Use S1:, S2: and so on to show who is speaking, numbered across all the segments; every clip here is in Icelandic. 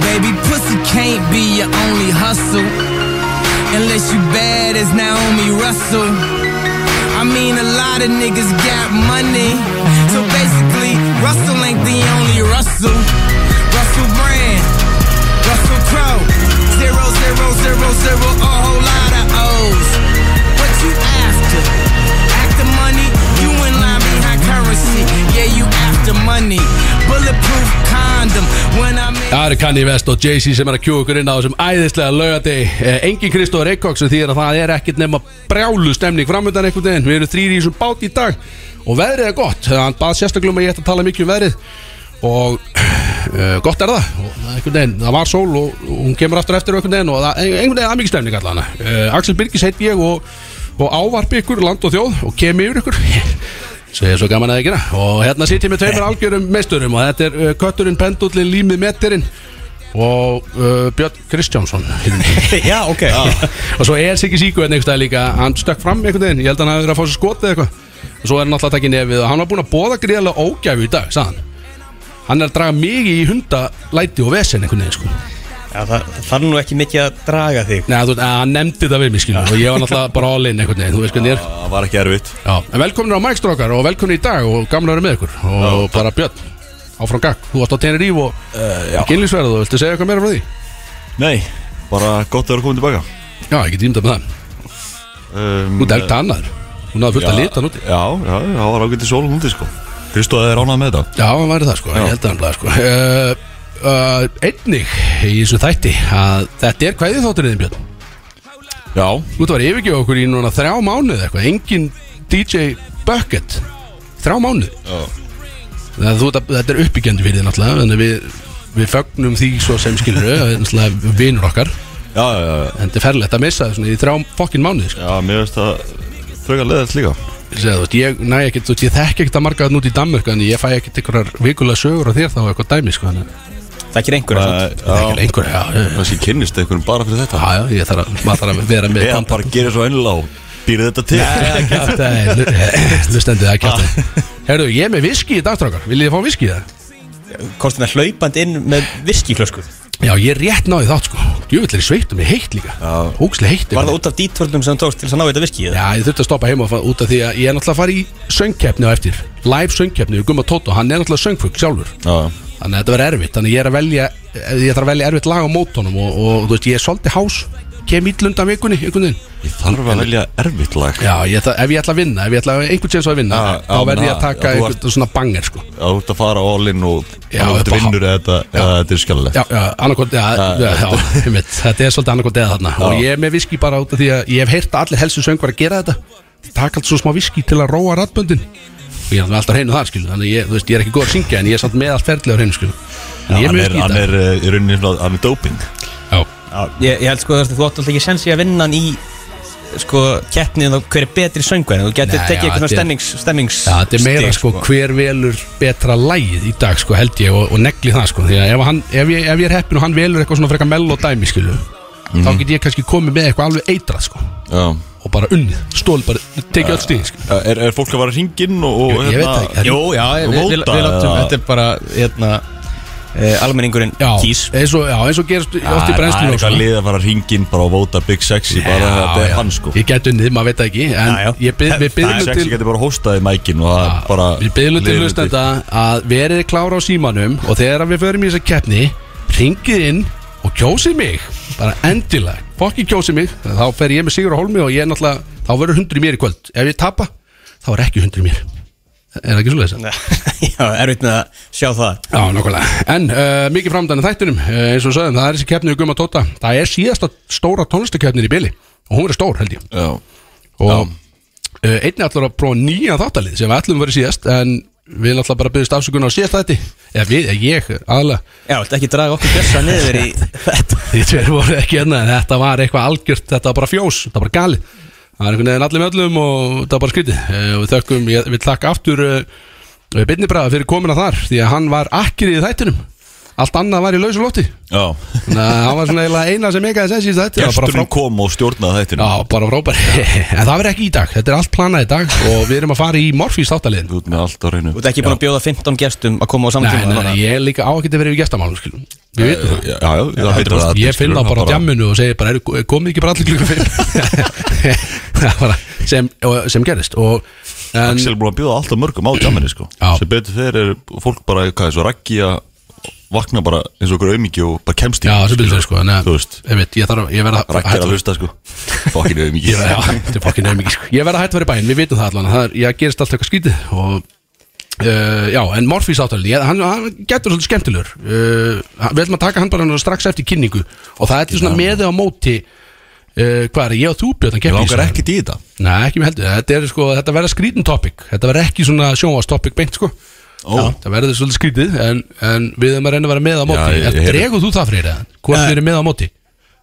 S1: baby, pussy can't be your only hustle. Unless you bad as Naomi Russell. I mean, a lot of niggas got money. So basically, Russell ain't the only Russell. Russell Brand, Russell Crowe. Zero, zero, zero, zero, a whole lot of O's. What you after? After money? You in line behind currency. Yeah, you after money. Bulletproof condom. When I'm in.
S2: Það eru Kanye West og Jay-Z sem er að kjúa ykkur inn á þessum æðislega lögadegi Eh, Engin Kristóður Eikóks sem þýðir að það er ekkert nema brjálu stemning framöndan einhvern veginn Við erum þrýri í þessum bát í dag og veðrið er gott Hann bað sérstaklega um að ég ætti að tala mikið um veðrið og uh, gott er það og það er einhvern veginn, það var sól og, og hún kemur aftur eftir einhvern veginn og það, einhvern veginn er mikið stemning allan uh, Axel Birgis heit ég og, og ávarpi ykkur land og þjóð og kem yfir ykkur Svo ég er svo gaman að ekki Og hérna sitt ég með tveimur algjörum meisturum Og þetta er uh, kötturinn, pendullin, límið, metterinn Og uh, Björn Kristjánsson
S3: Já, ok
S2: Og svo er Siggi Síku einhvern veginn líka Hann stökk fram einhvern veginn, ég held að hann hafi verið að fá sér skot eða eitthvað Og svo er hann alltaf að taka í nefið Og hann var búin að bóða gríðarlega ógæfu í dag, sagðan Hann er að draga mikið í hundalæti og vesen einhvern veginn sko
S3: Já, það það er nú ekki mikið að draga þig
S2: Nei, þú veist, að hann nefndi það við mig skilu Og ég var náttúrulega bara all in einhvern veginn, þú veist hvernig ég er
S4: Það var ekki erfitt
S2: Já, en velkomin á Mækstrókar og velkomin í dag og gamla að vera með ykkur og bara Björn, áfram gagg, þú varst á Teneríf og
S4: uh, Já
S2: kynlýsverð og viltu segja eitthvað meira frá því?
S4: Nei, bara gott að vera komin tilbaka
S2: Já, ég get ímdað með það,
S4: um,
S2: þú delta annar, hún hafði fullt að lita núti
S4: Já, já, það var ágætti sól hundi sko Kristóð er ánað með þetta
S2: Já, hann væri það sko, ég held að hann blæði sko uh, uh, Einnig í þessu þætti að þetta er kvæðið þátturinn Björn
S4: Já,
S2: Þú ert að vera yfirgjóð okkur í núna þrjá mánuð eitthvað Engin DJ Bucket Þrjá mánuð
S4: Já.
S2: Það, þú, þetta, þetta er uppbyggjandi fyrir þið náttúrulega Þannig að við, við fögnum því svo sem skilur Það er náttúrulega vinur okkar
S4: já, já, já,
S2: En þetta er ferlegt að missa það svona í þrjá fokkin mánuð sko.
S4: já mér veist það Fröga leðast líka
S2: Ég segi, Þú veist, ég, næ, ekkert, þú veist, ég þekki ekkert að marga þann út í Danmörk En ég fæ ekkert einhverjar vikulega sögur á þér þá eitthvað dæmi sko, Þannig að
S3: Það er einhverja
S4: Það
S2: það er ekki einhver já, já, já,
S4: Kanski kynnist einhverjum bara fyrir þetta
S2: já, ég þarf að, maður þarf að vera með
S4: Eða
S2: kontakt.
S4: bara gera svo ennlá Býrið þetta til
S2: Nei, kjafta, eh, hlustandi, það er kjafta Herru, ég er með viski í dagstrákar, viljið þið fá viski í það?
S3: Kostin að hlaupand hérna inn með viskiflösku Var
S2: Já, ég er rétt náði þátt sko Djúvill er í sveitum, ég heitt líka Hókslega heitt
S3: það út af dítvörnum sem þú tókst til þess að ná þetta viski
S2: Já, ég þurfti að stoppa heima og fa- út af því að ég er náttúrulega að fara í söngkeppni á eftir Live söngkeppni, við gumma Tóto, hann er náttúrulega söngfugg sjálfur
S4: Já,
S2: Þannig að þetta verður erfitt, þannig að ég er að velja eh, Ég þarf að velja erfitt lag á mótonum og, og þú veist, ég er svolítið hás Kem ítlunda vikunni, einhvern veginn
S4: ég þarf að velja erfitt lag Já,
S2: Já, ég, ætla- ef ég ætla að vinna, ef ég ætla að einhvern tjens að vinna
S4: Já,
S2: Þá
S4: já,
S2: verð ég að
S4: na,
S2: taka
S4: já, þú
S2: einhvern svona banger sko
S4: þú ert að fara all in og
S2: Já,
S4: Þú ert
S2: þetta-
S4: vinnur eða þetta eða þetta er skallega
S2: Já, já, annarkot, já, já, já, einmitt, þetta er svolítið annarkot eða þarna og ég er með viski bara út af því að ég hef heyrt að allir helstu söngvar að gera þetta taka allt svo smá viski til að róa rattböndin og ég er alltaf hreinu þar, skilu þannig að ég, þú veist, ég er ekki góð að syngja en ég er samt með allt ferðlega hreinu, skilu en ég er
S4: Hann
S2: með
S4: er,
S2: viski í
S4: hann
S2: þetta
S4: er eh, í rauninni svona, hann er doping
S2: Já,
S3: Ég, ég held sko að þú átt alltaf ekki sensi að vinna hann í sko keppnið og hver er betri söngu en þú getur
S2: Nei,
S3: tekið
S2: já,
S3: eitthvað
S2: þetta er-
S3: stemmings, stemmings
S2: Já, þetta er meira sko hver velur betra lægið í dag sko held ég og, og negli það sko því að ef, hann, ef, ég, ef ég er heppin og hann velur eitthvað svona frekar melodæmi skilu
S4: Mhm.
S2: þá get ég kannski komið með eitthvað alveg eitrað sko
S4: Já
S2: og bara unnið, stóli bara, tekið öll stíð sko.
S4: Eh, Er, er fólk að vara hringinn og, hérna- og
S2: Ég- ég veit það ekki.
S5: Jú, já, við, við, við,
S4: Móta
S5: við láttum,
S4: eða-
S5: þetta er bara, hérna
S3: uh, Almenningurinn
S2: Já,
S3: kýs
S2: eins og, já, eins og gerast oft í
S4: Það er
S2: brennslunum
S4: eitthvað lið að fara hringinn bara að vóta Big Sexy bara
S2: Já,
S4: þetta er
S2: já.
S4: hann sko
S2: Ég get unnið, maður veit það ekki En
S3: Já, já.
S2: Ég bið, við
S4: Big
S2: byggjum
S4: Sexy
S2: til
S4: getur bara hóstað í mækin og það er bara
S2: Við byggjum til
S4: liðið
S2: hlustenda að verið klára á símanum Og þegar við förum í þessa keppni Ringið inn og kjósið mig Bara endilega, fokkin kjósið mig Þá fer ég með Sigur á Holmi og ég er náttúrulega Þá verður hundri mér í kvöld Ef ég tapa, þá er ekki hundri mér Er það ekki svo leysa?
S3: Já, erfitt með að sjá það
S2: Já, nokkulega En uh, mikið framdæna þættinum uh, eins og við sögum, það er þessi keppni við Gumma Tóta Það er síðasta stóra tónlistakeppnir í byli og hún er stór, held ég
S4: Já,
S2: og uh, einnig ætlar að prófa nýja þáttalið sem við ætlum verið síðast en við ætlum bara að byrjast afsökunar á síðast þætti eða við, eða ég, aðalega
S3: Já, þetta ekki draga okkur bjössa niður í þetta
S2: því tveir voru ekki hérna en þetta var eitthvað algjört, þetta var bara fjós þetta var bara gali það er einhvern veginn allir með öllum og þetta var bara skrítið Eh, og við þökkum, eh, ég vil þakka aftur uh, Binni Braga fyrir komina þar því að hann var akkir í þættinum allt annað var í lausu lofti
S4: Já
S2: Þannig að það var svona eiginlega eina sem meikaði sens í þetta Það var bara
S4: Gesturinn kom og stjórnaði þættinu
S2: Já, bara frábær En það verður ekki í dag, þetta er allt planað í dag Og við erum að fara í Morfís þáttaliðin
S4: Þú ert með allt á reynu
S3: Þú ert ekki búin að bjóða 15 gestum að koma á
S2: Nei,
S3: samtíma
S2: nei, nei, ég er líka á ekki að vera yfir gestamálum skilum. Við vitum það
S4: Já, já, það heitir að
S2: Ég finn það bara á djamminu og segi bara "Eru- Komið ekki bara allir klukka fyrir sem, og- sem gerist og, en,
S4: Axel er búin að bjóða alltaf mörgum á djamminu sko
S2: Já.
S4: Sem betur þeir er fólk bara, hvað er svo, raggi að vakna bara eins og okkur aumingi og bara kemst í
S2: Já, sem byrður sko en,
S4: Þú veist.
S2: einmitt, Ég, þarf, að- ég verða
S4: Raggi er að hlusta sko Fokkin aumingi
S2: Ég verða þetta er fokkin aumingi, sko. Ég verð að hætt verið bæinn, við vitum það allan það er, Ég gerist alltaf eitthvað skítið og, uh, Já, en Morfís áttalinn ég- hann, hann getur svolítið skemmtilegur uh, hann- Við ætlum að taka hann bara núna strax eftir kynningu Og það er svona meði á móti uh, Hvað er, ég og þú bjöðan
S4: Ég
S2: keppi
S4: langar ekki í þetta
S2: Nei, ekki með heldur, þetta er sko, þetta verður skrítin topic Þetta verður ekki svona sjónvastopic beint sko
S4: Ó.
S2: Já, Það verður svolítið skrítið en, en við erum að reyna að vera með á móti
S4: ég- ég
S2: Eftir
S4: heyri.
S2: dreguð þú það fyrir það? Hvort
S3: Nei.
S2: við erum með á móti?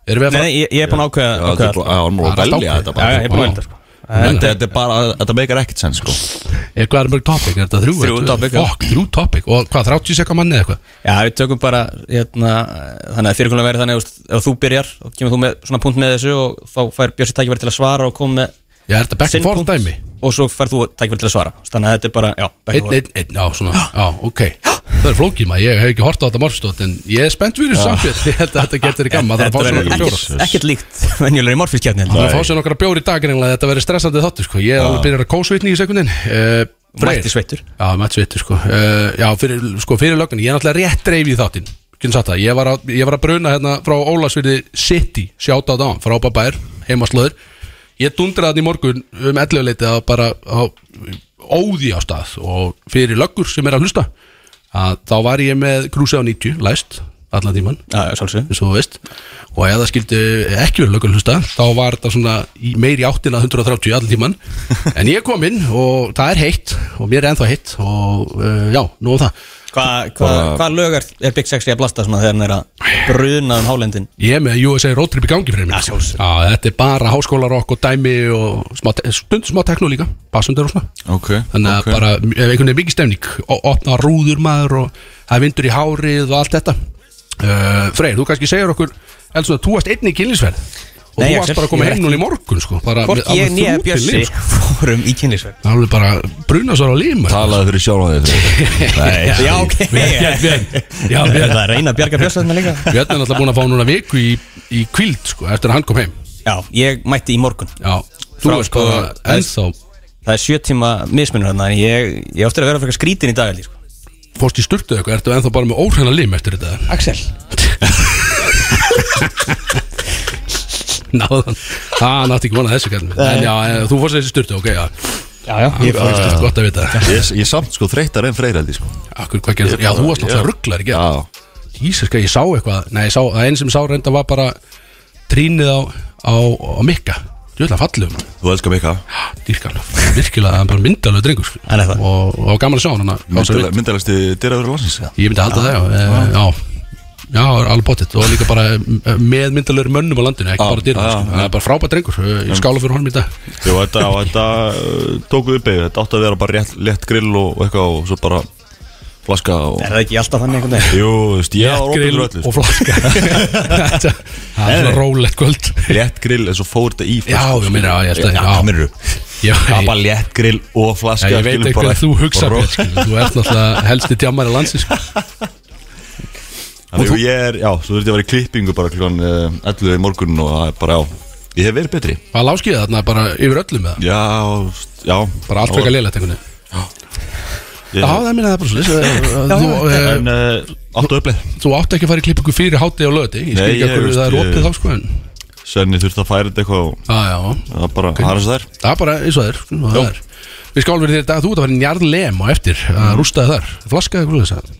S2: Erum við að
S3: Nei,
S2: fara?
S3: nei, ég, ég er búin að ákveða
S4: Já,
S3: ákveða
S4: þetta er
S3: allt.
S4: bara- já, hann
S2: Það er
S4: er bara að
S2: allt
S4: velja
S2: ákveðið.
S4: þetta
S3: Já,
S4: bara
S3: já, ég er búin að velja sko.
S4: Þetta þetta er bara, þetta meikar ekkert sens sko
S2: Er, hvað er mörg topic? Er þetta þrjú?
S4: Þrjú
S2: Er-
S4: topic, já.
S2: Fokk, þrjú topic Og hvað, 30 sekka manni eða eitthvað?
S3: Já, við tökum bara hérna, þannig að fyrirkomulega verið þannig að þú- ef þú byrjar og kemur þú með svona punkt með þessu og þá fær Björsi tækifæri til að svara og kom með
S2: Já, er þetta back
S3: sinn
S2: and forth
S3: punkt
S2: dæmi?
S3: og svo fær þú tækifæri til að svara þannig að þetta er bara, já, back
S2: Einn,
S3: and forth
S2: einn, einn, já, svona, já, ok Það er flókið maður, ég hef ekki hort á þetta morfstótt En ég er spennt fyrir þessu samfétt Ég held að þetta getur í gamma Það er að fá
S3: Þetta
S2: sér
S3: verður
S2: nokkra bjóra
S3: ekkert- ekkert líkt venjulegur í morfískjarni
S2: Það er að fá sér nokkra bjóri í dag reynglega, Þetta verður stressandi þáttu sko. Ég er alveg byrjar að kósvitni í sekundin uh,
S3: Mætti sveittur
S2: Já, mætti sveittur sko. uh, Já, fyrir, sko, fyrir lögnin Ég er náttúrulega rétt dreif í þáttin Getum sagt það. ég, var að, ég var að bruna hérna frá Ólasvili City Sjáta á dán, frá Babær Heimaslöður Ég dundraði hann í morgun um 11 leiti að bara á, óði á stað og fyrir löggur sem er að hlusta að þá var ég með krúsi á 90 læst allan tíman
S3: Já, já, sjálfsögum
S2: eins og þú veist og ef það skildi ekki verið lögum hlusta þá var þetta svona í- meiri áttin að 130 allir tíman en ég kom inn og það er heitt og mér er ennþá heitt og uh, já, nú og það
S3: Hvað hva, hva lög er, er Big Sexy að blasta svona þegar hann er að bruna um hálendin?
S2: ég er með USA roadtrip í gangi fyrir mér sko. já, þetta er bara háskólarokk og dæmi og smá, te- stund smá tekno líka bassundur og svona
S4: Ok
S2: þannig að
S4: ok.
S2: bara ef einhvern veginn mikið stemning og opna rúður maður og það er vindur í hárið og allt þetta uh, Freyr, þú kannski segir okkur elsum, þú varst einn í kynlísverð og
S3: Nei,
S2: þú
S3: Axel,
S2: varst bara að koma
S3: ég var
S2: heim
S3: ekki-
S2: núna í morgun sko, bara
S3: Hvort ég nýja Björsi fórum í kynlísverð
S2: sko. Það er alveg bara brunasvar á líma
S4: Talaði fyrir sjálf að þið Nei
S3: Já, ok
S2: Björn, Björn, já,
S3: Það er
S2: Björn
S3: að reyna að bjarga Björsi þarna líka
S2: Björn er náttúrulega búin að fá núna viku í, í kvild sko, eftir að hann kom heim
S3: Já, ég mætti í morgun
S2: Já, þú
S3: Frá,
S2: veist
S3: sko,
S2: bara ennþá
S3: Það er sjö tíma mismunur þarna en ég, ég áttur að vera frekar skrítin í dag held ég, sko.
S2: fórst í sturtu eða eitthvað, ertu ennþá bara með óhræna lim eftir þetta
S3: Axel
S2: Náðan, það nátti ekki vona þessu kallum En já, eh, þú fórst þessi sturtu, ok, já
S3: Já, já
S2: Ég fór ekki gott að vita það.
S4: Ég, ég samt sko þreytar en freyraldi sko
S2: Akkur, hvað gerði það? Já, þú varst náttúrulega rugglar, ekki?
S4: Já,
S2: Ísir, sko, ég sá eitthvað Nei, ég sá, það einn sem ég sá reynda var bara Trínið á, á, á mikka Jöðlega fallum,
S4: þú elskar mig eitthvað
S2: dýrkan Virkilega, það er bara myndalög drengur sko.
S3: Hann er það.
S2: Og og gaman að sjá hann hann á þessari mynd.
S4: Myndalegsti dyrraður landsins eða?
S2: Ég myndi halda það, já eh, Já, já, það er alveg bóttið Og líka bara eh, með myndalögur mönnum á landinu Ekki
S4: Já,
S2: bara dýrkan,
S4: já,
S2: sko.
S4: já.
S2: það er bara frábært drengur eh, Ég skála fyrir honum í dag
S4: Jú, þetta, og þetta uh, tóku upp eða Þetta átti að vera bara rétt, létt grill og, og eitthvað og svo bara flaska og
S3: Er það ekki alltaf þannig einhvern veginn?
S4: Jú, þú veist, ég var opið
S2: Grill
S4: fyrir öllu
S2: og
S4: sko.
S2: flaska Þetta- Það er svona rólegt kvöld
S4: Létt grill en svo fór þetta í
S2: Já,
S4: flasku,
S2: ég
S4: sko.
S2: meina, já, ég held að- já.
S4: Já, meinar
S2: Já,
S4: Það
S2: ég-
S4: var bara létt grill og flaska
S2: Já, ég veit
S4: skilur,
S2: ekki
S4: bara-
S2: að þú hugsa
S4: bara-
S2: mér, skilur, þú ert náttúrulega helsti tjammari landsins sko.
S4: Þannig að ég er, já, svo þurfti að vera í klippingu bara klukkan uh, 11 í morgun og það er bara, já, ég hef verið betri
S2: Var láskiðið þarna bara yfir öllum með það?
S4: Já, þú veist, já
S2: Bara allt frekar liðlegt einhvern veginn Já,
S4: Já,
S2: það minna það er bara svolítið
S4: en
S2: þú,
S4: uh, áttu upplið
S2: eh, þú átt ekki að fara í klippingu fyrir hátið og löti Ég skil
S4: Nei,
S2: ekki
S4: ég
S2: að hverju
S4: veist,
S2: það er
S4: ég-
S2: opið þá sko en
S4: Svenni þurfti að færa þetta eitthvað og
S2: Já, já,
S4: það er bara, það er þess að það er
S2: það er bara eins og það er, sko, það er Við skálum fyrir þér í dag, þú ert að fara í njarðlem og eftir að rústaði þar Flaskaði hverju þess að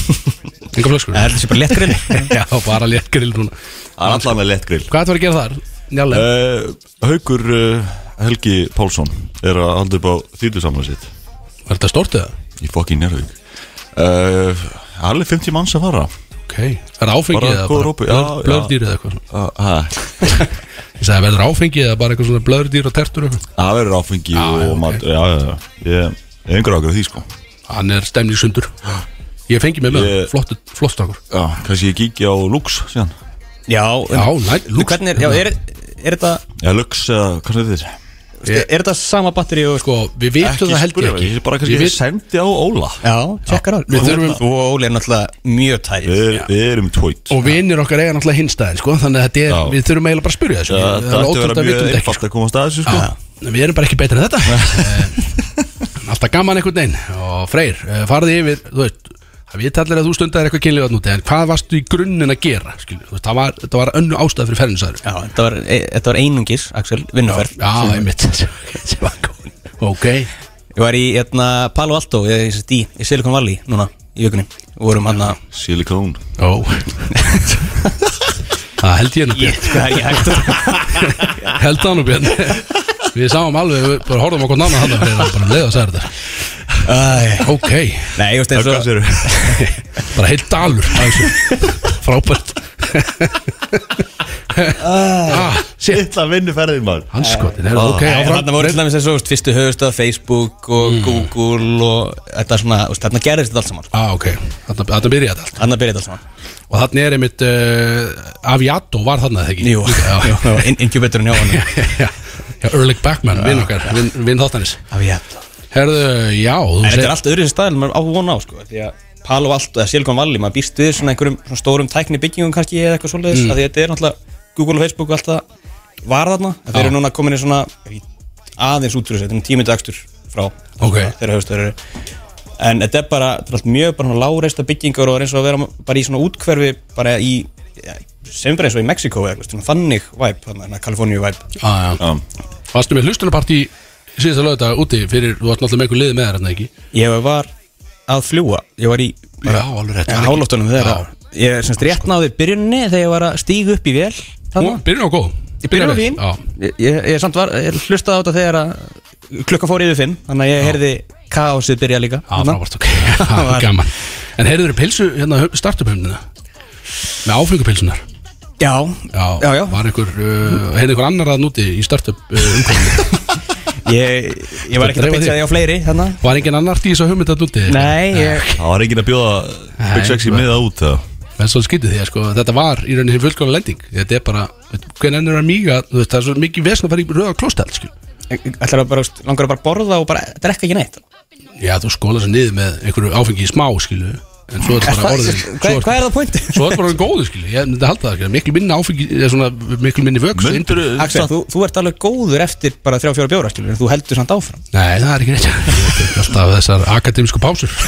S2: Enga flöskur
S3: Er þetta sé bara lett grinn?
S2: Já, bara létt grill núna
S4: Það er allan með lett grill
S2: Hvað ættu að fara að gera þar? Njarðlem
S4: uh, Haukur uh, Helgi Pálsson er að halda upp á þýtlusamlega sitt
S2: Var þetta stórt eða?
S4: í fokkin Njárvík uh, Allir 50 manns að fara
S2: Ok, er það áfengið
S4: Bara
S2: eða
S4: góður hópur, já,
S2: blör-
S4: já.
S2: blördýr eða eitthvað svona?
S4: Uh, uh,
S2: Ég sagði, verður áfengið eða bara eitthvað svona blöðurdýr og tertur eitthvað?
S4: Það verður áfengi
S2: Já,
S4: og
S2: ok.
S4: mat Já, já, já Ég ég hef einhver ákveð því sko
S2: Hann er stemningsundur Ég fengi mig með
S4: Ég-
S2: það, flott, flott stakur
S4: Já, kannski ég kíkja á Lux síðan
S3: Já,
S2: Já, næ, lúks
S3: Hvernig er, já, er, er þetta
S4: Já, Lux eða hvað sem þetta er
S2: Ég-
S3: Er þetta sama batteri og sko
S2: Sko, við vitum það held ég
S4: spurði,
S2: ekki
S4: Ég bara kannski
S2: Ég veit-
S4: sendi á Óla
S3: Já, tjekkar á
S2: Við þurfum-
S3: Þú og Óli er náttúrulega mjög tæri
S4: Við, við erum tvoit
S2: Og vinnir okkar eiga náttúrulega hinstæðin, sko Þannig að þetta er,
S4: Já.
S2: við þurfum eiginlega bara að spyrja þessu
S4: Það
S2: Það er
S4: ætti að
S2: ótrúlega um að vitum
S4: vera mjög
S2: þetta ekki,
S4: einfalt að komast að þessu sko
S2: sko Við erum bara ekki betri en þetta Eh, Alltaf gaman einhvern veginn Og Freyr, eh, farðu yfir, þú veist Það við tallir að þú stundaðir eitthvað kynlega núti En hvað varstu í grunninn að gera, skilur Þú veist, það var, þetta var önnu ástæð fyrir ferðinsæður
S3: Já, þetta var, e, þetta var einungis, Axel, vinnuferð
S2: Já, einmitt Sem var góð. Ok,
S3: Ég var í hérna, Palo Alto, ég, ég, í, í Silicon Valley núna í vikunni og vorum hérna, hann að
S4: Silikón
S2: ó Það held ég nú Björn
S3: Hvað er ég hægt að
S2: Held það nú Björn Við sáum alveg, við bara horfum okkur nána hann Bara leiða að segja þetta
S3: Æ,
S2: Ok,
S3: Nei, ég veist eins og
S4: Hvað
S2: bara heilt dalur af þessu. Frábært ah, Shit,
S4: Ítla vinnuferðin maður
S2: hanskotin er ok
S3: Ah. Nei,
S2: áfram.
S3: Þarna voru til dæmis eins og þú veist, fyrstu höfust að Facebook og Google og þetta svona, þú veist, þarna gerðist þetta allt saman sko.
S2: Ah, ok, þarna, þarna byrja þetta allt
S3: Þarna byrjaði þetta allt saman
S2: Og þarna er einmitt uh, Aviato var þarna þegar ekki
S3: Jú,
S2: Líka, já.
S3: jú, in- incubatorinn hjá hann
S2: Já, já, Erlich Backman, vinn okkar, vinn vin þáttanis Herðu, já, þú
S3: En þetta er
S2: segir
S3: allt öðru staðil en maður á von á sko, því að Palo Alto eða Silicon Valley, maður býst við svona einhverjum svona stórum tækni byggingum kannski eða eitthvað svoleiðis mm. að því að þetta er náttúrulega Google og Facebook og allt það var þarna, að þeir eru núna komin í svona í aðeins út fyrir þessu, þetta er um tímyndu akstur frá
S2: Ok.
S3: þeirra höfustöður eru en þetta er bara, þetta er allt mjög bara láreista byggingar og er eins og að vera bara í svona útkverfi bara í, ja, sem bara eins og í Mexiko eða eitthvað, svona þannig væp, þannig að Kaliforníu væp
S2: ah, já.
S4: Já.
S2: Varstu með hlustunarparti síðasta lögða úti fyrir, þú varst náttúrulega með einhver liði með þér hérna ekki
S3: Ég var að fljúa Ég var í
S2: Já, alveg rétt.
S3: Hálóftunum þeirra Ég er semst rétt náði byrjunni þegar ég var að stíga upp í vel
S2: Hún byrjun á góð
S3: Ég byrjunni á fín
S2: Já,
S3: Ég, ég, ég samt var, ég hlustaði á þetta þegar að klukka fór yfir fimm Þannig að ég heyrði kaosið byrja líka
S2: Já,
S3: Þarna.
S2: frábært, ok Já,
S3: Hérna. Var-
S2: Gaman En heyrður þér pilsu hérna startupöfnina Með áfengupilsunar
S3: Já,
S2: Já,
S3: já, já.
S2: Var einhver, uh, heyrði einhver annar að núti í startup uh, umkvæmni
S3: Ég, ég var
S2: Dreifa
S3: ekkert að
S2: þig.
S3: pitcha því á fleiri þannig.
S2: Var engin annar til þess að hugmynda að núti
S3: Nei, ég,
S4: Það var enginn að bjóða Big Sexy
S2: Nei.
S4: miða út það
S2: En svo skytið því að sko, þetta var í rauninni fullkona lending Þetta er bara, hvernig ennur að míga þú veist, Það er svo mikið vesna að fara í rauða klóstæld skil.
S3: ætlar að bara, veist, langar að bara borða og bara drekka ekki neitt
S2: Já, þú skóla sér niður með einhverju áfengi í smá skilu En svo er þetta bara
S3: Hvað
S2: orðið
S3: hvað- hvað er það pointi?
S2: Svo er þetta bara góðu skilu, ég myndi halda það skilur. Miklu minni áfengi, eða svona, miklu minni vöxt
S4: Möndur
S3: Axel, þú, þú ert alveg góður eftir bara 3-4 bjóra skilur, en þú heldur samt áfram
S2: Nei, það er ekki rétt Ég tek Alltaf þessar akademísku pásur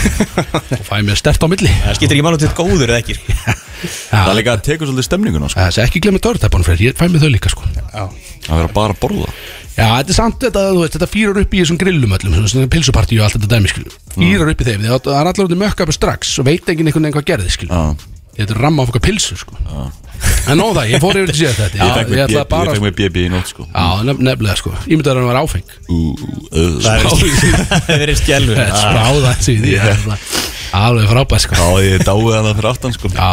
S2: Og fæ mér stert á milli
S3: Það skiptir ekki mála til góður eða ekki
S4: Það er
S2: Já,
S4: líka að tekur svolítið stemninguna sko.
S2: Þess ekki glemma dörrtæpunum fyrir Ég fæ mér þau líka sko
S4: Að vera bara að borða
S2: Já, þetta er samt þetta, þú veist Þetta fýrar upp í þessum grillum öllum Svona pilsupartíu og allt þetta dæmi skilur
S4: Mm.
S2: Fýrar upp í þeim því að Það er allar út í mökka upp strax Og veit enginn einhvern veginn hvað gerði skilur Þetta er ramma af okkar pilsu sko En nóg um það, ég fór yfir til síðan þetta
S4: Ég fekk
S2: Ég, ég
S4: mér
S2: ætla
S4: BB ég
S2: bara
S4: fekk mér BB í nótt sko.
S2: Já, nef nefnilega sko Ímyndaður hann var áfeng
S4: Ú, uh, smá.
S3: Það er verið skjálfur
S2: Spráða hans í því það er bara Alveg frábæð sko
S4: Já, ég dáið hana fyrir aftan sko
S2: Já,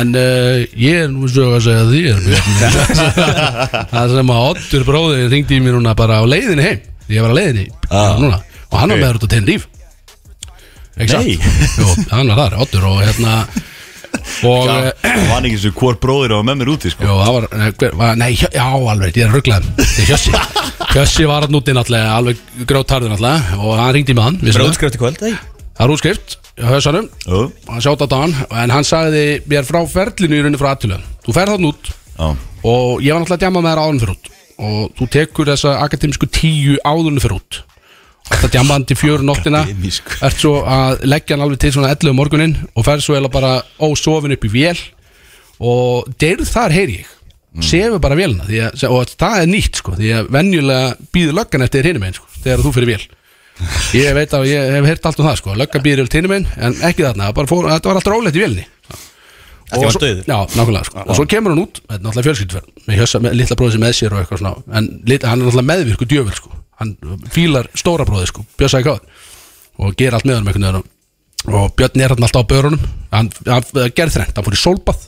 S2: en uh, ég er nú svo að segja þér Björn. Það sem að Oddur bróðir ringdi í mér núna bara á leiðinni heim Ég var á leiðinni
S4: Ah,
S2: núna Og hann var
S4: ok.
S2: með þér út á Tenerife Ekki
S4: Nei.
S2: satt? Jú, hann var þar, Oddur og hérna Og eh,
S4: Það var ekki eins og hvort bróðir á með mér úti sko
S2: Jú, það var, nei, hver, var Nei, hjö- já, alveg, ég er rugglaðum Þetta er Hjössi Hjössi var hann úti náttúrulega Alveg grótarður náttúrulega Og hann ringdi í mig hann vissulega.
S3: Bróðskröfti kvöld eða ekki?
S2: Það er útskrift Hjössanum
S4: Jú,
S2: hann sjátt á hann en hann sagði mér frá ferlinu í rauninni frá aðtölu þú ferð þann út
S4: Já,
S2: og ég var náttúrulega að djama með þér áðurinn fyrir út og þú tekur þessa akademisku tíu áðurinn fyrir út þetta djamaðandi fjör um nóttina
S4: Akademísku.
S2: ert svo að leggja hann alveg til svona 11 um morgunin og ferð svo eða bara ósofin upp í vél og deyrð þar heyr ég sefur bara vélina því að, og það er nýtt sko því að venjulega býður löggan eftir hinum einn sko, þegar þú fyrir vél Ég veit að ég hef heyrt allt um það sko Lögga býður yfir tinnum minn En ekki þarna, það bara fór, þetta var alltaf rólegt í vélni
S3: Af því hann var dauður?
S2: Já, nákvæmlega sko Og svo kemur hann út, þetta er náttúrulega fjölskylduferð Með, hjössa, með litla bróði sem með sér og eitthvað svona En lit, hann er náttúrulega meðvirku djöfur sko Hann fílar stóra bróði sko, bjösa ekki á Og ger allt með hann einhvern veginn Og Björn er hann alltaf á börunum Hann, hann gerð þrengt, hann fór í sólbað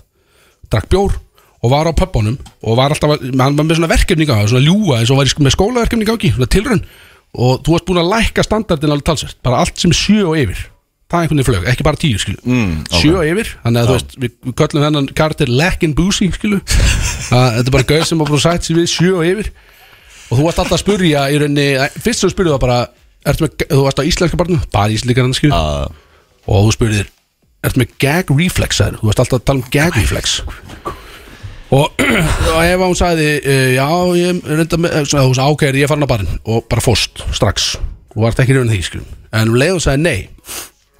S2: drakk bjór og var á pöppunum og var alltaf, hann var með svona verkefni í gangi, svona ljúa eins og var í- með skólaverkefni í gangi, svona tilraun og þú varst búin að lækka standardin alveg talsvert, bara allt sem er sjö og yfir það einhvern veginn flög, ekki bara tíu skilu
S4: Mm, ok.
S2: sjö yfir, þannig að þú veist við, við köllum hennan kartir Lekin Boosie skilu að þetta er bara gauð sem að búið sætt sér við sjö yfir og þú varst alltaf að spurja í rauninni, fyrst sem spurði það bara ertu með, þú varst á íslenska barnu, bara íslenska skilu
S4: að
S2: og þú spurðir ertu með gag reflex þær þú veist alltaf að tala um gag reflex og, og ef hún sagði uh, já, ég reynda með eh, svona, þú sagði ákæri, ég er farin á barinn og bara fóst strax og vart ekki raunin því skulum. en um leið og sagði nei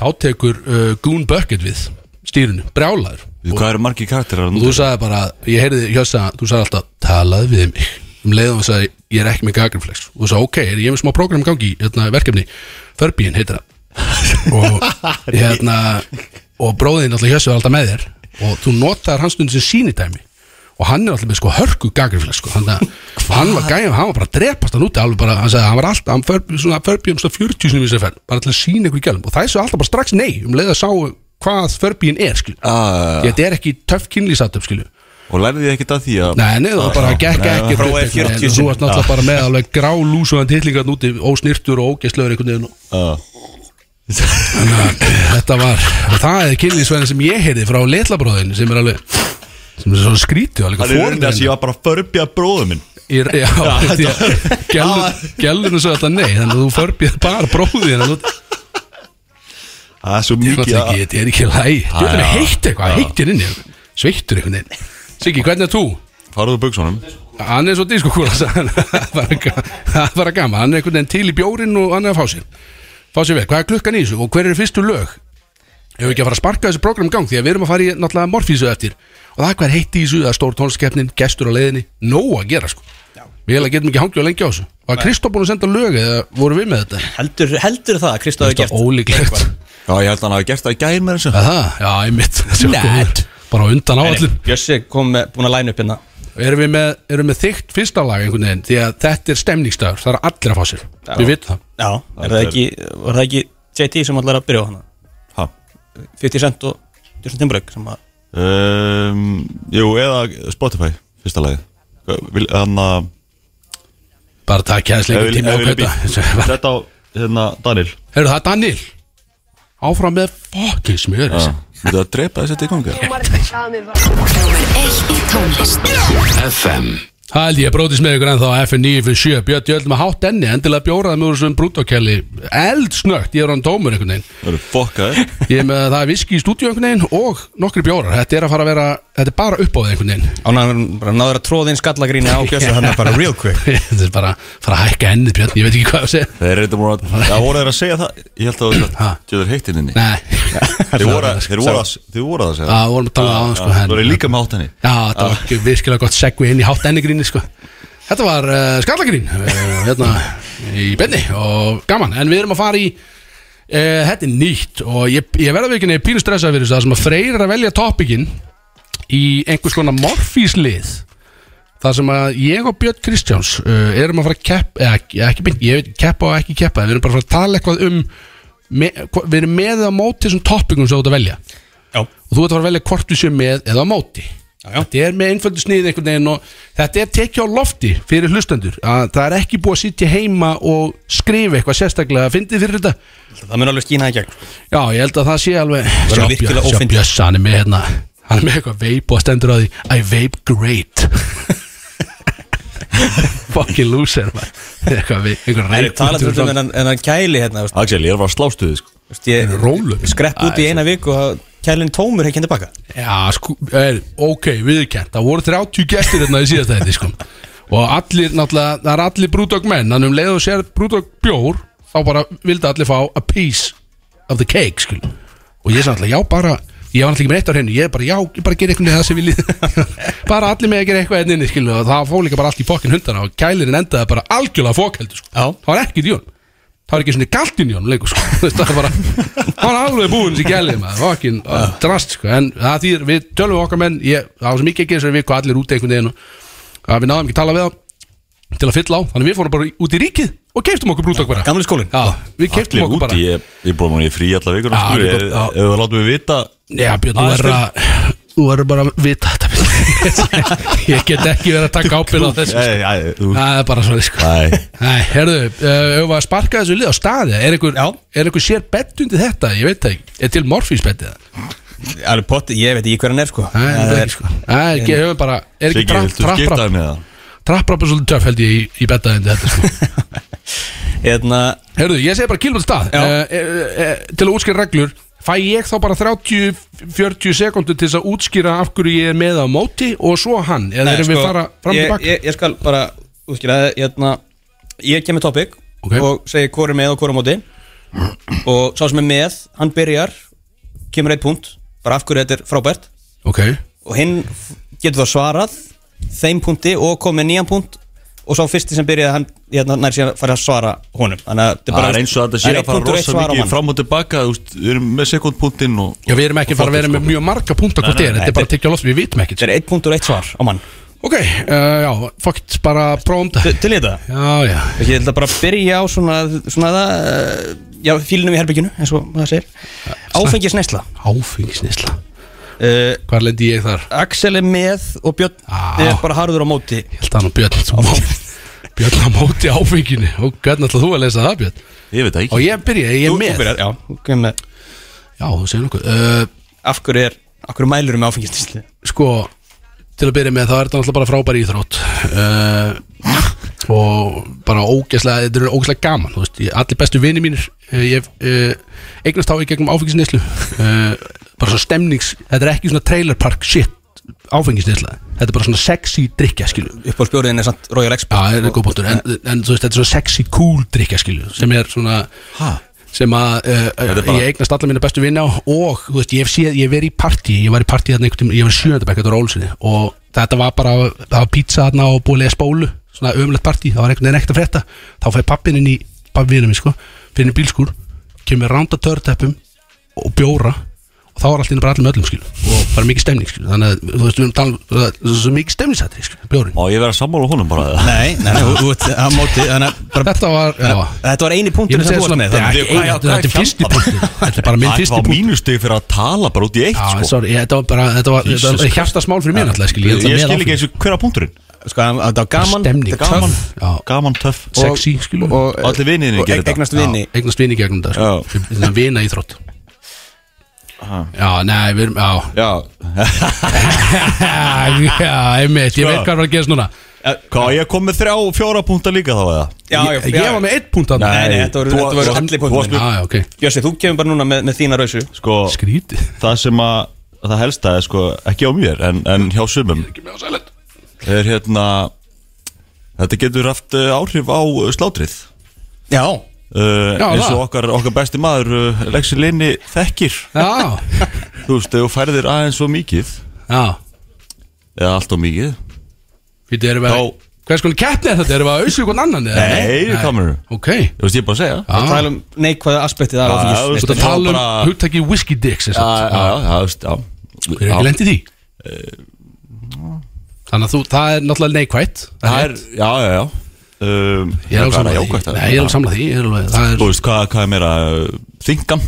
S2: þá tekur uh, Goon Bucket við stýrinu, brjálaður og,
S4: Hvað eru margir karakterar
S2: og þú sagði bara, ég heyrði hjössa þú sagði alltaf, talaði við mig um leið og hún sagði, ég er ekki með gag reflex og þú sagði, ok, er ég með smá program í gangi í, hérna, verkefni, Förbíin heitir það og hérna og bróðin alltaf hjössu alltaf með þér og þú notaðir hans stundin sem sínitæmi og hann er alltaf með sko hörku gagriflex sko. þannig að hann var gæm, hann var bara að drepast hann úti alveg bara, hann sagði, hann var alltaf hann för, svona förbjum svona 40 sinni við sér fenn bara til að sína ykkur í gælum og það er svo alltaf bara strax nei um leið að sá hvað förbjum er skilju
S4: Ah,
S2: því að þetta er ekki töff kynlýsatöf skilju
S4: Og lærði ég ekkert að því að
S2: Nei, nei, það bara gekk ekki upp
S3: prófaði
S2: einhvern veginn.
S3: 40
S2: Þú varst náttúrulega bara með alveg grá lúsuðan tillingarn úti ósnirtur og ógeðslöður einhvern veginn
S4: Ah.
S2: Þannig að þetta var og það er kynlísvæðin sem ég heyrði frá litlabróðin sem er alveg sem er svona skrítið og
S4: Hann er reyndið að ég
S2: alveg
S4: var bara að förbja bróðu minn
S2: fórnir Gjallinu svo alltaf nei þannig að þú förbjöð bara bróðin en þú
S4: Það er svo
S2: Ég
S4: mikið
S2: ætla
S4: að
S2: ekki, þetta er ekki læg Þú er heitt eitthvað, heittir inn í þér. sveittur einhvern veginn Siggi, hvernig er þú?
S4: Farðu úr buksunum
S2: Hann er svo diskokúla sagði hann. Það var ga- það var gaman, hann er einhvern veginn til í bjórin og hann er að fá sér Fá sér vel, hvað er klukkan í þessu og hver eru fyrstu lög? Ég hef ekki að fara að sparka þessu program í gang því að við erum að fara í náttúrulega morfísu eftir og það er hvað er heitt í þessu, það er stór tónskeppnin, gestur á leiðinni Nóa að gera sko Við heila getum ekki hangið og lengi á þessu Var Kristó búin að senda lög eða voru við með þetta?
S3: Heldur, heldur það að Kristof hefur
S2: Þetta
S3: gert
S2: er ólíklegt
S4: Já, ég held að hann hafi gert það í gæðin með þessu
S2: Aha, Já, ég mitt
S5: Nett.
S2: Bara á undan
S3: Nei,
S2: áallin
S3: nei, Bjössi kom með, búin að læna upp hérna
S2: Erum við með, erum við þykkt fyrsta lag einhvern veginn Því að þetta er stemningsdagur, það er allir að fá sér Við vitum það
S3: Já, er það ekki, var það ekki JT sem allar að byrja á hana
S4: Ha.
S3: 50 Cent og Justin Timberlake sem að
S4: um, Jú, eða Spotify, fyrsta lagi Þannig að
S2: Bara takk aðeins lengur
S4: Ef við-
S2: tími á
S4: ef við
S2: kauta
S4: býtum. Þetta á, hérna, Daniel
S2: Herru það er Daniel Áfram með fucking smjör
S4: Já. Þú veit að drepa þess að þetta í gangi
S6: Númer eitt í tónlist
S7: FM
S2: Það held ég brótis með ykkur ennþá FN 957 Björn Jöld með hátt enni Endilega bjóraði með úr þessum brútokkelli Eldsnögt, ég er hann tómur einhvern veginn
S4: Það eru fokkaðir
S2: Ég er með að það er viski í stúdíu einhvern veginn Og nokkri bjórar, þetta er að fara að vera Þetta er bara upp á einhvern veginn
S3: ánæður bara náður að tróða inn skallagríni á Bjössi hann Hérna bara real quick
S2: Þetta er bara að fara að hækka ennið Björn Ég veit ekki hvað að segja
S4: Þeir eru þetta múin að Það voru þeir að segja það Ég held að það
S2: Ha.
S4: var Þjóður heittinn inni
S2: Nei
S4: Þeir voru að Þeir voru að Þeir voru að segja
S2: Já, vorum að tala um það, sko,
S4: Já,
S2: en-
S4: Þú voru líka með hátt henni
S2: Já, þetta var ekki virkilega gott segvi inn í hátt ennigríni sko. Þetta var uh, skallagrín uh, hérna í benni og gaman, en við erum að fara í uh, þetta er nýtt og ég, ég verða við ekki nefnir pínu stressað fyrir þessu það sem að freyrir að velja topikinn í einhvers konar morfíslið þar sem að ég og Björn Kristjáns uh, erum að fara að keppa eða ekki, ekki beint, ég veit keppa og ekki keppa en við erum bara að fara að tala eitthvað um me, hva- við erum með eða á móti þessum topikum sem þú ert að velja
S3: Já,
S2: og þú ert að fara að velja hvort þú sé með eða á móti
S3: Já, já.
S2: þetta er með einföldu sniðið einhvern veginn og þetta er tekið á lofti fyrir hlustendur að það er ekki búið að sitja heima og skrifa eitthvað sérstaklega að fyndið fyrir þetta
S3: það mun alveg skína í gegn sko.
S2: já ég held að það sé alveg
S3: Verður
S2: Sjá
S3: virkilega
S2: Björn- sjá
S3: ófyndið.
S2: Bjössa, hann er með hérna hann er með eitthvað vape og stendur á því I vape great fucking loser maður. eitthvað við einhver
S3: Það er talað um
S2: reynd
S3: þennan þennan kæli hérna þú veist,
S4: Axel, ég er að fara að slástu þið sko
S3: þú veist, ég
S2: rólu
S3: skrepp út í eina viku og kælinn tómur hekkinn tilbaka
S2: Já, sko, er, ok, viðurkjent Það voru 30 gestir hérna í síðasta þetta sko. Og allir, náttúrulega, það er allir brúdók menn Þannig um leið og sér brúdók bjór Þá bara vildi allir fá a piece of the cake, sko Og ég sagði alltaf, já, bara Ég var alltaf ekki með eitt á hreinu, ég bara, já, ég bara gera eitthvað með það sem við líð Bara allir með að gera eitthvað hérna enninni, skilu Og það fór líka bara allt í fokkin hundana Og kælirinn endaði bara algjörlega fokkeldu, sko
S3: Já.
S2: Það var ekkert í honum Það var ekki svona galtinn í honum lengur sko. Þú veist, Það var bara Það var alveg búinn sem gælið maður Það var ekki drast sko. En það þýr Við tölum við okkar menn ég, Það var sem ekki ekki þessari viku Allir út einhvern veginn og- að Við náðum ekki að tala við þá Til að fylla á Þannig við fórum bara í- út í ríkið Og keiftum okkur brúdokk bara
S3: Gamli skólinn
S2: Já, við keiftum
S4: Allir
S2: okkur
S4: úti,
S2: bara
S4: ég, ég búið mér í frí alla vikuna
S2: Já,
S4: skilur,
S2: þetta er
S4: Ef
S2: gott, já.
S4: ef þú látum við vita
S2: Já, Björn, þú
S4: Aðeins
S2: verður að Þú verður bara að vita þetta Björn. Ég get ekki verið að taka ábyrð á þessu sko.
S4: Æ, æ, þú-
S2: Það er bara svona sko.
S4: Æ,
S2: Nei, herðu, ef eh, að sparka þessu lið á staði Er einhver, er einhver sér bett undir þetta? Ég veit það ekki, er til morfínsbettið það?
S3: Alveg potti, ég veit ekki hver hann er sko
S2: Nei, það er ekki sko Nei, ekki, hefur bara, er ekki
S4: Siggi,
S2: trapp-
S4: viltu skipta um
S2: trapprapp
S4: það með það?
S2: Trapprapp er svolítið töff held ég í, í bettaði undir þetta sko
S3: Hérna,
S2: Herðu, ég segi bara kilvægt stað
S3: Já.
S2: uh, uh, uh, Til að útskýra reglur Fæ ég þá bara 30-40 sekundur til þess að útskýra af hverju ég er með á móti og svo hann, eða
S3: nei, sko,
S2: erum við fara fram
S3: ég,
S2: til bak
S3: ég, ég skal bara útskýra það Hérna, ég kem með topic
S2: Ok.
S3: Og segi hvor er með og hvor er á móti Og sá sem er með, hann byrjar Kemur eitt punkt Bara af hverju þetta er frábært
S2: Ok,
S3: Og hinn f- getur þá svarað Þeim punkti og komið með nýjan punkt Og sá fyrsti sem byrjaði hann hérna, nær síðan farið að svara honum Þannig að þetta
S4: Það er eins og þetta
S3: það
S4: sé
S3: er
S4: að
S3: eitt
S4: fara
S3: punktur og eitt
S4: rosa
S3: svar á
S4: mikið um
S3: mann.
S4: fram og tilbaka þú veist, Við erum með sekundpunktinn og
S2: já við erum ekki að fara að vera með mjög marga punta hvort
S3: Nei,
S2: er,
S3: nei,
S2: þetta er
S3: nei,
S2: bara að tekja loft, við vitum ekkert sko.
S3: Þetta er eitt punktur og eitt svar á mann
S2: Ok, uh, já, fakt bara prófum
S3: Til,
S2: þetta
S3: til í þetta
S2: Já, já,
S3: Ég ætla bara að byrja á svona, svona það eh, Já, fílinum í herbygginu, eins og maður segir Áfengisneisla
S2: áfengisnisla
S3: uh,
S2: Hvar lendi ég þar?
S3: Axel er með og Björn
S2: Ah.
S3: er bara harður á móti
S2: Ég held að hann og Björn þú mót- Björn á móti áfenginu Og hvernig ætlað þú að lesa það Björn?
S4: ég veit það
S2: Og
S4: ekki
S2: ég byrja, ég er
S3: Þú- þú
S2: með
S3: byrjar, Já, þú kemur með
S2: Já, þú segir nokkuð uh,
S3: Af hverju er, af hverju mælurum með áfengisneislu
S2: Sko, til að byrja með þá er þetta náttúrulega bara frábæri íþrótt uh, Og bara ógeðslega, þetta er ógeðslega gaman þú veist, ég, Allir bestu vini mínir uh, Ég uh, eignast á í gegnum áfengisnislu uh, Bara svo stemnings Þetta er ekki svona trailer park shit Áfengisnisla, þetta er bara svona sexy drikja skilu
S3: Upp á spjóriðin er samt Royal
S2: Já,
S3: Expert
S2: það er góð bóttur en, en þú veist, þetta er svo sexy cool drikja skilju sem er svona sem að uh,
S4: Þetta er bara-
S2: ég eignast alla mínu bestu vinna á og þú veist, ég hef séð, ég hef verið í partí ég var í partí þarna einhvern tímann, ég var í sjöndabæk þetta var Ólsinni og þetta var bara það var pizza þarna og búið að lega spólu svona ömulegt partí, það var einhvern veginn ekkert að frétta þá fæði pappin inn í, pappin vinna minn sko fyrir inn í bílskúr, kemur ránda törteppum og bjóra og þá var allt inn bara allir með öllum skilju og bara mikið stemning skilju þannig að þú veist, við erum talað um- það er svo mikið stemningsættri skilju, bjórin
S4: Má ég vera sammála honum bara eða?
S3: Nei, nei, nei, þú- þú ert á móti Þannig að bara-
S2: þetta var, já
S3: þetta var eini
S2: Ég
S3: punktur
S2: myndi
S3: sem
S2: segja
S3: þú varst
S2: svona
S3: með
S2: Þetta
S3: þannig.
S2: er- þetta- þetta er fyrsti punktur Þetta er bara minn
S4: Það
S2: fyrsti
S4: var
S2: punktur
S4: mínustig fyrir að tala bara út í eitt
S2: Já,
S4: sko.
S2: sorry, ég- þetta var bara Þetta var þetta var
S4: Jesus
S2: hjartasmál fyrir mér alltaf
S4: Ég skil ekki eins og hverja punkturinn
S3: Sko, að- að þetta var gaman
S2: Stemning,
S3: þetta var gaman,
S2: töff, já.
S4: Gaman, töff
S2: Sexy, skilur
S3: og,
S4: Og allir vinirnir
S3: og e-
S4: gerir þetta.
S3: Eignast vini
S2: Já, Eignast vini gegnum þetta sko. Þetta er vina íþrótt Já, nei, við erum, já
S4: Já,
S2: Já, einmitt, ég
S4: Sko.
S2: veit hvað var að gerast núna
S4: E, hvað ég kom með þrjá og fjóra púnta líka þá eða?
S3: Já, já,
S2: Ég
S3: já.
S2: ég var með einn punkt að
S3: Nei, nei, þetta voru-
S4: Þú-
S3: þetta voru
S4: þú-
S3: allir
S4: þú
S3: punktur
S4: varst
S3: minn
S4: með-
S2: Já, já, ok
S3: Jössi, þú kemur bara núna með, með þína rausu
S4: Sko,
S2: Skrítið
S4: það sem að það helsta er sko, ekki á mér en, en hjá sumum er hérna þetta getur haft uh, áhrif á uh, slátrið
S3: Já
S4: Uh,
S2: Já,
S4: eins
S2: það.
S4: og okkar, okkar besti maður uh, Lexi Linni þekkir
S2: Já,
S4: þú veist, ef þú færðir aðeins svo mikið
S2: já
S4: eða allt og mikið
S2: Við erum að
S4: Þá-
S2: Hvers konar keppni er þetta? Erum við að auðvitað hvern annan? eða?
S4: Nei,
S2: Nei. Ah,
S4: kamerun
S2: Ok
S4: Þú veist, ég er bara að segja Já,
S3: Það tala um neikvæða aspektið af
S4: Já,
S3: áfengis
S4: þú
S2: Þú
S4: veist,
S2: ert að
S4: Þetta
S2: tala um
S4: bara-
S2: hugtæki whisky dicks Já,
S4: já, já, þú veist,
S2: Við erum ekki
S4: já Eh, Já.
S2: lent í því Þannig að þú, það er náttúrulega neikvætt
S4: Það er, já, já, já Um,
S2: Ég er alveg
S4: það bara
S2: samla því
S4: jákvætt að-
S2: Nei, ég er alveg samla því ég er alveg, Það er,
S4: Þú veist, hvað, hvað er meira uh, þingan,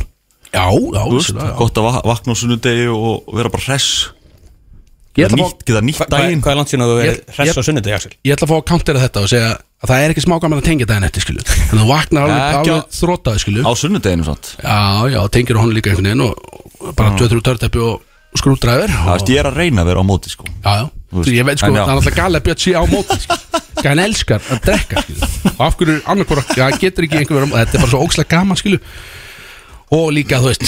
S2: já, já,
S4: þú veist
S2: vissulega, já.
S4: Gott að va- vakna á sunnudegi og vera bara hress
S2: Ég
S4: Geta
S2: ætla að fá-
S4: nýtt, geta nýtt
S3: Hvað
S4: daginn
S3: hvað er langt síðan að þú
S2: Ég-
S3: verið hress á sunnudegi, Axel?
S2: Ég ætla að fá að countera þetta og segja að það er ekki smá gaman að tengja daginn eftir skilju Þannig að þú vaknar alveg,
S4: Ekki á-
S2: alveg þrótaði skilju
S4: Á sunnudeginu svont
S2: Já, já, tengir hún líka einhvern veginn og og bara 2-3 törteppi og skrúdræður
S4: Það veist, ég er að reyna að vera á móti, sko
S2: Já, já,
S4: Þú veist,
S2: Þú, ég veit sko,
S4: en já.
S2: það er alltaf galið að bjött sé á móti skilju. hann elskar að drekka skilju. og af hverju annarkvora, það getur ekki einhverjum þetta er bara svo ókslega gaman skilu og líka, þú veist,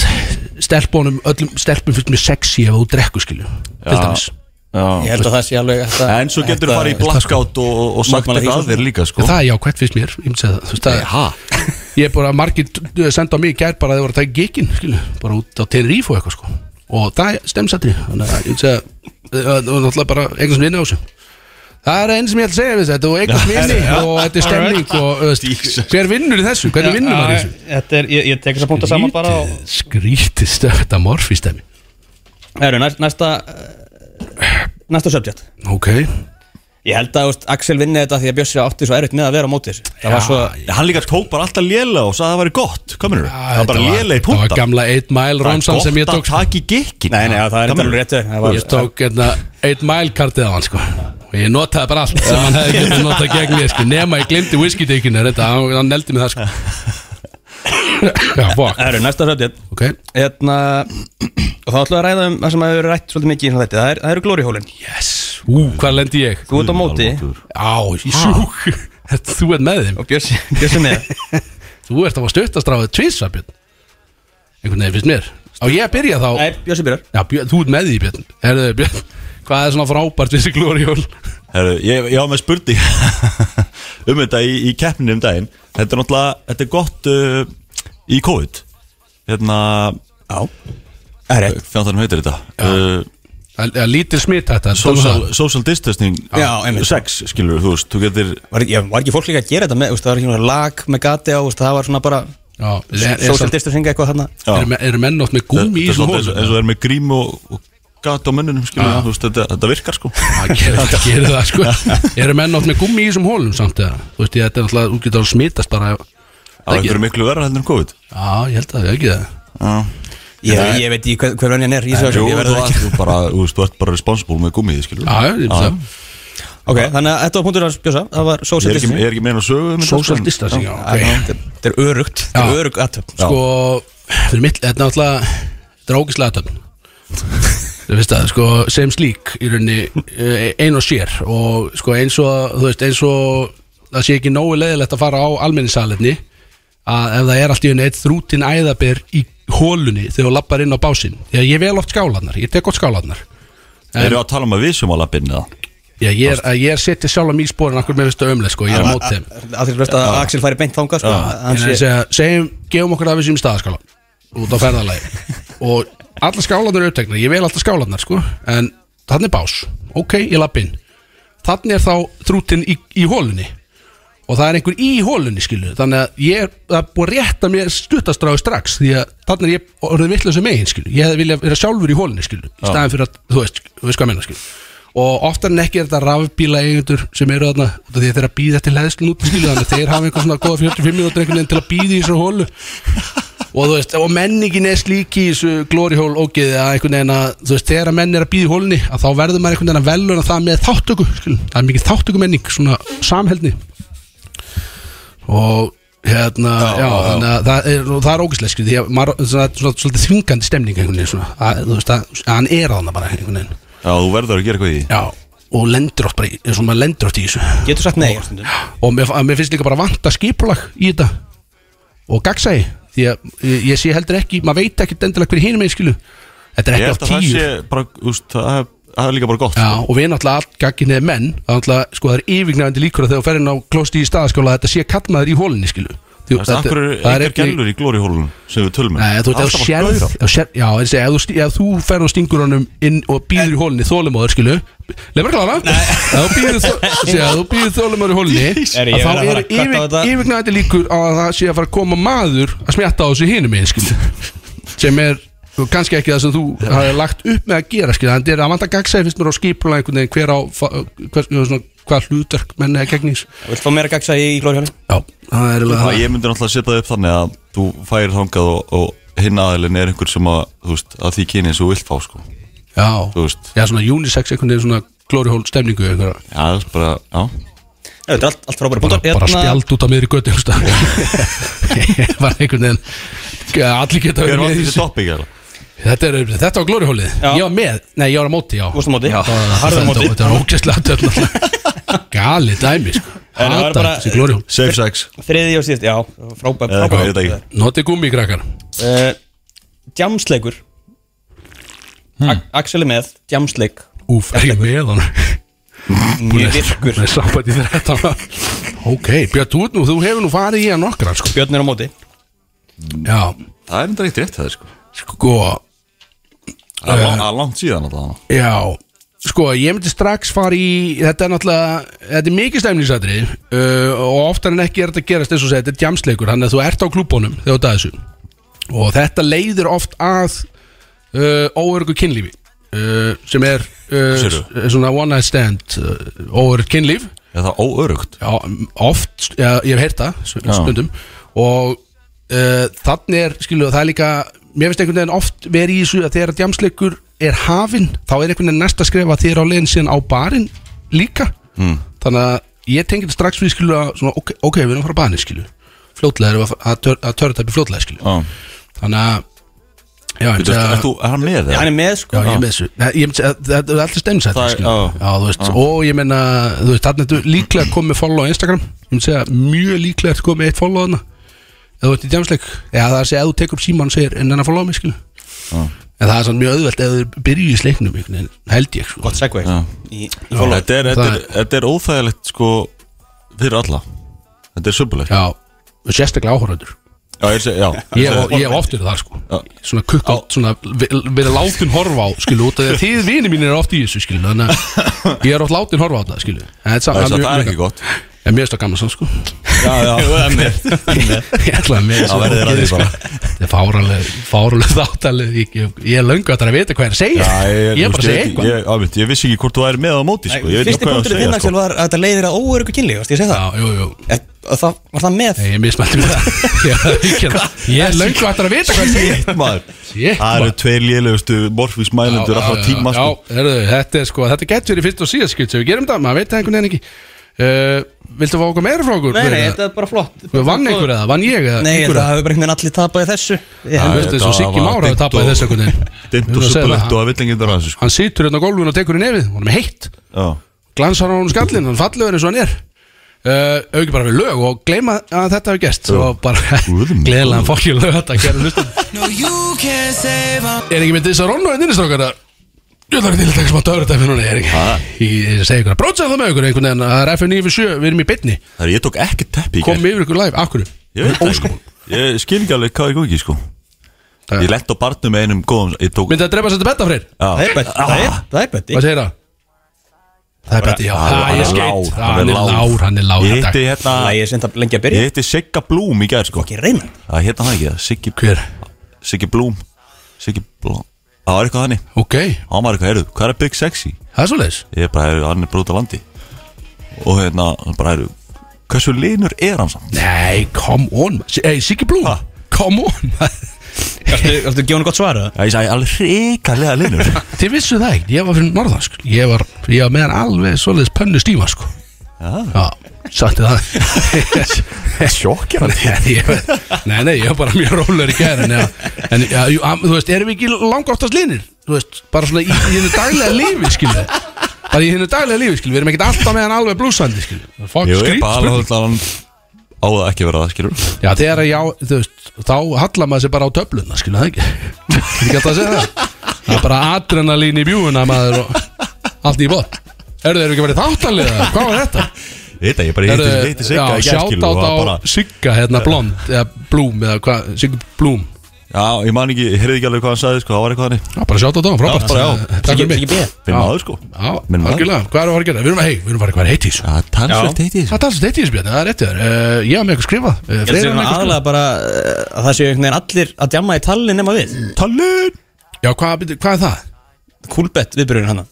S2: stelpunum öllum stelpum fyrst mér sexy ef þú drekku skilu, til dæmis
S3: Ég held að það sé alveg þetta-
S4: En svo getur þú
S3: þetta-
S4: farið í blackout og, og sagt
S3: Magmala
S4: eitthvað
S3: Íslands.
S4: að þér líka, sko
S2: en það er jákvæmt fyrst mér, ég myndi segja það þú veist, það
S4: Ha?
S2: ég er bara margir d- senda á mig í gær bara að þið voru að taka gikin skilu, bara út á Tenerife og eitthvað sko og það er stemsatri þannig að ég myndi segja, það er náttúrulega bara eitthvað sem vinna á þessu það er einn sem ég ætla að segja við þetta og eitthvað sem vinni og þetta er stemning og þú veist, hver vinnur í þessu, hvernig vinnur maður í þessu
S3: Þetta er, ég, ég tek þess að punkta saman bara og...
S2: Skrítið- skrítið stöfta morfistemi
S3: Heru, næsta, eh, næsta subject
S2: ok,
S3: Ég held að úst, Axel vinni þetta því að Bjössi átti svo erfitt með að vera á móti þessu Það var svo,
S4: Hann líka tók bara alltaf lélega og sagði að það væri gott Kominu, það var bara lélega í
S2: Það var
S4: púnta
S2: gamla 1 mile romsan sem ég tók sko.
S4: Það er gott að taka í gikkin
S3: nei, nei, það er
S4: Gaman.
S3: eitthvað rétt hjá þér. Það var-
S2: Ég tók hérna, eitt mælkartið á hann sko og ég notaði bara allt sem hann hefði getið notað gegn mér sko nema ég glemdi whiskydeikinu þetta, hann, hann neldi mig það sko Já, fuck
S3: Það eru næsta sötið
S2: Ok,
S3: hérna, Og þá ætlum við að ræða um það sem hefur verið rætt svolítið mikið í svona þetta Það, er, það eru glórihólin
S2: yes, ú, hvað lendi ég?
S3: Þú ert á móti
S4: Almáttugur.
S2: Á, ég sjúk Þetta- Þú ert með þeim,
S3: og Bjössi, Bjössi með
S2: þú ert á að stuttastráðið tvísa Björn einhvern veginn finnst mér Á ég að byrja þá
S3: Nei, Bjössi byrjar
S2: Já, Björn, þú ert með því Björn Herðu, Björn, hvað er svona frábært við þessi glóriól?
S4: Herru, ég, ég á með spurning um þetta í, í keppninu um daginn Þetta er náttúrulega, þetta er gott uh, í COVID Hérna,
S3: Já Það er rétt
S4: fjandarnum heitir þetta uh,
S2: Það er lítil smitt þetta
S4: social, social distancing
S3: Já, einmitt.
S4: Sex, skilur þú veist, þú getur
S3: Var, ég, var ekki fólk líka að gera þetta með, úst, það var ekki náttúrulega lag með gati á, úst, það var svona bara social
S2: Social
S3: distancing eitthvað þarna
S4: Já.
S2: Eru, menn- eru menn oft með gúmi í
S4: Þetta er
S2: þessum
S4: svolítið eins og-
S2: hólum
S4: eins og það er með grím og, og gat á mönnunum skilur, þú veist, þetta, þetta virkar sko
S2: Það gerir það, gerir það sko Eru menn oft með gúmi í þessum hólum samt eða Þú veist ég, þetta er náttúrulega, þú getur að smitast bara ef-
S4: Það
S2: ekki.
S4: er miklu verra heldur en COVID
S2: Já, ég held að það ekki það
S3: Ég, ég veit ekki hver, hver venjan er í þessu
S4: Jú,
S3: ég
S4: þú,
S3: verð það ekki.
S4: þú, bara, þú veist, þú ert bara responsible með gummið skilur
S2: Já, ég veit það
S3: Ok, þannig að þetta var punktur að spjósa Það var
S4: Ég
S3: social
S4: er ekki, ég
S3: distancing
S4: er ekki meina sögu um þetta,
S2: Social
S4: sko, en-
S2: distancing, já,
S3: Já,
S2: ok
S3: Þetta þetta er örugt Þetta
S2: Já.
S3: er örug aðtöp
S4: Já.
S2: Sko, fyrir mitt, þetta er náttúrulega Þetta er ógislega töfn Þú veist það, sko, sem slík í rauninni eh, ein og sér og sko eins og, þú veist, eins og það sé ekki nógu leiðilegt að fara á almenningssalerni að ef það er allt í henni eitt þrútin æðaber í hólunni þegar þú lappar inn á básinn því að ég vel oft skálanar, ég tek oft skálanar
S4: Erum við að tala um að við sem á lappinni það?
S2: Já, ég er, að ég er setja sjálf á mér spórin akkur með vistu ömlega, sko, ég er á móti þeim
S3: Allir veist að Axel færi beint þangað sko, að hann
S2: En
S3: sé-
S2: að segja, segjum, gefum okkur að við séum í staðaskála út á ferðalagi og alla skálanar eru uppteknar, ég vel alltaf skálanar sko, en þannig er bás ok, ég lapp inn þannig er þá þrútin í, í hólunni og það er einhver í hólunni skilu þannig að ég er það er búið að rétta mér stuttastráði strax því að þannig er ég orðið vitlega sem megin skilu ég hefði viljað vera sjálfur í hólunni skilu í staðan fyrir að, þú veist, þú veist hvað ég meina skilu og oftar en ekki er þetta rafbíla eigendur sem eru þarna, út af því að þeir eru að býða til leðslun út skilu þannig að þeir hafa einhver svona góða 45 minútur einhvern veginn til að býða í þessu hólu og þú veist, og menningin er slík í þessu glórihól ógeði að einhvern veginn að þú veist, þegar að menn er að býða í hólunni að þá verður maður einhvern veginn að veluna það með þáttöku skilum. það er mikið þáttöku menning, svona samheldni og hérna, já, þannig að það er, og það er ógæslega skrið, því að maður, það er svona svolítið þvingandi stemning einhvern veginn svona, að, þú veist, að, að hann er þarna bara einhvern veginn,
S4: Já, þú verður að gera eitthvað í því
S2: já, og lendur oft bara, í- eins og maður lendur oft í þessu
S3: Getur sagt nei stundum.
S2: og mér, að mér finnst líka bara vanta skipulag í þetta og gagsæði því að ég, ég sé heldur ekki, maður veit ekki endilega hver hinum einn skilu þetta er ekki
S4: Ég
S2: af
S4: held að það
S2: tíu
S4: sé bara, úst, það er- það er líka bara gott
S2: Já, og við náttúrulega allt gagginni er menn það er náttúrulega, sko, það er yfirgnæfandi líkur að þegar þú ferðin á klosti í staðaskóla að þetta sé kallmaður í hólinni, skilu Því,
S4: Það er akkur einhver gælur í glórihólunum sem við tölum um.
S2: Nei, þú veist, ef
S4: Alltaf
S2: þú
S4: bara
S2: sérð
S4: gaura.
S2: ef þú sérð- Já, en segja, ef þú, sti- ef þú ferð og stingur honum inn og býður í hólinni þólumóður, skilu Leif bara klára Ef þú býður þó- segja, ef þú býður þólumóður í hólinni
S3: Herri,
S2: að
S3: ég
S2: þá
S3: verð
S2: eru
S3: að fara að kvarta á þetta.
S2: yfirgnæðandi líkur á að það sé að fara að koma maður að smjatta á þessu hinum einn skil sem er og kannski ekki það sem þú hafði lagt upp með að gera skil þannig er að vanda gagsæði fyrst mér á skipulega einhvern veginn hver á fa- hver, svona, hvað hlutverk menn eða gegnings
S3: Vilt fá meira gagsa í glórihólin?
S2: já, það er
S4: Já,
S2: alveg
S4: Ég myndi náttúrulega setja það upp þannig að þú færir þangað og, og hinn aðilin er einhver sem að, þú veist, að því kyni eins og þú vilt fá, sko. Þú
S2: já,
S4: veist,
S2: já, svona unisex einhvern veginn svona glórihól stemningu einhverja
S4: já, það er bara, já.
S3: Þetta er allt, allt frábæra
S2: bara,
S3: punktar Hérna,
S2: bara spjald út á miðri götu einhvers staðar. Ég var einhvern veginn allir geta
S4: Hver
S2: verið
S4: var
S2: með í
S4: þessi
S2: þessu.
S4: topp ekki, alveg?
S2: þetta er þetta var glórihólið
S3: Já.
S2: ég var með, nei ég var á móti já
S3: Þú varst á móti?
S2: já,
S3: Já, harður á móti.
S2: þetta var ógæstlega töfn gali dæmi sko
S3: En það var
S2: Hata
S3: bara-
S2: þessi glórihól
S4: Safe sex.
S3: Þriði og síðast, já, frábæra
S4: Eða hvað, ég veit
S3: frábæra
S4: ekki.
S2: noti gummi krakkar
S3: uh, Jamsleikur hmm. Axel er með, jamsleik
S2: úf, er ég með hann
S3: Mjög virkur
S2: það er sambandi þetta ok, Björn, þú, ert nú, þú hefur nú farið í hann nokkra sko
S3: Björn er á móti
S2: já,
S4: Það er enda eitt rétt það, sko.
S2: sko
S4: Það er lang- það er langt síðan alltaf.
S2: Já, sko, ég myndi strax fara í Þetta er náttúrulega, þetta er mikið stemningsatri uh, Og oftar en ekki er þetta að gerast eins og segja, þetta er jamsleikur Þannig að þú ert á klúbónum þegar þú ert að þessu Og þetta leiðir oft að uh, óörgu kynlífi uh, Sem er uh,
S4: Hversu eru?
S2: s- svona one night stand uh, og kynlíf
S4: Er það óörugt?
S2: Já, oft, já, ég hef heyrt það
S4: Já.
S2: s- stundum og uh, þannig er, skilu, það er líka mér finnst einhvern veginn oft verið í þessu að þegar djamsleikur er hafinn þá er einhvern veginn næsta skref að þið er á leiðin síðan á barinn líka
S4: Hmm.
S2: mm. þannig að ég tengi þetta strax við skilu að svona, ok, ok, við erum að fara að barinn skilu fljótlega erum við að fara- að, tör, að törða upp í fljótlega skilu
S4: Já
S2: þannig að já, ég
S4: Þú
S2: myndi
S4: veist,
S2: að-
S4: ert þú, er hann með
S3: Hann
S4: það?
S3: er með sko
S2: Já, ég með þessu Nei, ég myndi, að- Þetta er alltaf steinsætt
S4: Það er- já.
S2: Og ég menna, þú veist, þarna ertu líklega komið follow á Instagram Ég myndi segja, mjög líklega ertu komið eitt follow þarna Ef þú ert í djámsleik Eða það er að segja, ef þú tekur upp síman og segir En hann að follow mig, skilu En það er sann mjög auðvelt ef þau byrju í sleiknum einhvern veginn, Held ég, sko
S3: Gott segway
S4: Já.
S3: Í í
S4: Þetta
S3: follow
S4: er, þetta,
S2: Það
S4: er, þetta er óþægilegt sko fyrir alla Þetta er söpulegt
S2: Já, og sérstaklega áhorfandur
S4: Já, ég segi, já
S2: Ég hef- ég hef oft verið þar,
S4: Já.
S2: sko Svona kukkátt, svona ve- verið látin horfa á, skilu Út af því að þið vinir mínir er oft í þessu, skilu Þannig að ég er oft látin horfa á það, skilu En þetta
S4: Það
S2: samt-
S4: er, það er ekki
S2: mjög-
S4: gott
S2: En mér finnst það gaman sann sko
S4: Já, já, það er með
S2: Ég ætla að mér
S4: Já, verðið þér að því sko. bara.
S2: Þetta er fáraleg, fáraleg þáttaleg Ég, ég, ég er löngu að það að vita hvað er að segja
S4: Já, ég,
S2: Ég er bara að segja
S4: ég,
S2: eitthvað
S4: ég, ég, ég vissi ekki hvort þú er með á móti sko. Ég veit
S3: Fyrsti
S4: ekki hvað ég á að
S3: punktur þinn
S4: segja
S3: Axel
S4: sko.
S3: var að þetta leiðir að óörugu kynli Ég segi það
S2: Já, jú, jú
S3: Er- og Það var það með
S2: Nei, Ég mismælti mér það Ég, ég, ég er löngu að það að vita hvað er að segja
S4: Shit, maður.
S2: Shit,
S4: Það eru
S2: maður.
S4: tveir lélegustu morfís mælendur
S2: Já,
S4: allra
S2: já,
S4: tíma
S2: Já,
S4: sko.
S2: herðu, þetta er sko Þetta getur verið fyrst og síðast skilt Við gerum þetta, maður veit það einhvern veginn ekki uh, Viltu fá okkur meira frá okkur?
S3: Nei, nei, þetta er bara flott
S2: Vann einhver eða, vann ég eða
S3: Nei, ég held
S2: einhver
S3: að það
S2: eða?
S3: hefur bara einhvern veginn allir tapað í þessu Ég-
S2: Hann veist
S4: þetta
S2: þess að Siggi
S4: var
S2: Mára hafi
S4: dimmt
S2: tapað
S4: og-
S2: þess einhvern veginn
S4: Dimmt
S2: Ég vil
S4: og
S2: að segja
S4: söpulegt
S2: það.
S4: og að villingin þar aðeins sko.
S2: Hann situr hérna á gólfinu og tekur í nefið Hún er með heitt
S4: Já.
S2: glansar á hún skallin, hann fallegur eins og hann er uh, auki bara við lög og gleyma að þetta hefur gest og bara
S4: Guð minn.
S2: gleðilega fokkjur lög þetta kæru hlustum
S1: No, you can't save us.
S2: er ekki með þess að ronna en innistrákar að Ég þarf til að taka smá dörutæfi núna, ég er ekki Ég segi ykkur að brótsa það með ykkur einhvern veginn Það er F957, við erum í bytni
S4: Það er, ég tók ekki teppi í gær
S2: Komum yfir ykkur live, akkur
S4: Ég veit það ekki Ég skil ekki alveg hvað ég góði sko
S2: Það-
S4: Ég lett á barnum með einum góðum Ég tók
S2: Myndi að drepa sér til betta freyr,
S4: Já. Ah.
S3: Það er bett Það er- það er bett
S2: hvað segir það? Það er betti, já,
S4: Hann er-
S2: það
S4: hann
S2: er
S4: er
S2: skeitt
S4: lágur,
S2: Hann er lár, hann er lár
S4: Ég
S2: þetta-
S4: hitti hérna
S3: Það er sem það lengi að
S4: Ég
S3: byrja
S4: hitti Sigga Blúm í gær sko
S3: Ekki reyna
S4: Það hérna það ekki það Siggi
S2: Hver?
S4: Siggi Blúm Siggi Blúm Það var eitthvað þannig
S2: Ok,
S4: Hann var eitthvað, heyrðu, hvað er Big Sexy?
S2: það er svoleiðis
S4: Ég er bara, heyrðu, hann er brúta landi Og hérna, hann bara, heyrðu Hversu linur er hann samt?
S2: Nei, come on Ey, Siggi Blú,
S4: Ha?
S2: come on
S3: Ertu ertu að gefa hann gott svara?
S4: Já, ég sagði, alveg hrikalega linur
S2: Þið vissu það ekki, ég var fyrir norðan sko. ég, var, ég var með hann alveg svoleiðis pönnu stíma sko.
S4: Já,
S2: Já, sagti það
S4: sjokkjara
S2: Nei, ég, nei, nei, ég var bara mjög rólegur í gæðin En, já, en já, jú, am- þú veist, erum við ekki langoftast linir? Þú veist, bara svona í, í hennu daglega lífi, skilja Bara í hennu daglega lífi, skilja Við erum ekkert alltaf með hann alveg blúsandi, skilja Fuck,
S4: Ég er
S2: skrýt,
S4: bara,
S2: skrýt
S4: alveg hann Á það ekki að vera það, skilur
S2: Já, þegar að já, þú veist, þá hallar maður sér bara á töfluna, skilja það ekki Þetta ekki hægt að segja það Það er bara adrenalín í bjúuna, maður og allt í bótt Eru þeir ekki verið þáttanlega? Hvað var þetta?
S4: Þetta, ég bara hitti- hitti Sigga í gær, skilur og
S2: Sjátátt á
S4: var bara-
S2: Sigga, hérna, blond eða Blúm, eða hvað, Sigga Blúm
S4: Já, ég man ekki, ég heyrði ekki alveg hvað hann sagði sko, það var eitthvað hannig
S2: Já, bara sjátátt á hann, frábært
S4: Já, bara já.
S2: Eh, Takk fyrir mig
S3: Siggi B.
S4: Minn
S2: Já.
S4: maður sko
S2: Já,
S4: Minn maður
S2: algjörlega, hvað erum við að fara að gera? Við erum að hei, við erum að fara að hvað er heitís
S4: Það er talsvöld heiti
S2: Það er alls þetta í þessu björn, það er rétt þér Eh, Ég hafa með eitthvað skrifað Eh,
S3: Ég held
S2: fleiri
S3: sem
S2: hafa með eitthvað skrifað.
S3: aðalega bara eh, að það séu einhvern veginn allir að djamma í tallinn nema við
S4: Tallinn
S2: Já, hvað byrju, hvað er það?
S3: Kúlbett viðbyrjun hann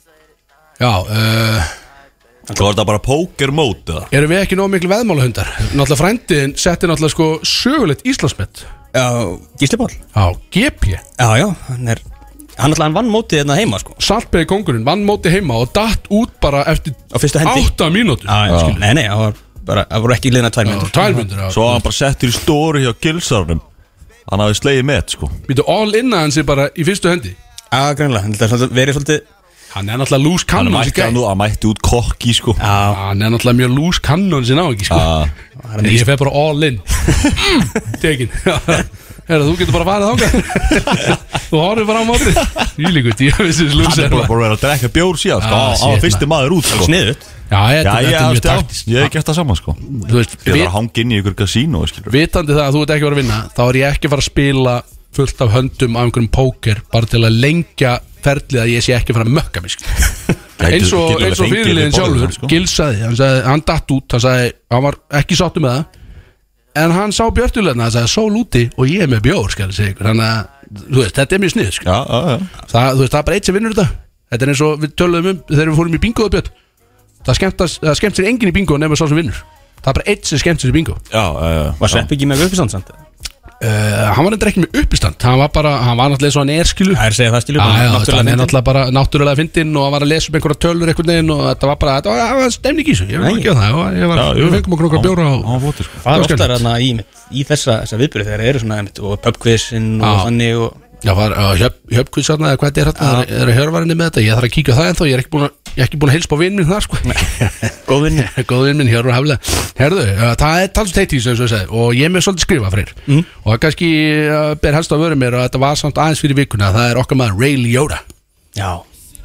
S2: Já, uh,
S4: Það var þetta bara póker mót eða?
S2: erum við ekki nóg miklu veðmálahundar? Náttúrulega frændiðin setti náttúrulega sko sögulegt Íslandsmet
S3: Já, Gísli Pál
S2: á GP
S3: Já, já, hann er Hann alltaf hann vann mótið hérna heima sko
S2: Saltbegi kongurinn vann móti heima og datt út bara eftir
S3: Á fyrstu hendi.
S2: átta mínútur
S3: skil. Nei, nei, það var bara, það voru ekki liðna tvær myndur
S2: Tvær mínútur já.
S4: Svo var hann bara settur í stóri hjá gilsarnum Hann hafi slegið met sko
S2: Býtu all innan hans er bara í fyrstu hendi
S3: Já, greinlega, hann er svolítið verið svolítið
S2: Hann er náttúrulega lús
S4: Hann
S2: kannon
S4: mætti, hann, hann mætti út kokki sko
S3: Já,
S2: Hann er náttúrulega mjög lús kannon sinna á ekki sko
S4: Já.
S2: En ég fer bara all in Mm, Tekin Herra, þú getur bara farið þáka Þú horfir bara á móti Ílíku, djöfisins
S4: Hann er
S2: lúsar
S4: bara búin að vera að drekka bjór síðan sko
S2: Ah,
S4: Hann- Hann
S2: shit,
S4: var fyrsti maður út sko
S3: sniðut
S2: Já,
S4: Já,
S2: þetta
S4: ég,
S2: þetta er mjög
S4: já,
S2: taktist
S4: ég hef gert það saman sko
S2: Þú veist,
S4: Ég
S2: við-
S4: var að hanga inn í ykkur kasínu skilur
S2: vitandi það að þú ert ekki að fara að vinna þá er ég ekki að fara að spila fullt af höndum á einhverjum póker bara til að lengja ferlið að ég sé ekki að fara að mökka mig skilur.
S4: Gæti-
S2: eins og,
S4: getur
S2: eins og
S4: alveg fengið
S2: fyrirliðin
S4: þig í borðið,
S2: sjálfur
S4: sko.
S2: Gil sagði, hann sagði, hann datt út hann sagði, hann var ekki sáttu með það en hann sá björtulegna, hann sagði sól úti og ég er með bjór, skal ég segja ykkur þannig að, þú veist, þetta er mjög snið sko.
S4: Já, já, já
S2: það, þú veist, það er bara eitt sem vinnur þetta Þetta er eins og við töluðum um þegar við fórum í bingoðu björn Það skemmtast, það skemmt sér enginn í bingo nema sá sem vinnur Það er bara eitt sem skemmt sér í bingo uh,
S4: Já, uh,
S3: Var Sveppi ekki með uppistand samt?
S2: Eh, Hann var endur ekki með uppistand Hann var bara, hann var náttúrulega svo hann er skilu
S3: Það er að segja það skilur
S2: Já, já,
S3: náttúrulega
S2: hann er
S3: fyndinn.
S2: náttúrulega bara náttúrulega fyndinn og hann var að lesa um einhverja tölur einhvern veginn og þetta var bara, þetta var, það var stemning í þessu ég
S3: Nei.
S2: veit ekki að það, ég var- ég var,
S4: Já, jú.
S2: við fengum okkur okkur að bjóra
S4: Á-
S2: og
S4: á fótur, sko.
S3: Það
S2: Það
S3: er
S2: var
S3: oftar
S2: skemmtilegt.
S3: þarna í, mitt, í þessa, þessa viðbyrði þegar það eru svona einmitt, og pubquizinn og
S2: Já.
S3: þannig og
S2: Já, var uh, Hjöpkvís hérna eða hvað þetta er hérna, það er- er að hjörvarinni með þetta ég þarf að kíka á það en þá, ég er ekki búin að, ég er ekki búin að heilsa á vinn minn þar sko
S3: góðvinni
S2: Góðinn minn, Hjörvar Haflega Herðu, uh, það er talsum teitt í þessu eins og ég segi og ég er með svolítið skrifa fyrir mm. og það kannski uh, ber helst að vörum mér og þetta var samt aðeins fyrir vikuna það er okkar maður Ray Liotta
S3: Já,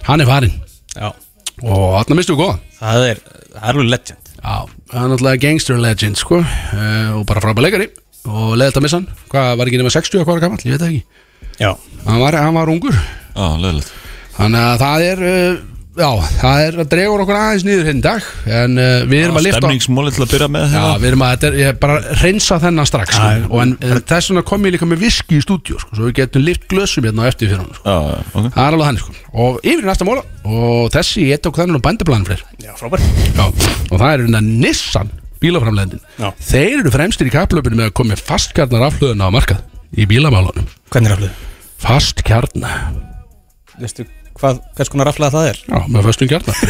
S2: hann er farinn
S3: já
S2: og þarna mistum við góðan
S3: Það er, það er alveg legend
S2: Já, hann er náttúrulega gangster legend sko uh, og bara frábæð leikari og leðilt að missa hann, hvað var ekki nema 60 og hvað var gammal, ég veit það ekki
S3: Já,
S2: hann var, hann var ungur,
S4: já, leðilegt
S2: þannig að það er uh, já, það er að dregur okkur aðeins nýður hérna í dag, en uh, við erum að lifta
S4: Stemningsmóli til að byrja með
S2: Já,
S4: hérna.
S2: við erum að, þetta er, ég er bara að reynsa þennan strax sko. og en, en þess vegna kom ég líka með viski í stúdíu sko, svo við getum lift glösum hérna á eftir fyrir hann sko.
S4: Já, já, ok
S2: það er alveg hann sko. og yfir í næsta móla og þessi, ég tók þannig á bændablanum fleiri
S3: já, frábær
S2: Já, og það er hérna Nissan bílaframlegðin
S3: Já.
S2: Þeir eru fremstir í kaplöpinu með að koma með fastkjarnar aflöðuna á markað í bílamálunum
S3: Hvernig er aflöðu?
S2: Fastkjarnar
S3: Veistu hvað, hvers konar aflaða það er?
S2: Já, með fastum kjarnar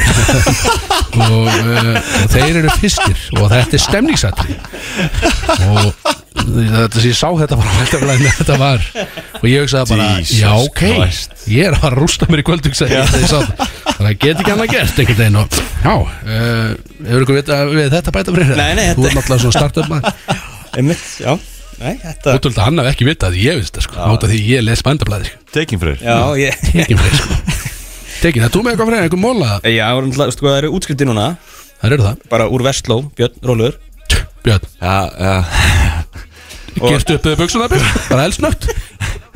S2: og, uh, og þeir eru fyrstir og þetta er stemningsatri og þetta sem ég sá þetta bara hættaflæðin þetta var og ég hugsaði bara,
S4: Jesus
S2: já ok
S4: Christ.
S2: ég er að fara að rústa mér í kvöld hugsaði ég þegar ég sá það. þannig að get ekki hann að gert einhvern veginn og já, uh, hefur ykkur vita við þetta bæta fyrir
S3: Nei, nei,
S2: þú
S3: þetta-
S2: er náttúrulega svona startup maður
S3: Einmitt, já Nei, þetta
S2: Útöld að hann hafði ekki vitað að ég veist það sko Átt að því ég les bændablaði sko
S4: Taking fyrir
S3: Já, ég
S2: Tekin fyrir sko Tekin, það er þú með eitthvað fræðið, einhver móla
S3: Já, þú veist hvað það eru útskrifti núna
S2: Það eru það
S3: Bara úr Vestló, Björn Rólur
S2: Björn,
S4: já, já.
S2: gerst upp eða buksuna Björn Bara elsnögt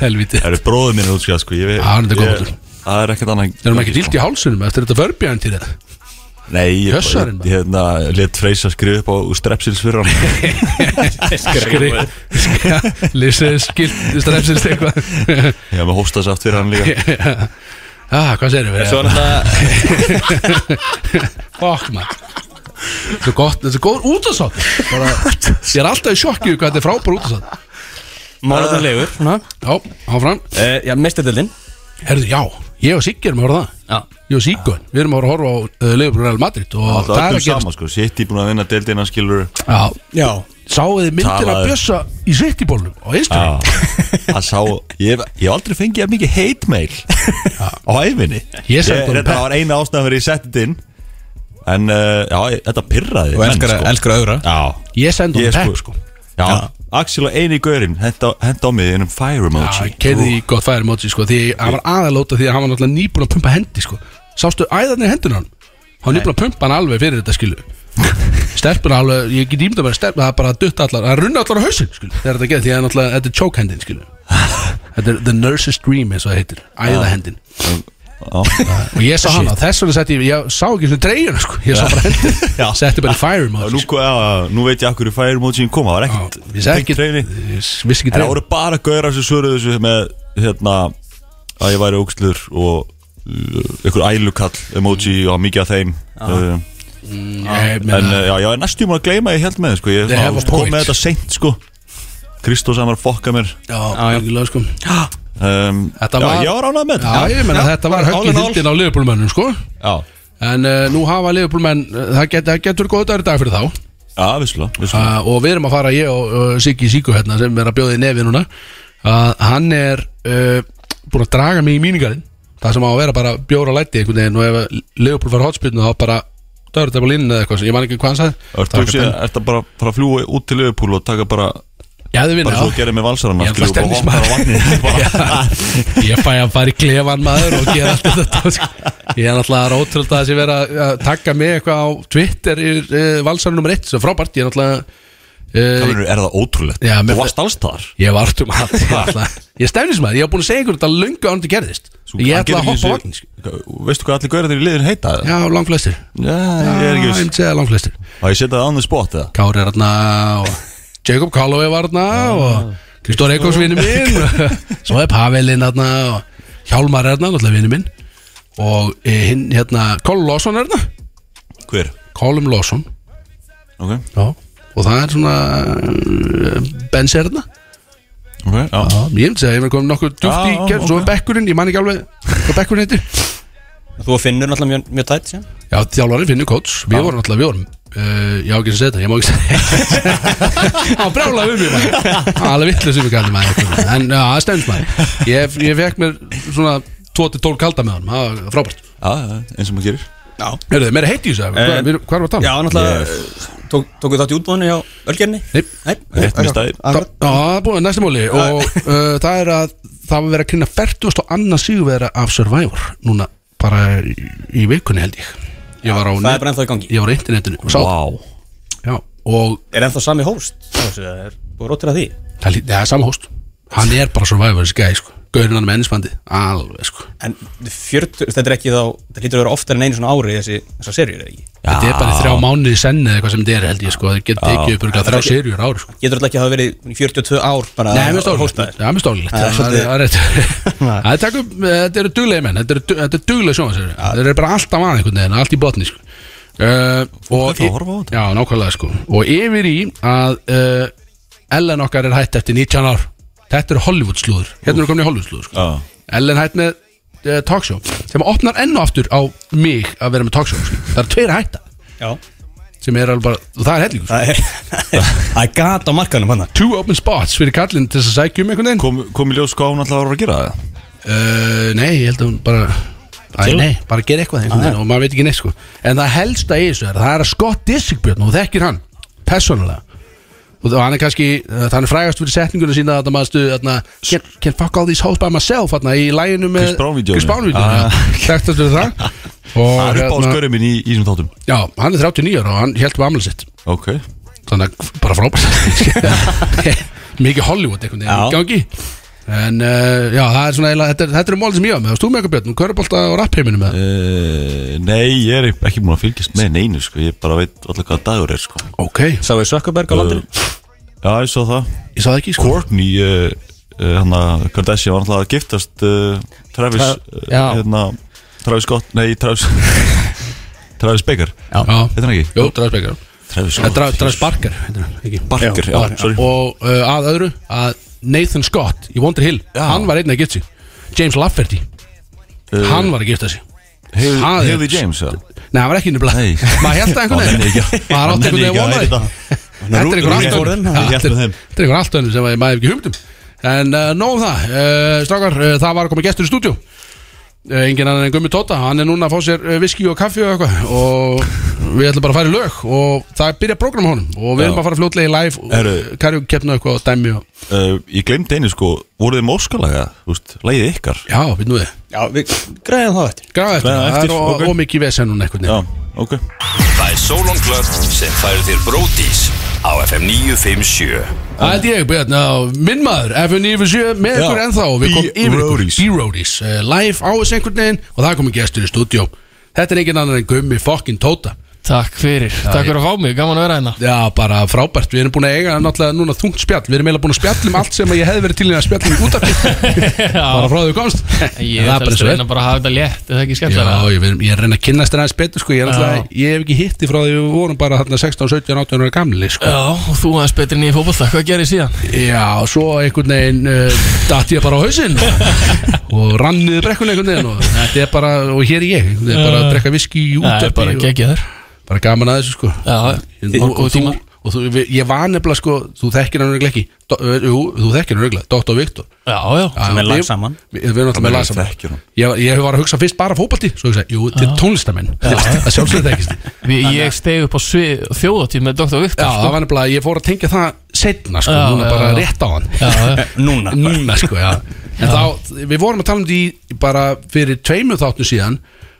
S2: Helvíti
S4: Það eru bróðið minn útskjað sko ég,
S2: Já, hann er góður.
S4: ég- Það er ekkert annað
S2: Þeir eru ekki dilt í hálsunum eftir þetta förbjörn til þetta
S4: Nei, ég, ég,
S2: Hjössarinn,
S4: ég hérna, let Freysa skrifa upp á strepsils fyrir hann
S2: Skri Lýsið skilt strefsins eitthvað
S4: Ég hef með hóstasaft fyrir hann líka
S2: Ah, hvað segir við?
S3: Svo er þetta
S2: Fokk maður Þetta er gott, þetta er góður útasátt Bara, Ég er alltaf í sjokki hvað þetta er frábær útasátt
S3: Málefnilegur svona.
S2: Já, áfram
S3: Eh, Já, mestardildin
S2: Herðu, já, ég og Siggi erum að horfa á það
S3: Já
S2: Jó Sýkun, við erum að fara að horfa á uh, Leifur Real Madrid og
S4: Það
S2: það er
S4: er öllum
S2: að gerast
S4: sama sko Sitt í búin að vinna deildina skilur
S2: já,
S3: Já
S2: Sáuð þið myndir að
S4: Talaði.
S2: bjössa í sittibólnum á Instagram
S4: Það sá Ég hef- ég hef aldrei fengið að mikið hate mail Á æfinni
S2: Ég sendi honum
S4: Þetta
S2: pep.
S4: var eina ástæðan fyrir ég setti þetta inn En uh, já, ég- þetta pirraði
S3: Þú
S4: menn,
S3: elskar,
S4: sko.
S3: sko. elskar að ögra
S4: Já
S2: Ég sendi
S4: Ég
S2: hún
S4: sko,
S2: pepp sko
S4: Já, Axel og eini gaurinn henda, henda á mig innum fire emoji
S2: Keirði í gott færi móti sko Því hann var aðalóta því að hann var náttúrulega nýbúin að pumpa hendi sko Sástu æðarnir hendunar hann Hann var nýbúin að pumpa hann alveg fyrir þetta skilu Stelpuna alveg, ég get ímda bara stelpuna Það er bara að dutta allar, það runna allar á hausinn skilu Þegar þetta gerir því að náttúrulega, þetta er choke hendin skilu Þetta er the nurse's dream eins og það heitir Æðahendin
S4: Já,
S2: og ég sá hana, þess vegna setti ég ég sá ekki svona treyjuna sko, ég sá bara hendur setti bara í fire
S4: Og
S2: mode
S4: nú,
S2: sko.
S4: já, nú veit ég akkur í fire emojin koma Það var
S2: Já,
S4: ekkert
S2: ég sagði ekki,
S4: tengt hreyfni.
S2: ég s- vissi ekki
S4: En það
S2: treyjuna
S4: voru bara gaurar sem svöruðu þessu með hérna að ég væri ógslur og uh, ykkur ælukall emoji og mikið af þeim uh,
S2: Nei,
S4: en
S2: meina,
S4: uh, já, ég er næstum að gleyma ég held með þeim, sko, ég
S2: They have a
S4: svona,
S2: point.
S4: kom með þetta seint sko Kristós hann var að fokka mér
S2: já, algjörlega, sko.
S4: um,
S2: Þetta
S4: já,
S2: var-
S4: ég var ánað með
S2: já,
S4: þetta
S2: ég meina þetta var högg í
S3: all in all.
S2: hildin á liðbólmönnum sko
S4: já,
S2: en uh, nú hafa liðbólmenn það, get, það getur góð dagur í dag fyrir þá
S4: já, vissulega, vissulega.
S2: uh, og við erum að fara ég og uh, Siggi Siggu hérna sem er að bjóða í nefi núna að hann er uh, búin að draga mig í míningarinn það sem á að vera bara bjóra læti einhvern veginn og ef Leopold var hotspilnu þá bara dörður þetta bara línni eða eitthvað ég man ekki hvað hann sagði
S4: Ertu
S2: Taka
S4: síðan, ertu bara, bara að fljúa út til Liverpool og taka bara,
S2: Já, þið vinna
S4: bara svo að
S2: já.
S4: gera með valsarana
S2: Ég ætla
S4: skilur, bara
S2: stemmis-
S4: hoppar á vatnið bara-
S2: Ég fæ að fara í klefan maður og gera allt þetta sko. Ég er náttúrulega ótrúld að þessi vera að taka mig eitthvað á Twitter í e, valsarinn nummer 1 Svo frábært, ég er náttúrulega e,
S4: Kamerun, er það ótrúlegt
S2: Já, mér-
S4: þú varst allstaðar
S2: Ég var allt um allt Ég, náttúrulega- ég stefnis maður, ég hef búin að segja ykkur þetta löngu án þetta gerðist
S4: Svo-
S2: Ég
S4: hann
S2: ætla að
S4: getur
S2: hoppa
S4: ekki
S2: á
S4: séð-
S2: vagnin
S4: Veistu hvað allir gauðir í liðin heita?
S2: Já,
S4: Já,
S2: langflestir
S4: ég er ekki
S2: Já,
S4: viss
S2: myndi segja langflestir
S4: Að ég setja það án þess spot eða?
S2: Kári er hérna og Jacob Calloway var hérna
S4: Ah,
S2: og Kristóra Eikóks vinnu minn og svo er Pavelin hérna og Hjálmar er hérna, náttúrulega vinnu minn og eh, hinn, hérna, Colin Lawson er þetta
S4: Hver?
S2: Colin Lawson
S4: Ok,
S2: Já. og það er svona eh, Benz er þetta
S4: ok, já
S2: ég myndi segja, ég verði komið nokkuð djúft í
S4: Já, já,
S2: gerð, svo er bekkurinn, ég man ekki alveg hvað bekkurinn heitir
S3: Þú og Finnur náttúrulega mjög, mjög tætt síðan
S2: Já, þjálfarinn finnur kóts, við vorum alltaf, við vorum uh, Ég á ekki að segja þetta, ég má ekki segja þetta Hann brjálaði um mig maður Hann var Alveg vitlega sem við kallum maður En já, það stendst maður Ég, ég fekk mér svona 2-12 kalda með honum, það var frábært
S4: Já, já, eins og maður gerir
S2: Eru þið meira heiti í þessu? Hvað
S3: Eh,
S2: við- hvað erum við að
S3: Já,
S2: tala?
S3: náttúrulega eh, tók, Tókuð þátt í útbóðinu hjá Ölgerni
S2: Nei.
S3: Nei,
S4: Rétt með stæðir
S2: Já, það er búin næsta móli Og uh, það er að það var verið að kynna 40 og annars síguvera af Survivor Núna bara í, í vikunni held ég Ég var á,
S3: Það er bara
S2: net,
S3: ennþá í gangi
S2: ég var á internetinu og sá það.
S4: Vá
S2: Já, og
S3: Er ennþá sami hóst Það er búið rótir að því
S2: Það lí- það er sama hóst Hann er bara survivor þessi gæði sko Gaurinn hann með ennisbandi Alveg sko
S3: En 40, þetta er ekki þá Þetta hlýtur að vera oftar en einu svona ári Þessi, þessa serjur eða ekki
S2: Þetta er bara í þrjá mánuði í senni eða eitthvað sem þetta er held ég sko Þeir geta ekki upp örgulega þrjá serjur á ári sko
S3: Getur alltaf ekki að hafa verið í 42 ár bara
S2: Nei, mér stólilegt
S3: hóstaðir.
S2: Já, mér stólilegt
S3: Það er
S2: Það er-
S3: svolítið-
S2: það er rétt Það er takk upp Þetta eru duglegi menn Þetta eru du- þetta eru duglegi sjónvarsir Þeir eru bara alltaf að einhvern veginn Allt í botni sko Uh, og
S4: Þetta að horfa á þetta.
S2: Já, nákvæmlega sko Og yfir í að uh, Ellen okkar er hætt eftir 19 ár Þetta eru Hollywood slúður Hérna eru komin í Hollywood slúður sko.
S4: Já.
S2: Ellen hætt með uh, talkshow Sem opnar enn og aftur á mig að vera með talkshow sko. Það eru tveir að hætta
S3: Já,
S2: Sem er alveg bara Og það er hellingur sko.
S3: það er Það er gata á markanum hann
S2: Two open spots fyrir kallinn til þess að sækja um einhvern veginn
S4: Kom, kom í ljós hvað hún alltaf var að gera það?
S2: Uh, nei, ég held að hún bara Æ, nei, bara gera eitthvað einhvern veginn og maður veit ekki neitt sko En það helsta í þessu er að það er að Scott Disickbjörn og þú þekkir hann persónulega og það- hann er kannski, uh, hann er frægast fyrir setninguna sína að maður stuð, þarna can, can fuck all these hoes by myself þarna í læginu með
S4: Chris Brown-vídeóinu.
S2: Chris Brown vídjónu
S4: Ah.
S2: Þekktast fyrir það og
S4: Það er upp á
S2: hérna,
S4: skörið minn í í þessum þáttum
S2: já, hann er 39 ára og hann held um amlega sitt
S4: Ok
S2: þannig að bara frábært mikið Hollywood einhvern veginn í gangi en uh, já, það er svona eiginlega þetta, er- þetta eru mál sem ég var með, þú með eitthvað björn körubólta og rappheiminum með
S4: uh, Nei, ég er ekki múin að fylgjast með neinu sko Ég bara veit alltaf hvað dagur er sko Eh,
S2: ok,
S3: Sá við Sökkaberg á landinu
S4: Já, ég svo það
S2: ég sá það ekki sko.
S4: Courtney, uh, uh, hann að Kardashian var alltaf að giftast uh, Travis
S3: Tra-
S4: uh,
S5: já.
S4: hérna, Travis Scott, nei Travis Travis Baker
S2: já, Eh,
S4: Heitir hann ekki?
S2: jú, drafsbekar
S4: Travis
S2: drafs barkar heitir hann, ekki.
S4: Barker, já, sorry
S2: og uh, að öðru að Nathan Scott í Wonder Hill hann var einn að gifta sig James Lafferty, hann var að gifta sig það er-
S4: Hefði Eh, James, já
S2: Nei, hann var ekki nefnilega
S4: Nei.
S2: Maður held að einhvern
S4: Hann er ekki-
S2: veginn Maður
S4: hann
S2: átti
S4: er
S2: einhvern veginn
S4: ekki að
S2: vonaði
S4: heyra
S2: Þetta er einhver
S4: Rúnar
S2: allt
S4: fór
S2: önnur
S4: þeim, hann
S2: Já,
S4: hélt
S2: Þetta
S4: með
S2: er
S4: þeim.
S2: þetta er einhver allt önnur sem að maður hef ekki humdum En uh, nóg um það uh, Strákar, uh, það var að koma gestur í stúdíu uh, Engin annan en Gummi Tóta Hann er núna að fá sér uh, viski og kaffi og eitthvað Og við ætlum bara að fara í lög Og það byrja program honum Og við erum
S4: Já.
S2: að fara fljótlega í live
S4: Herru.
S2: Karjók keppna eitthvað og dæmi og
S4: Uh, ég glemdi einu sko, voruð þið móskalaga, þú veist, lægið ykkar
S2: Já, við nú þið
S3: Já, við græðum það eftir
S2: Gráða eftir,
S4: Græða
S2: það er
S4: eftir,
S2: ó-
S4: ok.
S2: ómikið vesen núna einhvern veginn
S4: Já, ok
S7: Það er Solon Club sem færir þér bródís á FM 957
S2: Það held ég, Björn, á minn maður F957 með ykkur ennþá og Við komum yfir ykkur
S4: B-Roadies.
S2: B-Roadies uh, Live á þess einhvern veginn og það komið gestur í stúdíó Þetta er engin annar en Gummi fokkin Tóta
S5: Takk fyrir, takk fyrir að fá mig, gaman að vera hérna
S2: Já, bara frábært, við erum búin að eiga náttúrulega núna þungt spjall Við erum eiginlega búin að spjalla um allt sem ég hefði verið til í að spjalla um út af Bara frá því við komst
S5: Ég
S2: Það er
S5: er
S2: bara
S5: helst
S2: svo
S5: að
S2: er
S5: reyna bara að hafa þetta létt, er það ekki
S2: Já,
S5: skemmtilega?
S2: ég, við erum- ég er að reyna að kynnast þér aðeins betur sko. ég, er náttúrulega-
S5: Já.
S2: ég hef ekki hitti frá því við vorum bara þarna 16, 17, 18 ára gamli sko.
S5: Já, og þú aðeins betri nýja fótbolta, hvað gerir síðan?
S2: Já, svo einhvern veginn uh, datt ég bara á hausinn og rann niður brekkunni einhvern veginn og þetta er bara, og hér er ég þetta er bara að drekka viski í
S5: Það er
S2: útarpi
S5: bara
S2: og-
S5: geggja þér
S2: bara gaman að þessu sko
S5: Já,
S2: og, og,
S5: og
S2: þú,
S5: tímar
S2: og þú, við- ég var nefnilega sko þú þekkir hann örugglega ekki Do, uh, jú, þú þekkir hann örugglega, Dr. Viktor
S5: Já, já,
S3: Sem er
S2: Já,
S3: lag
S2: við-
S3: saman.
S2: Við við erum alltaf með lag
S4: Ég
S2: saman
S4: þekki hann.
S2: Ég, ég var að hugsa fyrst bara fótbalti Svo hugsa, ég, jú, til tónlistamenn Það sjálfsögðu þekkist þið.
S5: Við, ég steg upp á svið, þjóðatíð með Dr. Viktor
S2: Já, það
S5: sko.
S2: var nefnilega, ég fór að tengja það Setna sko,
S5: Já,
S2: núna
S5: já,
S2: bara
S5: já.
S2: rétt á hann
S5: já, já,
S3: Núna
S2: núna sko, já en þá, við vorum að tala um því bara fyrir tveimur þáttum síðan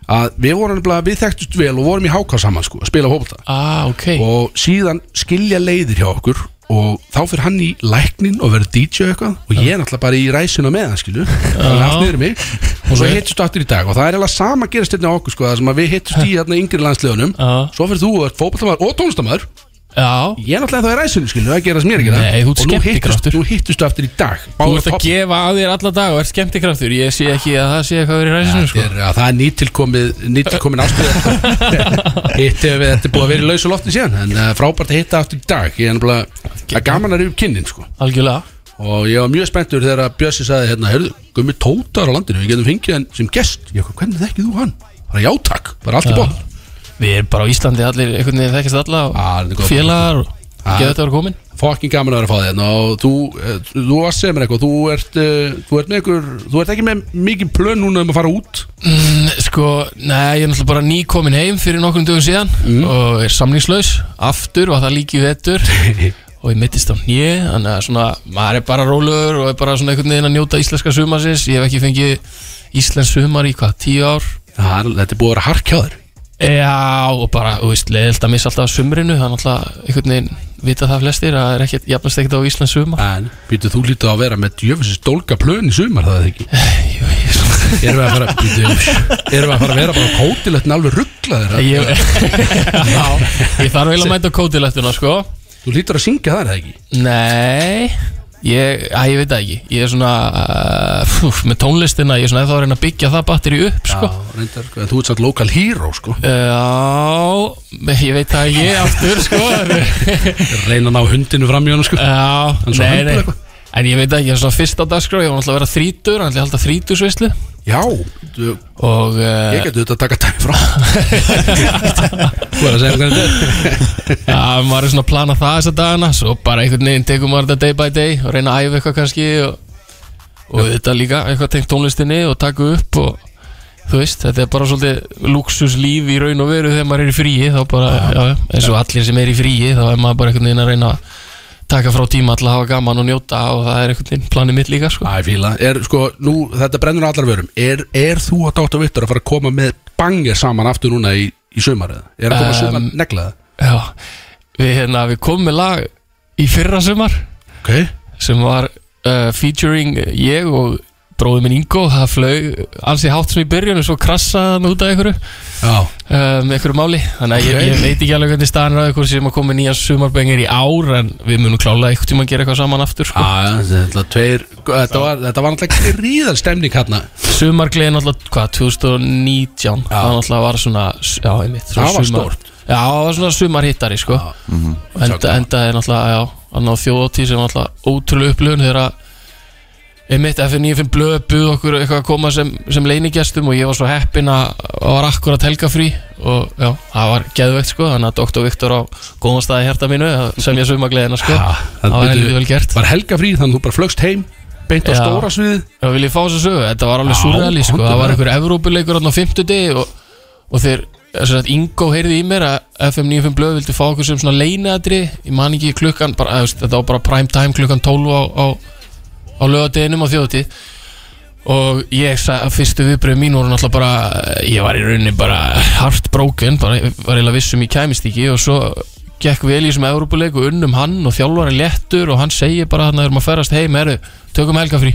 S2: að við vorum nefnilega, við þekktust vel og vorum í háká saman sko, að spila hópulta
S5: ah, ok
S2: og síðan skilja leiðir hjá okkur og þá fyrir hann í læknin og verður DJ og eitthvað og ég er náttúrulega bara í ræsinu með hann skilu hann er allt niður mig og svo hittist þú aftur í dag og það er eiginlega sama gerist hérna hjá okkur sko, það sem að við hittist í hérna yngri landslegunum
S5: Já.
S2: svo fyrir þú og fótballtamaður og tónlistamæður
S5: Já,
S2: Ég er náttúrulega þá í ræsunu, skilu, það gerast mér ekki það.
S5: Nei, þú ert
S2: Og nú hittust-
S5: skemmtikraftur.
S2: Nú hittustu aftur í dag
S5: þú
S2: Báðir
S5: ert að
S2: hopp-
S5: gefa að þér alla dag og ert skemmtikraftur Ég sé ekki að það sé eitthvað verið í ræsinu
S2: Þetta
S5: sko.
S2: er, já, það er nýtilkomið nýtilkomin ástriða hitt hefur við þetta er búið að vera í lausu lofti síðan en uh, frábært að hitta aftur í dag ég er nefnilega það er gaman að rifja kynnin sko.
S5: Algjörlega
S2: og ég var mjög spenntur þegar að Bjössi sagði hérna, heyrðu, gummi tótar á landinu við getum fengið hann sem gest ég, hvað, hvernig þekkið þú hann? bara já takk, bara allt í
S5: Já.
S2: bótt
S5: Við erum bara á Íslandi allir einhvern veginn þekkist alla
S2: Ah, þetta er
S5: og
S2: góð
S5: félagar og
S2: Ah.
S5: geða þetta voru komin
S2: fokkin gaman að vera að fá þér hérna og þú, eh, þú varst sem er eitthvað þú ert, uh, þú ert með ykkur þú ert ekki með mikið plön núna um að fara út
S5: Mm, Sko, nei, ég er náttúrulega bara nýkomin heim fyrir nokkrum dögum síðan og er samlingslaus, aftur var það líki vettur og ég mittist á nýje þannig að svona, maður er bara rólegur og er bara svona einhvern veginn að njóta íslenska sumarsins ég hef ekki fengið íslensk sumar í hvað, tíu ár
S2: það, er- þetta er búið að vera harkjáður
S5: Já, og bara, þú veist, leiðilt að missa alltaf af sumrinu, þannig að einhvern veginn vita það flestir að það er ekkert, jafnast ekkert á íslensk sumar
S2: en býtu þú lítið á að vera með djöfisins dólka plön í sumar það er ekki erum við að fara býtu, erum við að fara að vera bara kótilettin alveg rugglaður
S5: Ég, já, ég þarf eiginlega að mæta á kótilættuna, sko
S2: þú lítur að syngja það er það ekki
S5: Nei Ég, að, ég veit það ekki Ég er svona uh, fúf, Með tónlistina, ég er svona eða að reyna að byggja það batteri upp sko.
S2: Já, reyndar, sko, en þú ert samt lokal hero sko.
S5: Já Ég veit það ekki aftur sko.
S2: reyna að ná hundinu fram í hann sko.
S5: Já,
S2: svo
S5: nei,
S2: höndlar
S5: nei
S2: eitthvað.
S5: En ég veit það ekki, ég er svona fyrst á dagskrá Ég var náttúrulega að vera þrítur, hann ætlaði að halda þrítursvislu
S2: já, þú,
S5: Og uh,
S2: ég getur þetta að taka tæmi frá þú er að segja hvernig þetta er
S5: Já, maður er svona að plana það þessa dagana Svo bara einhvern veginn tekum maður þetta day by day Og reyna að æfa eitthvað kannski Og, og þetta líka, eitthvað tengt tónlistinni Og taka upp og Þú veist, þetta er bara svolítið luxuslíf í raun og veru Þegar maður er í fríi Þá bara, já, já, eins og allir sem er í fríi Þá er maður bara einhvern veginn að reyna að Taka frá tíma alltaf að hafa gaman og njóta Og það er einhvern veginn planið mitt líka, sko
S2: Æ, fíla, er, sko, nú, þetta brennur á allar vörum er, er þú og Dóttar Vittur að fara að koma með bangir saman aftur núna í, í sumarið er að koma um,
S5: Um,
S2: sumar neglaða
S5: Já, við, hérna, við komum með lag Í fyrra sumar
S2: okay.
S5: sem var uh, featuring ég og bróður minn Ingo það flög ansi hátt sem í byrjun og svo krassaði hann út af einhverju
S2: já,
S5: um, einhverju máli, þannig að ég, ég veit ekki alveg hvernig staðan er á einhverju sem að koma með nýja sumarbengir í ár en við munum klálega einhvern tíma að gera eitthvað saman aftur sko.
S2: Á, þetta, tveir, þetta, var, þetta var náttúrulega gríðal stemning hérna
S5: sumargleðin alltaf, hvað, 2019
S2: Já.
S5: það alltaf var svona já, einmitt, svona
S2: Það var
S5: sumar-
S2: stórt. Mhm.
S5: já, það var svona sumarhittari sko. Og enda, enda er náttúrulega já, að ná þjóðatí sem var náttúrulega ótrúlega upplöfun þegar að einmitt FN95 blöð buð okkur eitthvað að koma sem, sem leinigestum og ég var svo heppin að að var akkurat helgafrí og já, það var geðveikt sko þannig að Dr. Viktor á góðan staði hérta mínu að semja sumargleðina sko
S2: Já,
S5: það var
S2: byrju,
S5: heldur vel gert
S2: var helga frí þannig að þú bara flögst heim beint á
S5: Já.
S2: stóra sviði
S5: Já, vil ég fá þess að sögu, þetta var alveg
S2: Já,
S5: surreali sko.
S2: komdu
S5: Það var
S2: með.
S5: einhver Evrópuleikur hann á fimmtudegi og, og þeir, þess að Ingo heyrði í mér að FM 95 blöð vildi fá okkur sem svona leinaðri Ég man ekki klukkan, bara, eða, þetta var bara prime time klukkan 12 á, á, á lögadeginum á þjóðatíð Og ég sagði að fyrstu viðbröð mín voru náttúrulega bara Ég var í rauninni bara hart brókin Bara ég var eiginlega vissum ég kæmist ekki Og svo gekk vel í þessum Evrópuleik og unnum hann Og þjálfari léttur og hann segir bara Þannig að við erum að ferast heim, eru, tökum helgafrí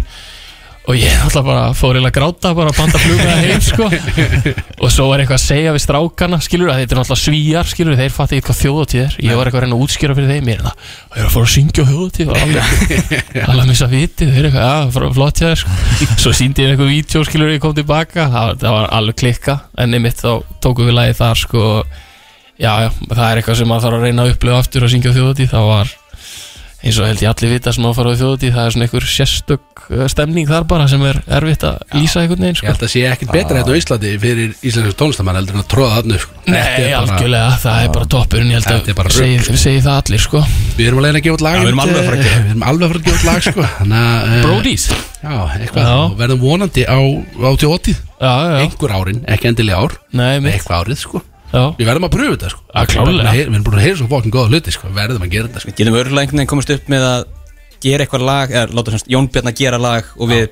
S5: og ég alltaf bara fór eiginlega að gráta bara að banda flugaða heim sko og svo var eitthvað að segja við strákana skilur að þetta er alltaf svíjar skilur þeir fatti eitthvað þjóðatíð er ég var eitthvað að reyna að útskýra fyrir þeim ég er það, ég er að fara að syngja á þjóðatíð og alveg, alveg að missa viti þeir eru eitthvað, já, frá- flott hjá þér sko svo síndi ég eitthvað vítjó skilur ég kom tilbaka það, var- það var alveg klikka, en einmitt þá tókum við lagið þar sko já, já, það er eitthvað sem maður þarf að reyna að upplifa aftur að syngja á þjóðatíð, það var eins og held ég allir vita sem á að fara á þjóðatíð það er svona einhver sérstök eh, stemning þar bara sem er erfitt að lýsa einhvern veginn
S2: ég
S5: sko.
S2: held að sé ekkit betra hérna á Íslandi fyrir íslensku tónlistamann heldur en að tróða þarna upp, sko. Þetta
S5: Nei,
S2: er bara-
S5: algjörlega, það er bara toppurinn ég
S2: Þetta
S5: held
S2: er bara
S5: að
S2: rugl,
S5: segi, segi það allir sko.
S2: við erum alveg að gefa út lag
S3: Já, við erum alveg að fara að gera.
S2: Við erum alveg að fara að gefa út lag sko. Þannig að, eh,
S5: Brodies Já,
S2: já, eitthvað,
S5: Já.
S2: og verðum vonandi á, á tjótið
S5: já, já,
S2: einhver árin, ekki endilega ár
S5: nei, mitt
S2: eitthvað árið sko
S5: já.
S2: Við verðum að pröfu þetta sko
S5: Ja,
S2: Við erum búin
S5: klárlega.
S2: að heyra- Við erum búin að heyra svo fokkin góða hluti sko Verðum að gera þetta sko
S3: Við getum örgulega einhvern veginn komist upp með að gera eitthvað lag, eða láta semst Jón Bjarnar gera lag og við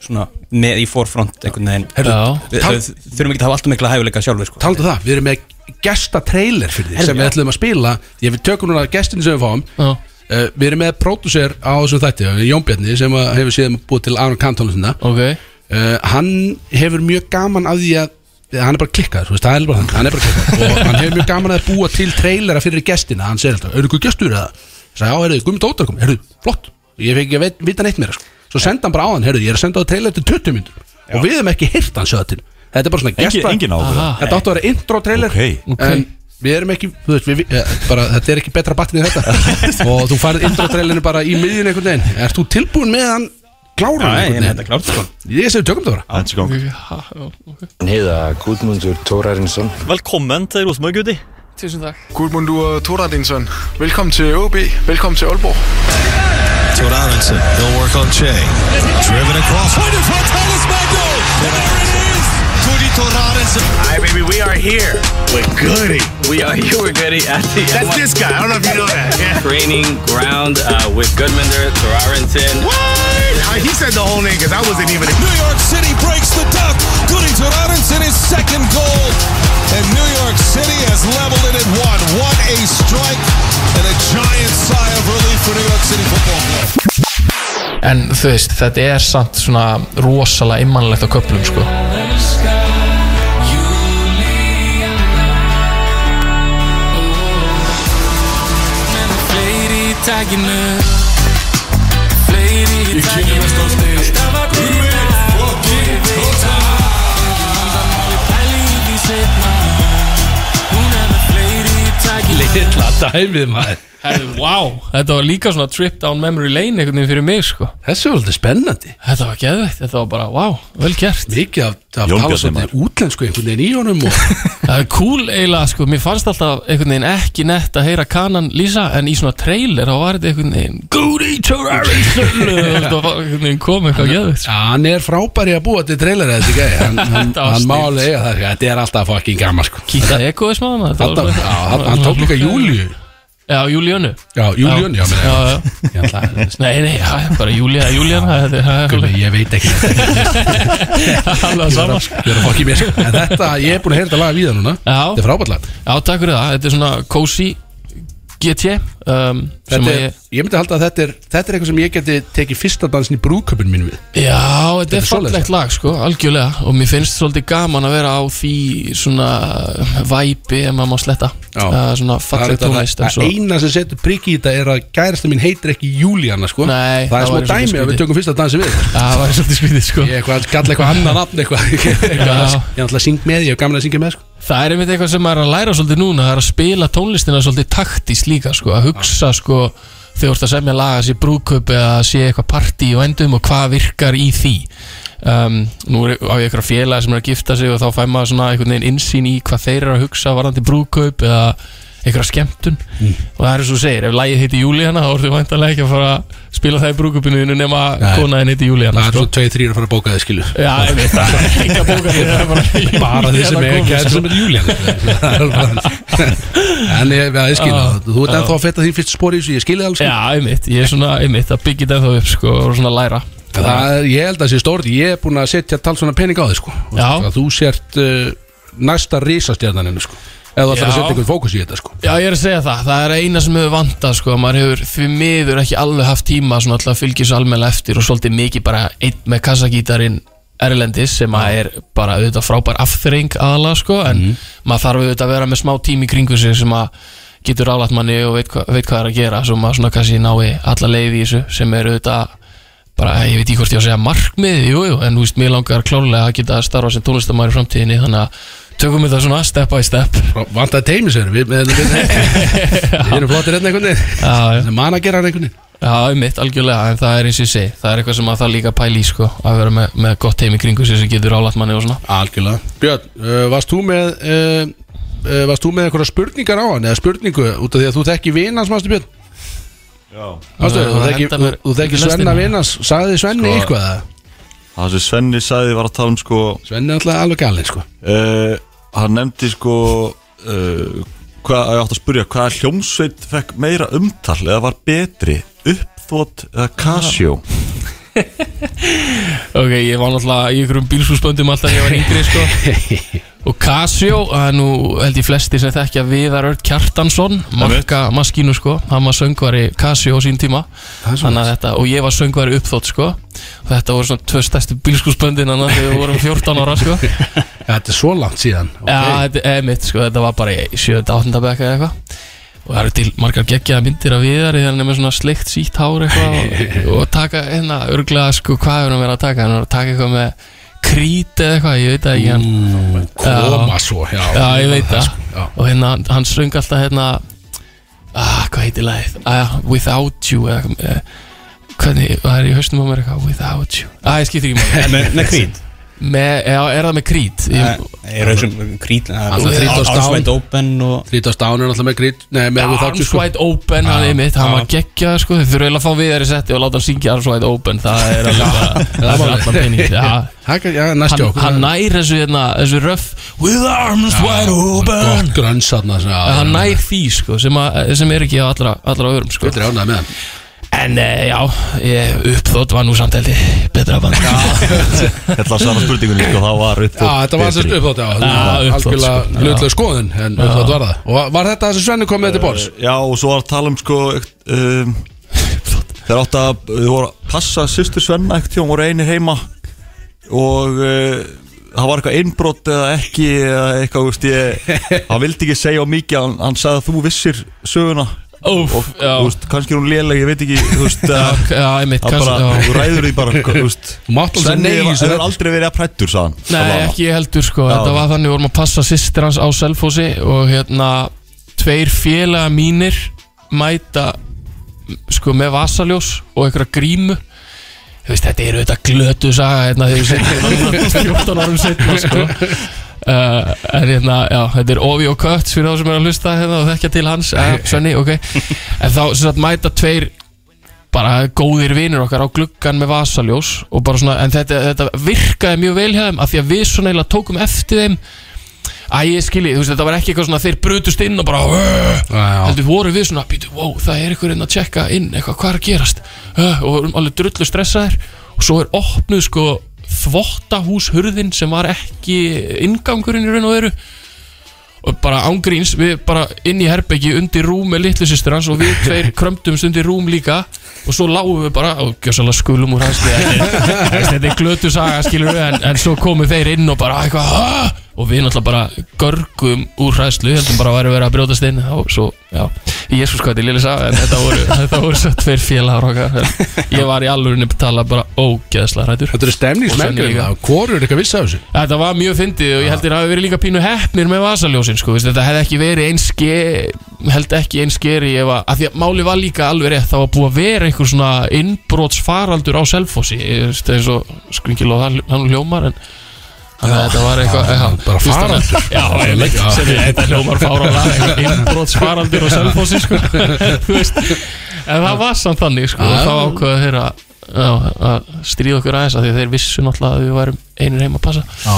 S3: svona með í forefront einhvern veginn
S2: Herðu,
S5: Já.
S3: Við
S2: tal-
S3: við þurfum ekki að hafa alltaf mikla hæfileika sjálfur sko
S2: Taldu það, við erum með gesta trailer fyrir því
S3: Herðu,
S2: sem við
S3: já.
S2: ætlum að spila Því að við tökum núna gestinni sem við fáum
S5: Já.
S2: uh, Við erum með pródúser á þessum þætti eh, Jón Bjarni sem að Eh, hefur síðan búið til Aron Kantónlistina
S5: ok
S2: uh, Hann hefur mjög gaman af því að hann er bara klikkað, þú veist, hann er bara, hann er bara klikkað og hann hefur mjög gaman að búa til trailera fyrir gestina, hann segir alltaf, eru ykkur gestur eða? Ég sagði, já, heyrðu, Gumi Dóttar kom, heyrðu, flott ég fekk ekki að veit- vita neitt meira, sko. svo senda hann bara á hann, heyrðu, ég er að senda á það trailer til 20 myndur og við hefum ekki heyrt hann sjöða til þetta er bara svona
S4: Engin,
S2: gesta-
S4: engin áhuga
S5: Aha.
S2: þetta áttu að vera intro trailer
S4: Ókei.
S2: en við erum ekki þú veist, við, eh, bara, þetta er ekki betra batni en þetta og þú færið intro trailerinu bara í miðjun einhvern veginn ert þú tilbúin með hann klára hann
S3: Nei,
S2: einhvern
S3: en þetta
S2: veginn
S3: klárt sko
S2: ég segi tökum það bara
S4: Aðeins í gang.
S5: Ha, já, ok.
S8: Hann hedder Gudmundur Thorarinsson.
S9: Velkommen til Rosenborg, gutti.
S5: Tusind takk
S10: Gudmundur Thorarinsson, velkommen til OB, velkommen til Aalborg.
S7: Thorarinsson, he'll work on Che. Driven across. Point in front, Thomas Magno. There it is. Goody Thorarinsson.
S10: Hi baby, we are here with Goody. We are here with Goody at the... That's this guy, I don't know if you know that. Training ground uh, with Goodmunder Thorarinsson. What? He said the whole name because I wasn't even...
S7: New York City breaks the duck. Goody Thorarinsson is second goal. And New York City has leveled it at one. What a strike and a giant sigh of relief for New York City football club.
S5: En þú veist, þetta er samt svona rosalega immanlegt á köplum sko.
S2: litla dæmið maður
S5: Herðu, wow, þetta var líka svona trip down memory lane einhvern veginn fyrir mig sko.
S2: þessi var svolítið spennandi
S5: Þetta var geðveitt, þetta var bara, wow, vel gert
S2: mikið af, af
S4: Jón
S2: tala
S4: Bjarni
S2: svolítið útlensku einhvern veginn í honum og
S5: Það er cool eiginlega, sko, mér fannst alltaf einhvern veginn ekki nett að heyra kanan lýsa en í svona trailer þá var þetta einhvern veginn Goody Terrorism og það var einhvern veginn kom eitthvað geðveitt sko.
S2: Já, hann er frábæri að búa til trailer eða þetta ekki hann, hann,
S5: Þetta var
S2: hann má
S5: snilt.
S2: alveg eiga það sko. þetta er alltaf fucking gaman sko
S5: Kýta ekoði smá hana þetta
S2: Þetta,
S5: var-
S2: já, hann, hann tók líka Júliu
S5: Já, Júlíönu
S2: Já, Júliun, já,
S5: já,
S2: já,
S5: já.
S2: já, já.
S5: Nei, nei, já, bara Júlíana, Júlíana þetta er- það er alveg-
S2: Ég veit ekki
S5: alveg sama sko.
S2: Ég er að fá ekki mér sko. En þetta, ég er búin að heyra þetta laga víða núna
S5: Já.
S2: Þetta er frábært lag
S5: Já, takk fyrir það, þetta er svona cozy GT um, sem
S2: þetta
S5: að
S2: er,
S5: ég,
S2: Ég myndi halda að þetta er, þetta er eitthvað sem ég geti tekið fyrsta dansin í brúköpun mín við
S5: Já, þetta er
S2: er svoleiðis,
S5: fallegt lag sko, algjörlega og mér finnst svolítið gaman að vera á því svona væpi ef maður má sletta
S2: Já.
S5: uh, svona fallegt
S2: það,
S5: tónlist en
S2: það,
S5: svo-
S2: það eina sem setur prikki í þetta er að gærasta mín heitir ekki Júlíana sko.
S5: Nei,
S2: Það
S5: það
S2: er smá
S5: væri svolítið
S2: dæmi að við
S5: skrítið.
S2: tökum fyrsta dansin við
S5: Já, Það var svolítið skrítið sko
S2: Ég eitthvað, kalla eitthvað annan nafn eitthvað Ég er alltaf að syng með, ég hef gaman að syngja með sko.
S5: Það er einmitt eitthvað sem maður er að læra svolítið núna Það er að spila tónlistina svolítið taktist líka sko Að hugsa sko þegar þú ert að semja laga sé brúköp eða sé eitthvað partí og endum og hvað virkar í því um, Nú er, á ég eitthvað félag sem er að gifta sig og þá fæ maður svona einhvern veginn insýn í hvað þeir eru að hugsa varðandi brúköp eða einhverja skemmtun
S2: Mm.
S5: og það er eins og þú segir, ef lagið heiti Júlíana þá ertu vantanlega ekki að fara að spila það í brúköpinu þínu nema
S2: Nei.
S5: konaðin heiti Júlíana
S2: Það er
S5: sko.
S2: svo 2-3 að fara að bóka þið skilu
S5: Já, ég veit það er ekki að bóka því, það er bara-
S2: Bara þeir sem er
S5: Júlíana
S2: gæri sem er Júlíana
S5: komin, sko.
S2: Það er bara- En ég, ja, ég skil það Þú ert ennþá að fetta þín fyrst spori í þessu, ég skil það alveg sko.
S5: Já, einmitt, ég er svona, einmitt, að byggja þetta þá upp sko, og svona læra
S2: Það er, ég held að það sé stórt Ég er búin að setja tal svona pening á þig sko. Og
S5: Já.
S2: að Þú sért uh, næsta risastjarnaninu sko. Eða þú ætlar að
S5: Já.
S2: setja einhvern fókus í þetta sko.
S5: Já, ég er að segja það, það er eina sem hefur vantað sko, að maður hefur fyrir miður ekki alveg haft tíma svona alltaf að fylgja svo almennilega eftir og svolítið mikið bara einn með kassagítarinn Erlendis sem að er bara auðvitað frábær afþreng aðalega sko, en maður þarf auðvitað að vera með smá tími í kringu sig sem að getur rálat manni og veit, hva, veit hvað er að gera svo maður svona kannski nái alla leið í þessu sem er auðvitað bara, ég veit ekki hvort ég á að segja markmið jú, jú, en þú veist, mér langar klárlega að geta að starfa sem tónlistamæri í framtíðinni þannig að tökum við það svona step by step
S2: Vantaði teimi sér Við, við, við, við erum flottir enn einhvern veginn
S5: já, já,
S2: Man að gera hann hérna einhvern veginn
S5: já, mitt, algjörlega en það er eins og ég segi, það er eitthvað sem að það líka pæli í sko, að vera með, með gott teimi kringu sér sem getur álætt manni og svona
S2: Algjörlega Björn, uh, varst þú með uh, uh, Varst þú með einhverja spurningar á hann Eða spurningu út af því að þú þekki vinans Mástu Björn Mástu,
S5: Það
S2: Þú
S5: var að
S2: þekki,
S5: henda
S2: þú,
S5: mér
S2: þú þekki
S5: í
S2: Svenna
S5: lestina.
S2: vinans Saði Svenni
S4: Sko-
S2: eitthvað eða?
S4: Það sem Svenni sagði var að tala um sko
S2: Svenni er alltaf alveg galinn sko
S4: uh, Hann nefndi sko uh, Hvað, ég átt að spurja Hvaða Ah. hljómsveit fekk meira umtal Eða var betri Uppþót eða Casio
S5: Ok, ég var náttúrulega í einhverjum bílsúsböndum alltaf þegar ég var yngri sko. Og Casio, það er nú held ég flesti sem þekkja Viðar Örd Kjartansson Marka maskínu sko, hann var söngvari Casio á sín tíma Þannig að þetta, og ég var söngvari uppþótt sko Þetta voru svona tvö stærstu bílskúsböndin hann þegar við vorum 14 ára sko
S2: Þetta er svo langt síðan
S5: Já, þetta er mitt sko, þetta var bara í 7. 8. bekka eða eitthvað Og það eru til margar geggjaða myndir af viðar Þegar hann er með svona sleikt sítt hár eitthvað Og, og taka hérna, örglega sko, hvað er hann verið að taka Hann er að taka eitthvað með krít eða eitthvað, ég veit það ekki hann,
S2: koma svo, já.
S5: Mm, Já, ég veit
S2: Það,
S5: það
S2: sko, já.
S5: Og hérna, hann- hann söng alltaf hérna ah, Hvað heitir lagið? Ah, without you eða, eitthvað, eh, Hvernig, það er í hausnum á mér eitthvað Without you Ah, ég skiptir ekki máli.
S3: Með- með Creed?
S5: Með, já, er það með krít?
S3: Ég eh, er auðvitað krít
S5: Alltaf 30
S3: Alls
S5: stán
S3: Wide Open og
S2: 30 stán er alltaf með grít Nei, með
S5: Já,
S2: Without You,
S5: Arms
S2: sko.
S5: Wide Open, hann
S2: Já,
S5: er mitt, hann
S2: já.
S5: var geggjað sko, þau þurfa eiginlega að fá við þær í setti og láta hann syngja Arms Wide Open, það er alveg bara, það er fyrir allan penning, já.
S2: Það er- já, næst
S5: Hann,
S2: joke.
S5: hann nær þessu hérna, þessu röff, with arms wide open,
S2: Gott grönns þarna svona,
S5: En hann nær því sko, sem, að, sem er ekki á allra, allra öðrum sko.
S2: Þetta er ánægð með hann
S5: En e, já, ég, uppþótt var nú samt held ég betra band.
S4: Þetta var sama spurningunni sko, það var upp
S2: Já, Ah, þetta var sérst uppþátt, já
S5: Já, uppþot,
S2: Algjörlega
S5: sko.
S2: hlutlega skoðun En uppþátt var það Og var þetta það sem Svenni kom með til borðs?
S4: Eh, Já, og svo var að tala um sko um, Þeir átt að Þau voru að passa sýstur Svenna ekkert hjá Hún voru einir heima Og uh, það var eitthvað einbrot Eða ekki, eða eitthvað, veist ég Hann vildi ekki segja of mikið Hann, hann sagði að þú vissir söguna
S5: Óf,
S4: og,
S5: já.
S4: þú veist, kannski er hún léleg, ég veit ekki Þú veist, að-
S5: Já, einmitt,
S4: að
S5: kannski,
S4: bara,
S5: já.
S4: þú ræður því bara hvað, þú veist.
S2: Þú mátt alveg segja
S4: Svenni
S2: nei í
S4: var-
S2: þessu
S4: hefur
S2: þætti.
S4: aldrei verið að prættur sagðan
S5: Nei, ekki ég heldur sko,
S4: Já.
S5: þetta var þannig, við vorum að passa sýstir hans á Selfossi og hérna, tveir félaga mínir mæta m, sko með vasaljós og einhverja grímu Þú veist, þetta eru þetta glötu saga hérna þegar við setjum 14 árum setna sko Uh, en hérna, já, þetta er Ovi og Kött fyrir þá sem er að hlusta hérna og þekkja til hans uh, Svenni, ok en þá sem sagt mæta tveir bara góðir vinur okkar á gluggan með vasaljós og bara svona, en þetta, þetta virkaði mjög vel hjá þeim af því að við svona eiginlega tókum eftir þeim Æ, ég skilji, þú veist, þetta var ekki eitthvað svona þeir brutust inn og bara "Ugh." heldur voru við svona, býtu, wow, það er einhver inn að tjekka inn, eitthvað, hvað er að gerast "Ugh," og vorum alveg drullu stressaðir og svo er opnuð sko þvottahúshurðin sem var ekki ingangurinn í raun og veru og bara ángríns, við bara inn í herbeggi undir rúm með litlu sýstur hans og við tveir krömdumst undir rúm líka og svo lágum við bara, og gjössalega skulum úr hans þetta er glötu saga skilur við, en, en svo komu þeir inn og bara eitthvað, "Ha?" og við náttúrulega bara görgum úr hræðslu, heldum bara að væri verið að brjótast inn og svo, já, jésus hvað þetta er lili saga, en þetta voru, þetta voru svo tveir félagar okkar, ég var í alvörinu að tala bara ógeðslega hrættur
S2: Þetta eru stemningsmengur
S5: Og Svenni líka.
S2: Hvorur er eitthvað viss af þessu?
S5: Þetta var mjög fyndið og ég heldur að hafi verið líka pínu hefnir með vasaljósin sko, veist, þetta hefði ekki verið eins ske- held ekki eins skeri ef að, að því að máli var líka alveg rétt það var búið að vera einhver svona innbrotsfaraldur á Selfossi, ég veist, eins og skringil og hann hann hljómar en þannig að þetta var eitthvað já,
S2: bara
S5: þú veist, þannig að-
S2: faraldur.
S5: já, ég veit, sem ég þetta hljómar fárala innbrotsfaraldur á Selfossi sko, þú veist en það var samt þannig sko, og þá ákvaða þeir að Já, að stríða okkur aðeins að því að þeir vissu náttúrulega að við værum einir heima að passa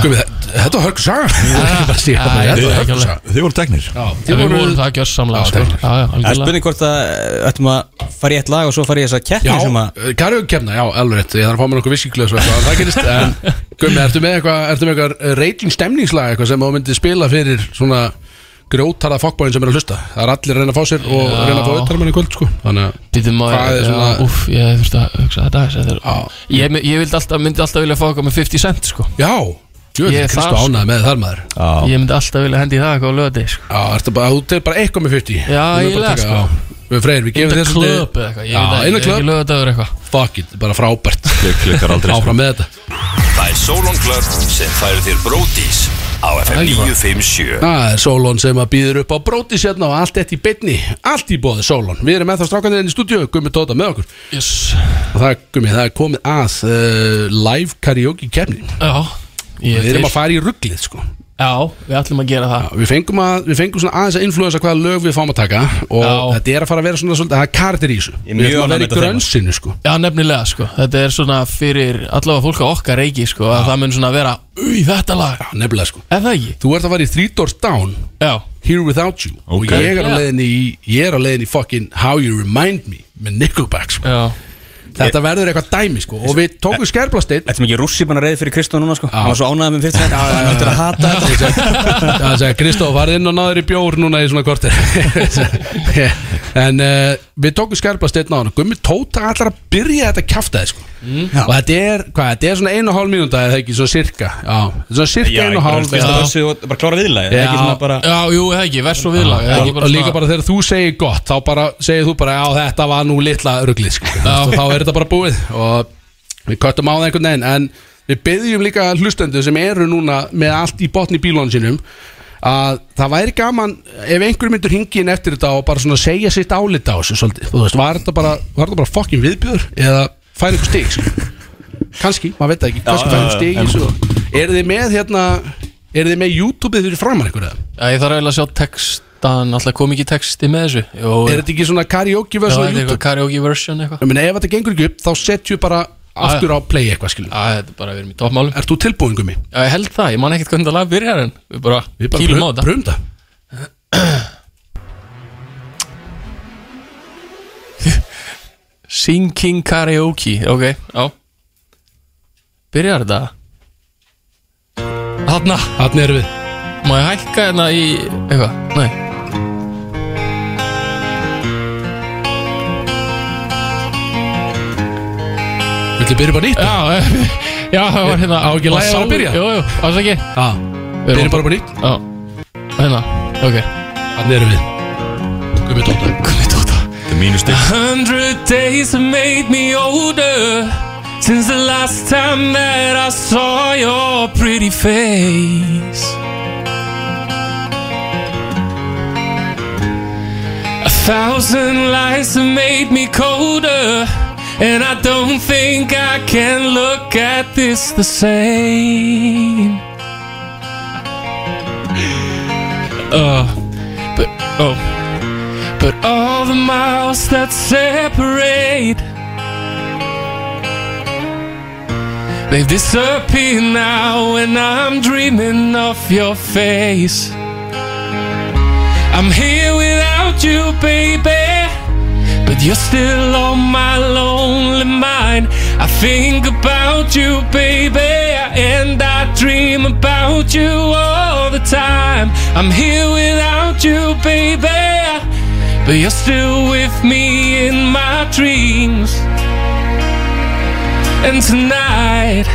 S2: Gumi, þe- Þetta var hörgur saga Ég er ekki bara að segja
S5: Já,
S2: það,
S5: já,
S2: Þetta
S5: já,
S2: var hörgur
S5: já,
S2: saga
S4: Þið voru teknir
S2: Já,
S5: Við
S2: þið voru-
S5: vorum það gjörsamlega sko. Já, já,
S3: Það er
S5: algjörlega
S3: spurning hvort að eh, ættum að fara í eitt lag og svo fara í þessa keppni
S2: Já,
S3: sem að
S2: Karjók kemna, já, alveg rétt Ég þarf að fá mér nokkuð viskiklöð svo eitthvað en Það gerist, en Gumi, ertu með eitthvað Ertu með eitthvað eh, raging stemningslag Eitthvað sem þú myndir spila fyrir svona grjótara fokkbóin sem er að hlusta Það er allir að reyna að fá sér og
S5: Já.
S2: reyna að fá auðtarmann í kvöld sko Þannig að
S5: Býtum að,
S2: Hvað er svona-
S5: já, úff, ég þurfti að hugsa þetta aðeins þetta er-
S2: Já.
S5: Ég, my- ég vildi alltaf, myndi alltaf vilja fá eitthvað með 50 cent sko.
S2: Já,
S5: Ég
S2: djöðin
S5: er
S2: Kristu
S5: þar, sko.
S2: ánæði með þar maður
S5: Ég myndi alltaf vilja hendi í það eitthvað á löði sko.
S2: Já, ertu bara, þú tegir bara eitthvað með 50
S5: Já,
S2: Þú
S5: ég
S2: bara
S5: les,
S2: taka-
S5: sko.
S2: já. Við freyr, við gefum
S5: Inna
S2: þér
S5: klöp eða eitthvað, ég veit
S2: Já,
S5: að, ég
S2: inna
S5: er ekki
S2: klöp
S5: löðaður eitthvað
S2: Fuck it, bara frábært
S4: Klikkar aldrei sko.
S2: Áfram með þetta
S11: Það er Solon Club sem færir þér bródís á FM 957
S2: Það Ah, er Solon sem að býður upp á bróti sérna og allt þetta í beinni Allt í bóði Solon Við erum með það strákanir inn í stúdíu, Gummi Tóta með okkur
S5: yes.
S2: Og það, Gummi, það er komið að uh, live karaoke kemni
S5: Já,
S2: Við
S5: ég er
S2: erum
S5: til
S2: að fara í rugglið, sko
S5: Já, við ætlum að gera það
S2: Já, Við fengum, að, við fengum svona aðeins að influensa hvaða lög við fáum að taka Og
S5: Já.
S2: þetta er að fara að vera svona, svona það er kardir í þessu
S3: Ég er
S2: Við erum
S3: mjög
S2: að vera
S3: ánægð
S2: í
S3: með þetta
S2: grönsinu, sko
S5: Já, nefnilega, sko, þetta er svona fyrir allavega fólk á okkar reiki, sko að það mun svona vera, úi, þetta lag
S2: Já, nefnilega, sko
S5: Er það ekki?
S2: Þú ert að fara í Three Doors Down
S5: Já,
S2: Here Without You og
S4: Ok.
S2: ég er á
S5: Já.
S2: leiðinni í ég er á leiðinni í fucking How You Remind Me með Nickelback sko.
S5: já,
S2: Þetta verður eitthvað dæmi sko Og við tókum skerplasteinn
S3: Þetta er mikið rússi bara reyði fyrir Kristó núna sko Hann var svo ánægð með fyrst þetta Hann ætti að hata þetta
S2: Það er að segja, Kristó, farið inn og náður í bjór núna í svona kortir En uh, við tókum skerplasteinn á hann Gummi Tóta allar að byrja þetta kjaftaði sko Og þetta er, hvað, þetta er svona einu og hálf mínúnda Eða ekki, svona cirka Já, svona cirka einu og hálf
S3: Fyrsta versu og bara klára viðlagi
S2: Já.
S3: Ekki svona bara
S5: Já, jú, það ekki, vers og viðlag
S2: Já, og líka bara þegar þú segir gott þá bara segir þú bara já þetta var nú litla ruglið sko. og þá er þetta bara búið og við köttum á það einhvern veginn en við byggjum líka hlustendur sem eru núna með allt í botni bílónu sínum að það væri gaman ef einhver myndur hingin eftir þetta og bara svona segja sitt álita á þessu svolítið þú veist, var þetta bara, var þetta bara fokkin viðbjör eða færi einhver stig sko? kannski, maður veit það ekki, kannski
S5: Já,
S2: færi
S5: já,
S2: einhver stig í þessu eru þið með hérna eru þið með YouTube-ið fyrir framann einhverja
S5: Já, ég þarf eiginlega að sjá textan Alltaf kom ekki texti með þessu Jó,
S2: Er þetta ekki svona karaoke
S5: Já,
S2: version á
S5: þetta er
S2: YouTube?
S5: eitthvað karaoke version eitthvað
S2: Ég meina ef þetta gengur ekki upp þá setjum við bara aftur á play eitthvað skilur
S5: Já, þetta er bara við erum í toppmálum
S2: Ert þú tilbúin gummi?
S5: Já, ég held það, ég man ekkert hvernig það lag byrjar en Við bara,
S2: Við bara
S5: kýlum
S2: pröfum-
S5: á þetta
S2: pröfum það.
S5: Singing karaoke, ok, já Byrjar þetta Þarna
S2: Þarna erum við
S5: Má ég hækka hérna í eitthvað, nei
S2: Viltu byrja bara nýtt?
S5: Já, eh, já, það var hérna
S2: Á ekki lagið að vera að byrja?
S5: Jú, jú, ásaki
S2: Já, byrjum bara bara nýtt
S5: Já, hérna, ok
S2: Þannig erum við Gummi Tóta
S5: Gummi Tóta
S4: Þetta er mínu
S5: A
S4: stig
S5: hundred days have made me older Since the last time that I saw your pretty face A thousand lies have made me colder And I don't think I can look at this the same Uh, but, oh but all the miles that separate, they've disappeared now, and I'm dreaming of your face. I'm here without you, baby, but you're still on my lonely mind. I think about you, baby, and I dream about you all the time. I'm here without you, baby. But you're still with me in my dreams. And tonight,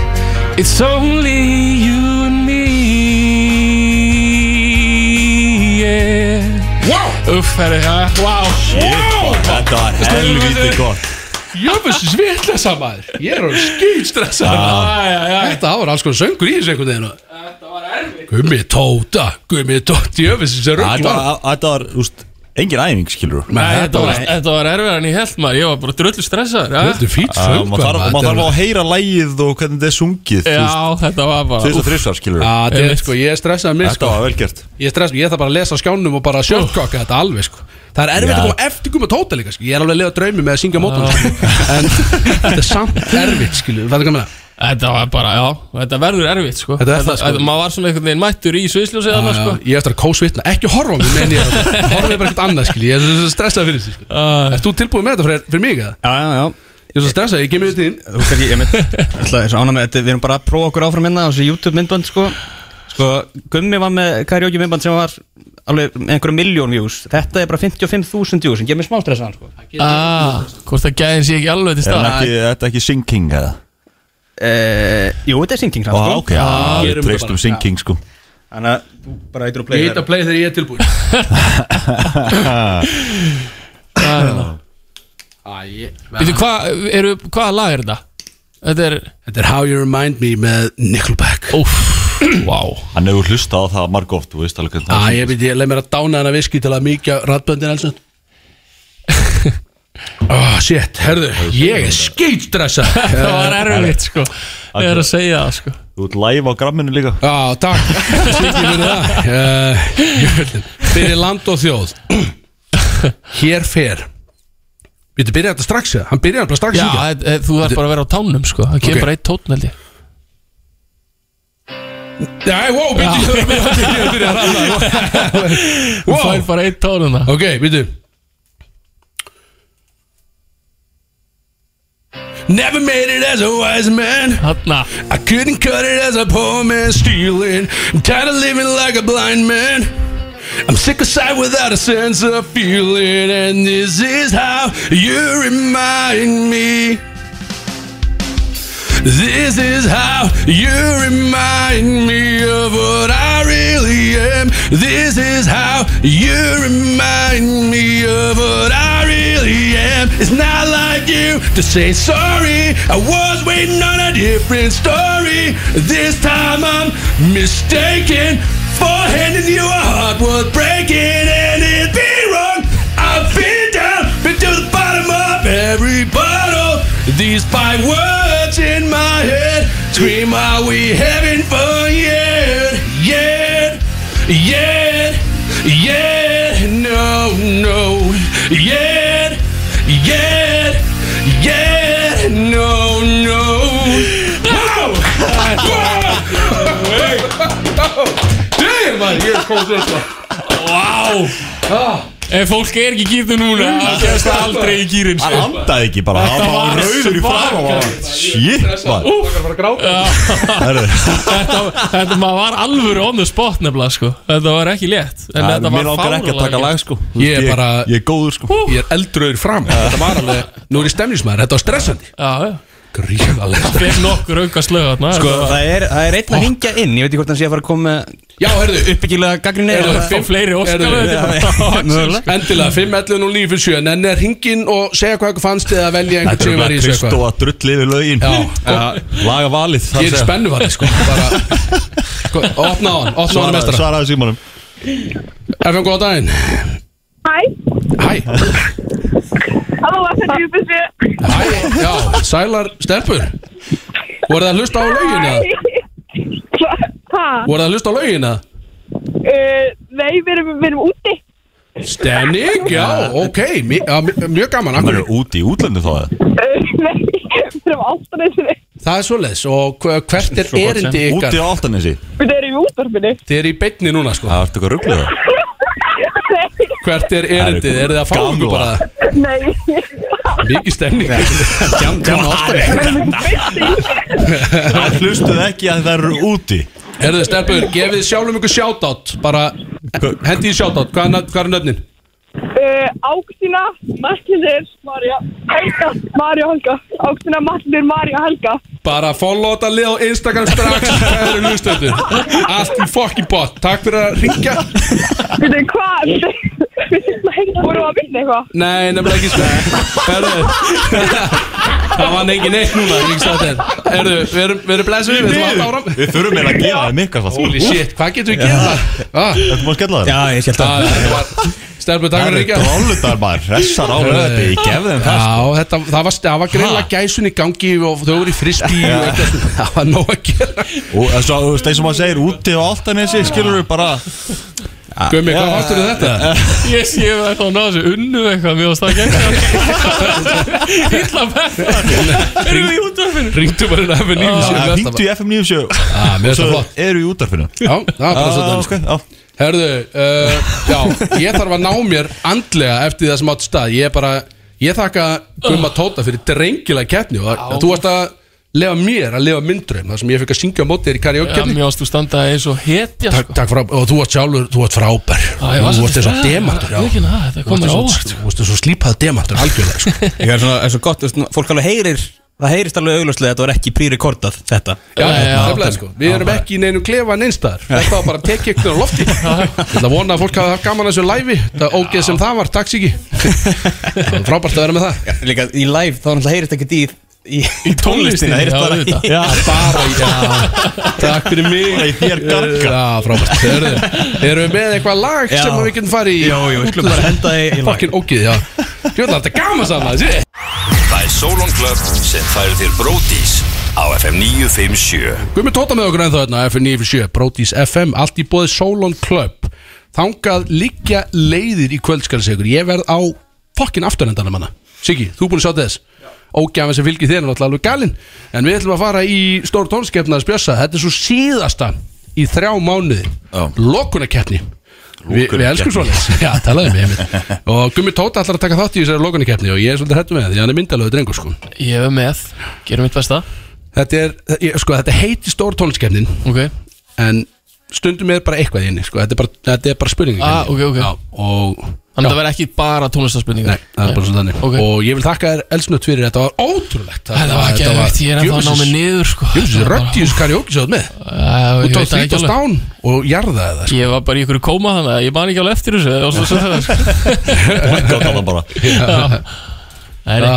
S5: it's only you and me. Yeah. Wow! Uff, það er það. Wow!
S4: Wow! Þetta var helvítið gott
S2: Jöfus svitlesa maður Ég er alveg skýtstressa Þetta var alls konar söngur í þessu einhvern veginn Þetta var erfið Gummi Tóta Gummi Tóta Jöfus þessi
S4: Þetta
S2: rögg
S4: var- þetta var, þú veist, engin æfing skilur
S5: Nei, þetta var, þetta var erfiðar en ég held maður, ég var bara drullu stressaður ja.
S2: Þetta er fýtt söngur
S4: Maður þarf- maður þarf að heyra lægið og hvernig þetta er sungið þú veist,
S5: Já, þetta var bara
S4: Tvís og þrísar skilur
S2: Já, þetta er sko, ég er stressað mér
S4: Þetta
S2: sko
S4: var velgert
S2: Ég er stressað, ég þarf bara að lesa á skjánum og bara sjörtkokka þetta alveg sko Það er erfitt
S4: Já.
S2: að koma eftir Gummi Tóta líka sko Ég er alveg að lifa draumi með að syngja mótum sko. En þetta er samt erfitt skilu Þetta er gaman
S5: Þetta var bara, já, þetta verður erfitt sko
S2: Þetta er það, sko.
S5: Maður var svona einhvern veginn mættur í sviðsljósið þarna, sko
S2: Ég er eftir að kósvitna, ekki horfa á mig menn ég Horfa bara eitthvað annað skil, ég er svo stressað fyrir þessu sko.
S5: Uh,
S2: Ert þú tilbúið með þetta fyrir, fyrir mig eða?
S3: Já, já, já
S2: Ég er svo stressað, ég kemur við þín
S3: Þú veist ekki, ég mynd ætla, ég ána með, þetta, Við erum bara að prófa okkur áfram hérna á þessu YouTube myndband sko. sko, Gummi var með karaoke myndband sem var alveg með einhverjum miljón views Þetta er bara 55.000 views Ég er með smá stressaðan sko.
S5: ah, Hvort það gæðin sé ekki alveg
S4: Er
S5: til stað
S4: hann ekki- þetta er ekki singking eða?
S3: e, Jú, þetta er syngting
S4: Ó,
S3: samt, sko.
S4: ok, já,
S2: gerum
S4: við
S2: þetta bara.
S4: treystum singking sko
S3: Þannig að þú bara
S2: Ég
S3: eitthvað að playa
S2: heit að play þegar ég er tilbúið
S5: Býtu, hvað, eru, hvaða lag er þetta? Þetta er,
S2: Þetta er How You Remind Me með Nickelback
S5: óf, vá
S4: Hann hefur hlustað á það margóft, þú veist alveg hvernig
S2: Æ,
S4: það
S2: ég veit, ég leið mér að dána hana viski til að mikja rattböndin alls Oh, shit, herðu, ég er skeitstressa
S5: Það var erfitt, sko Ég er að segja það, sko
S4: Þú ert live á gramminu líka
S2: Já, takk Siggi fyrir það uh, jöfullinn. Fyrir land og þjóð Hér fer Býttu byrja þetta strax eða? Hann byrja þetta strax
S5: Já,
S2: syngja.
S5: e- e- þú þarf bara að vera á tánum, sko Það
S2: Ok.
S5: kemur bara eitt tótn, held ég
S2: Já, wow, býttu Ég byrja að byrja að rafa
S5: Þú fær
S2: Wow,
S5: bara eitt tón um það
S2: ok, býttu Never made it as a wise man I couldn't cut it as a poor man stealing Tired of living like a blind man I'm sick of sight without a sense of feeling And this is how you remind me this is how you remind me of what I really am. This is how you remind me of what I really am. It's not like you to say sorry. I was waiting on a different story. This time I'm mistaken for handing you a heart worth breaking. And it'd be wrong. I've been down, been to the bottom of every bottle. These five words in my head scream, Are we having fun yet? Yet, yet, yet, no, no, yet, yet, yet, no, no. Wow! Wow! Damn, man, ég er komið þess að Wow! Ah.
S5: Ef fólk er ekki gýrðu núna Það kemst það aldrei í sko. gýrin
S4: Hann andaði ekki bara,
S5: Þetta
S4: hann var
S5: var
S4: rauður í fram
S5: svakalegt.
S4: Shit, maður
S5: þetta, þetta maður var alvöru on the spot nefnilega sko Þetta var ekki létt En
S4: Æ,
S5: þetta
S4: mér
S5: var
S4: langar ekki að taka lag, sko. Þú
S2: Ég
S4: veist,
S2: er
S4: ég-
S2: bara
S4: Ég er góður sko
S2: Ég er eldröður fram Þetta var alveg Nú er ég stemnismæður Þetta var stressandi
S5: Já, já
S2: Gríðalega
S5: Fyrir nokkur auka slög þarna
S3: Sko,
S5: þetta var-
S3: það er, það er einn að hingja inn, ég veit ekki hvort hann sé að fara að koma með
S2: Já, herðu
S3: uppbyggilega gaggrinni
S2: Eru
S3: eða-
S2: það fimm
S5: fleiri
S2: Eru-
S3: Mögulega.
S2: Endilega 5, 11 og 9 fyrir 7 En er hringin og segja hvað ykkur fannst Eða velja einhvern
S4: Þetta er
S2: sem var
S4: bara
S2: í þessu
S4: Kristó
S2: eitthvað
S4: að drulli yfir lögin
S2: Já.
S4: Laga valið það
S2: Ég er
S4: segja.
S2: spennuvarði sko Bara sko, Opna á hann Opna á hann
S4: Svaraðu-
S2: mestara
S4: Svaraðu símanum
S2: FM góða daginn
S12: Hæ,
S2: Hæ
S12: halló, þetta er Júbissi.
S2: Hæ Já Sælar stelpur Voru það að hlusta á lögin eða?
S12: Hæ?
S2: Voru það að hlusta á lögin eða?
S12: Uh, nei, við erum, við erum úti.
S2: Stemning, já, ok mi- já, mi- Mjög gaman akkur.
S4: Hann er úti í útlöndu þá eða?
S12: Uh, nei, við erum áttanesinu.
S2: Það er svoleiðs og hve- hvert er erindi ykkar?
S4: Úti á áltanesi
S12: Við erum í útvarpinu.
S2: Þið eru í beinni núna sko
S4: Það ertu eitthvað rugglið það
S2: Hvert er erindið? Er þið að fá okkur bara?
S12: Nei,
S2: Mikið stemning Gjamma
S4: Það hlustuð ekki að það eru úti
S2: Herðu stelpur, gefið sjálfum ykkur shoutout Bara hendi í shoutout Hvað er nöfn- hvað eru nöfnin?
S12: uh, Áksina, Mattildur, Marja, Helga, Marja, Helga. Áksina, Mattildur, Marja, Helga.
S2: Bara follow þetta lið á Instagram strax Það eru hlustendur Allt í fucking bot Takk fyrir að ringja
S12: Við veitum hvað, við þurfum að hengja, vorum við að vinna eitthvað.
S2: Nei, nefnilega ekki sko Herðu Það var neikin eitt núna ég sagði þér. Herðu, við erum, við erum blessuð Við erum alltaf áram
S4: Við þurfum meira að gefa þeim ykkar það
S2: Holy shit, hvað getum við gefið það? Ah,
S4: Þetta má skella það
S3: Já, ég skelt
S2: ah, þetta var- Stelpur, takk
S4: Það
S2: fyrir að
S4: eru
S2: ringja
S4: drólutar maður Ressar á þetta Ég gef þeim það
S2: Já, þetta, það var, það var greinlega gæsun í gangi og þau voru í frisbí og eitthvað svona. það var nóg að gera
S4: Og svo, þú veist, eins og maður segir Úti á áltanesi Skilur við bara
S2: Gumi, hvað vartur þið þetta?
S5: Ég sé að það að ná þessu unnu eitthvað Mjög ást að gegna Ítla peppa Erum við í útdöfinu
S2: Ringdu bara inn að FM 9
S4: Það hringdu í FM 97
S2: Já, mér finnst það
S4: Svo
S2: Ah, flott.
S4: eru í útarfinu
S2: Já, það var bara
S4: Já,
S2: svolítið
S4: ok, já
S2: Herðu, uh, já, ég þarf að ná mér andlega eftir það sem átt stað Ég er bara, ég þakka Guma Tóta fyrir drengilega keppni og að, þú varst að lefa mér að lefa myndrum þar sem ég fikk að syngja á móti þér í
S5: Já,
S2: karaoke-keppni
S5: mjög ást þú standa eins og hetja
S2: Takk,
S5: sko.
S2: takk frá, og þú varst sjálfur, þú varst frábær
S5: ég var
S2: Þú varst
S5: svolítið
S2: eins og
S5: stað-
S2: demantur,
S5: Ég veit ekki
S2: já
S5: það, þetta
S2: Þú
S5: kom
S2: varst
S5: mér
S2: eins
S5: óvart
S2: og- þú varst eins og slípað demantur, algjörlega sko.
S3: Ég er svona, er svo gott, þú veist, fólk alveg heyrir Það heyrist alveg augljóslega að þetta var ekki prírekordað Þetta
S2: Já,
S5: Nei, já,
S2: nefnilega
S3: já,
S2: sko Við erum ekki í neinum klefa neinstæðar Þetta var bara að tekja ykkur á lofti Ég ætla að vona að fólk hafa haft gaman að þessu læfi Það ógeð sem það var, takk Siki Frábært að vera með það
S3: Líka í live þá náttúrulega heyrist ekki dýð Í, í
S5: tónlistinni,
S3: heyrist
S5: já,
S3: bara ekki
S5: auðvitað.
S4: Já,
S2: Bara, já, takk fyrir mig
S4: Bara í þér garga.
S2: Já, frábært Eru- Erum við með eitthvað lag
S3: Já.
S2: sem við getum farið í
S3: Jó, jó, við skulum bara henda því í lag.
S2: Fokkin ógeð, já Jöfnlega, þetta er gaman saman sí.
S11: Það er Solon Club sem færir þér Bródís á FM 957
S2: Guðmund Tóta með okkur ennþá hérna FN957, Brótis FM, allt í bóði Solon Club Þangað liggja leiðir í kvöldskjálsegur Ég verð á fokkin afturhendanum hana Siggi, þú er búin að sjá til þess Ógjafin sem fylgir þér er náttúrulega alveg galinn En við ætlum að fara í stór tónskeppnaðars bjössa Þetta er svo síðasta í þrjá mánuði
S4: Já.
S2: Lokunakeppni Vi, við elskum
S11: keppni.
S2: svoleiðis, já, talaðu um mig Og Gummi Tóta ætlar að taka þátt í þessari lokunikeppni Og ég er svolítið hættu með það, því hann er myndalögu drengur sko
S5: Ég er með, gerum mitt besta
S2: Þetta er, ég, sko, þetta heiti stór tónliskeppnin
S5: okay.
S2: En stundum er bara eitthvað í henni, sko Þetta er bara, þetta er bara spurningi
S5: Ah, ok, ok
S2: Já, og
S5: Þannig að
S2: já.
S5: það verði ekki bara tónlistarspurningar
S2: Nei, það er bara svolítið þannig
S5: Ok.
S2: Og ég vil þakka þér elsnött fyrir, þetta var ótrúlegt
S5: Þetta var
S2: þetta
S5: geðveikt, ég er ennþá að ná mér niður, sko.
S2: Jöfnsis,
S5: Þetta var bara-
S2: röddís karaoke-sjóð með
S5: Já,
S2: Þú
S5: ég
S2: tókst
S5: veit það ekki
S2: þrítast
S5: alveg.
S2: án og jarðaði það sko.
S5: Ég var bara í ykkur koma þannig að ég man ekki alveg eftir þessu Það var svo svo það sko.
S4: Blackout á það bara
S5: Já. Nei, nei.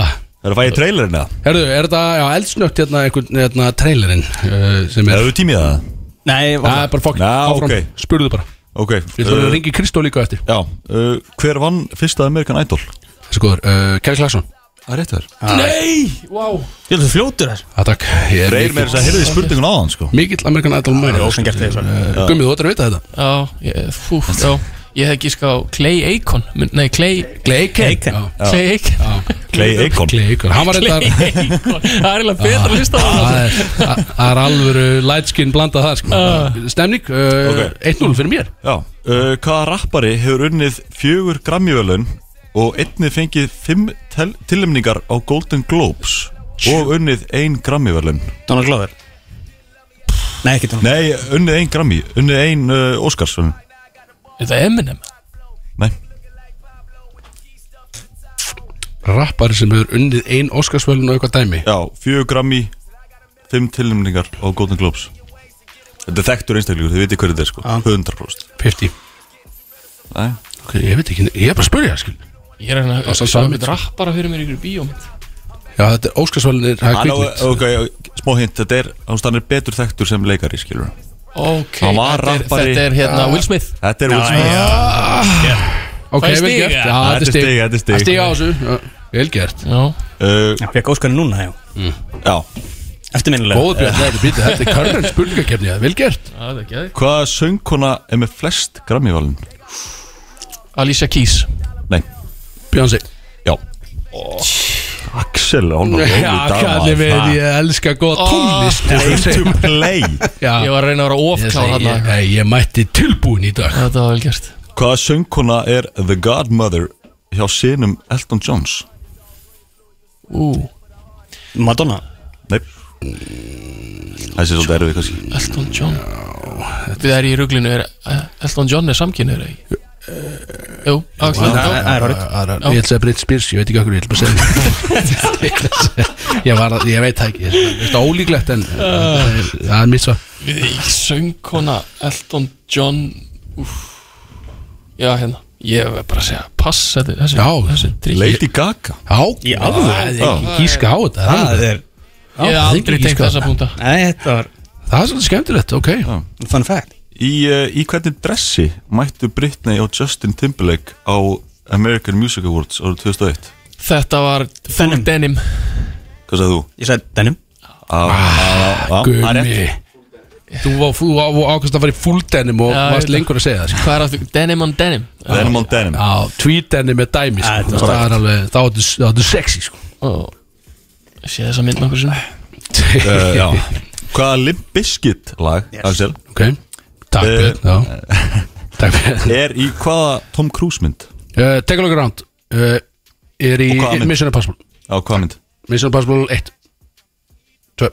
S4: Það er að fæði trailerin eða?
S2: Ah. Herðu, er þetta, já, eldsnögt hérna einhvern, hérna, trailerinn uh, sem er
S4: Hefur tímið það?
S3: Nei, Eh.
S2: Það er bara fokk, áfram,
S4: ok.
S2: spurðu bara
S4: Ok
S2: Við þurfum að ringi Kristó líka eftir
S4: Já, uh, hver vann fyrsta American Idol?
S2: Skoður, uh, Kjell Klagsson
S4: Það er rétt þér
S5: Nei, wow
S3: Ég held þú fljótur þar
S2: Já, Ah, takk Ég er
S4: Reyr með þess að heyrði spurningun á hann sko
S2: Mikill Amerikan Idol mæri
S3: er ósangert þegar þessu.
S4: Já.
S2: Gummið, þú ættir að vita þetta
S5: Já, ég, fú, já Ég hef gíska á Clay Aikon mun- Nei, Clay
S2: Clay Aiken
S5: Já. Clay Aiken.
S4: Clay Aikon
S2: Clay Aiken Hann var
S5: Clay
S2: þetta
S5: Aikon Það er eiginlega betra list á
S2: Það
S5: það
S2: er- það- það er alvöru light skin blandað það sko.
S5: Ah.
S2: Stemning, uh, 1-0 fyrir mér
S4: Já, uh, hvaða rappari hefur unnið fjögur Grammyvölun og einnig fengið fimm tel- tilnefningar á Golden Globes og unnið ein Grammyvölun?
S3: Donald Glover Nei, ekki Donald
S4: Nei, unnið ein Grammy, unnið ein uh, Óskarsvölun
S5: Þetta er Eminem
S4: Nei,
S2: Rappari sem hefur unnið ein Óskarsvölin og eitthvað dæmi
S4: já, fjögur Grammy, fimm tilnefningar á Golden Globes Þetta er þekktur einstaklingur, þið viti hverju þetta er sko, 100%
S2: 50
S4: Nei,
S2: Ok, ég veit ekki, ég er bara að spurja það skil
S5: Ég er hann að
S2: Og svo
S5: sjá
S2: sami-
S5: einhvern rappara fyrir mér í ykkur bíómynd
S2: Já, þetta er Óskarsvölinir, það er
S4: Hann á,
S2: kvikmynd
S4: ok, smá hint, þetta er, hann er betur þekktur sem leikari, skilur
S5: Ok,
S4: Hann var
S5: þetta er-
S4: rappari.
S5: Þetta er hérna Will Smith
S4: Þetta er Will Smith
S2: Ok,
S5: Fæ stig,
S2: vel gert
S5: ja?
S2: Já,
S4: Þetta
S2: þetta
S4: er
S2: er
S4: stig,
S2: stig
S4: þetta er stig.
S2: Það á þessu Já, Vel gert
S5: Já,
S4: uh,
S3: Ég fekk Óskar núna, já
S4: Já,
S3: Eftirminnilega
S2: Góður björn, þetta er býtið Þetta er körnum spurningakefni það er Vel gert
S5: það er ekki það
S4: Hvaða söngkona er með flest Grammyvalin?
S5: Alicia Keys
S4: Nei,
S2: Björnsi
S4: já Axel, hann var
S2: Já, kalli við Ég elska góða tónlist eins og ég segi.
S4: To play
S5: Ég
S2: Já
S5: var að reyna að vera
S2: Ég segi,
S5: ofkláð
S2: ég-
S5: þarna
S2: nei, Ég mætti tilbúin í dag
S5: Þetta var vel gert
S4: Hvaða söngkona er The Godmother hjá sinum Elton Jones?
S5: Ú,
S3: Madonna
S4: Nei Það sé svolítið erfið kannski
S5: Elton John Við erum í ruglinu er, eh, Elton John er samkynir Jú, Axel
S2: Það
S5: já.
S2: er horrið Ég ætla að segja Britt Spears, ég veit ekki okkur, ég ætla bara að segja það. Ég var að, ég veit það ekki ég- Þetta er ólíklegt en Það er mitt svar
S5: Við erum í söngkona Elton John Úf. Já, hérna Ég verð bara að segja Pass, þetta er þessi
S2: Já.
S5: þessi drikk.
S4: Lady Gaga
S2: Já,
S3: Í alvöru?
S2: það er ekki gíska á þetta það er alveg-
S3: Það er
S5: Ég hef
S2: Já, sko.
S5: aldrei
S2: ég
S5: tengt
S2: skal-
S5: þessa púnta
S3: Nei, þetta var
S2: Það er svolítið skemmtilegt, ok
S3: Fun fact
S4: Í, uh, í hvernig dressi mættu Britney og Justin Timberlake á American Music Awards árið 2001?
S5: Þetta var full
S3: Denim.
S5: denim
S4: Hvað sagði þú?
S3: Ég sagði Denim
S4: Ah,
S2: Gumi Þú var- þú á- þú ákvæmst að fara í full denim og
S5: Já, ég
S2: varst
S5: veit
S2: lengur að segja það sko.
S5: Hvað er aftur? Denim on denim
S4: Denim on denim
S2: Já, tweet denim er dæmi sko.
S3: Já, þetta
S2: Það er alveg, þá áttu- þá áttu sexy sko.
S5: Ó, ég Sé þessa mynd nokkur sinni
S4: uh, já. Hvaða Limp Bizkit lag Axel,
S2: Ok, takk
S4: Eh,
S2: Björn já. Takk Björn
S4: er í hvaða Tom Cruise mynd?
S2: Uh, Take a look around Uh, Er í
S4: Og hvaða mynd?
S2: Mission Impossible
S4: Á hvaða mynd?
S2: Mission Impossible 1 2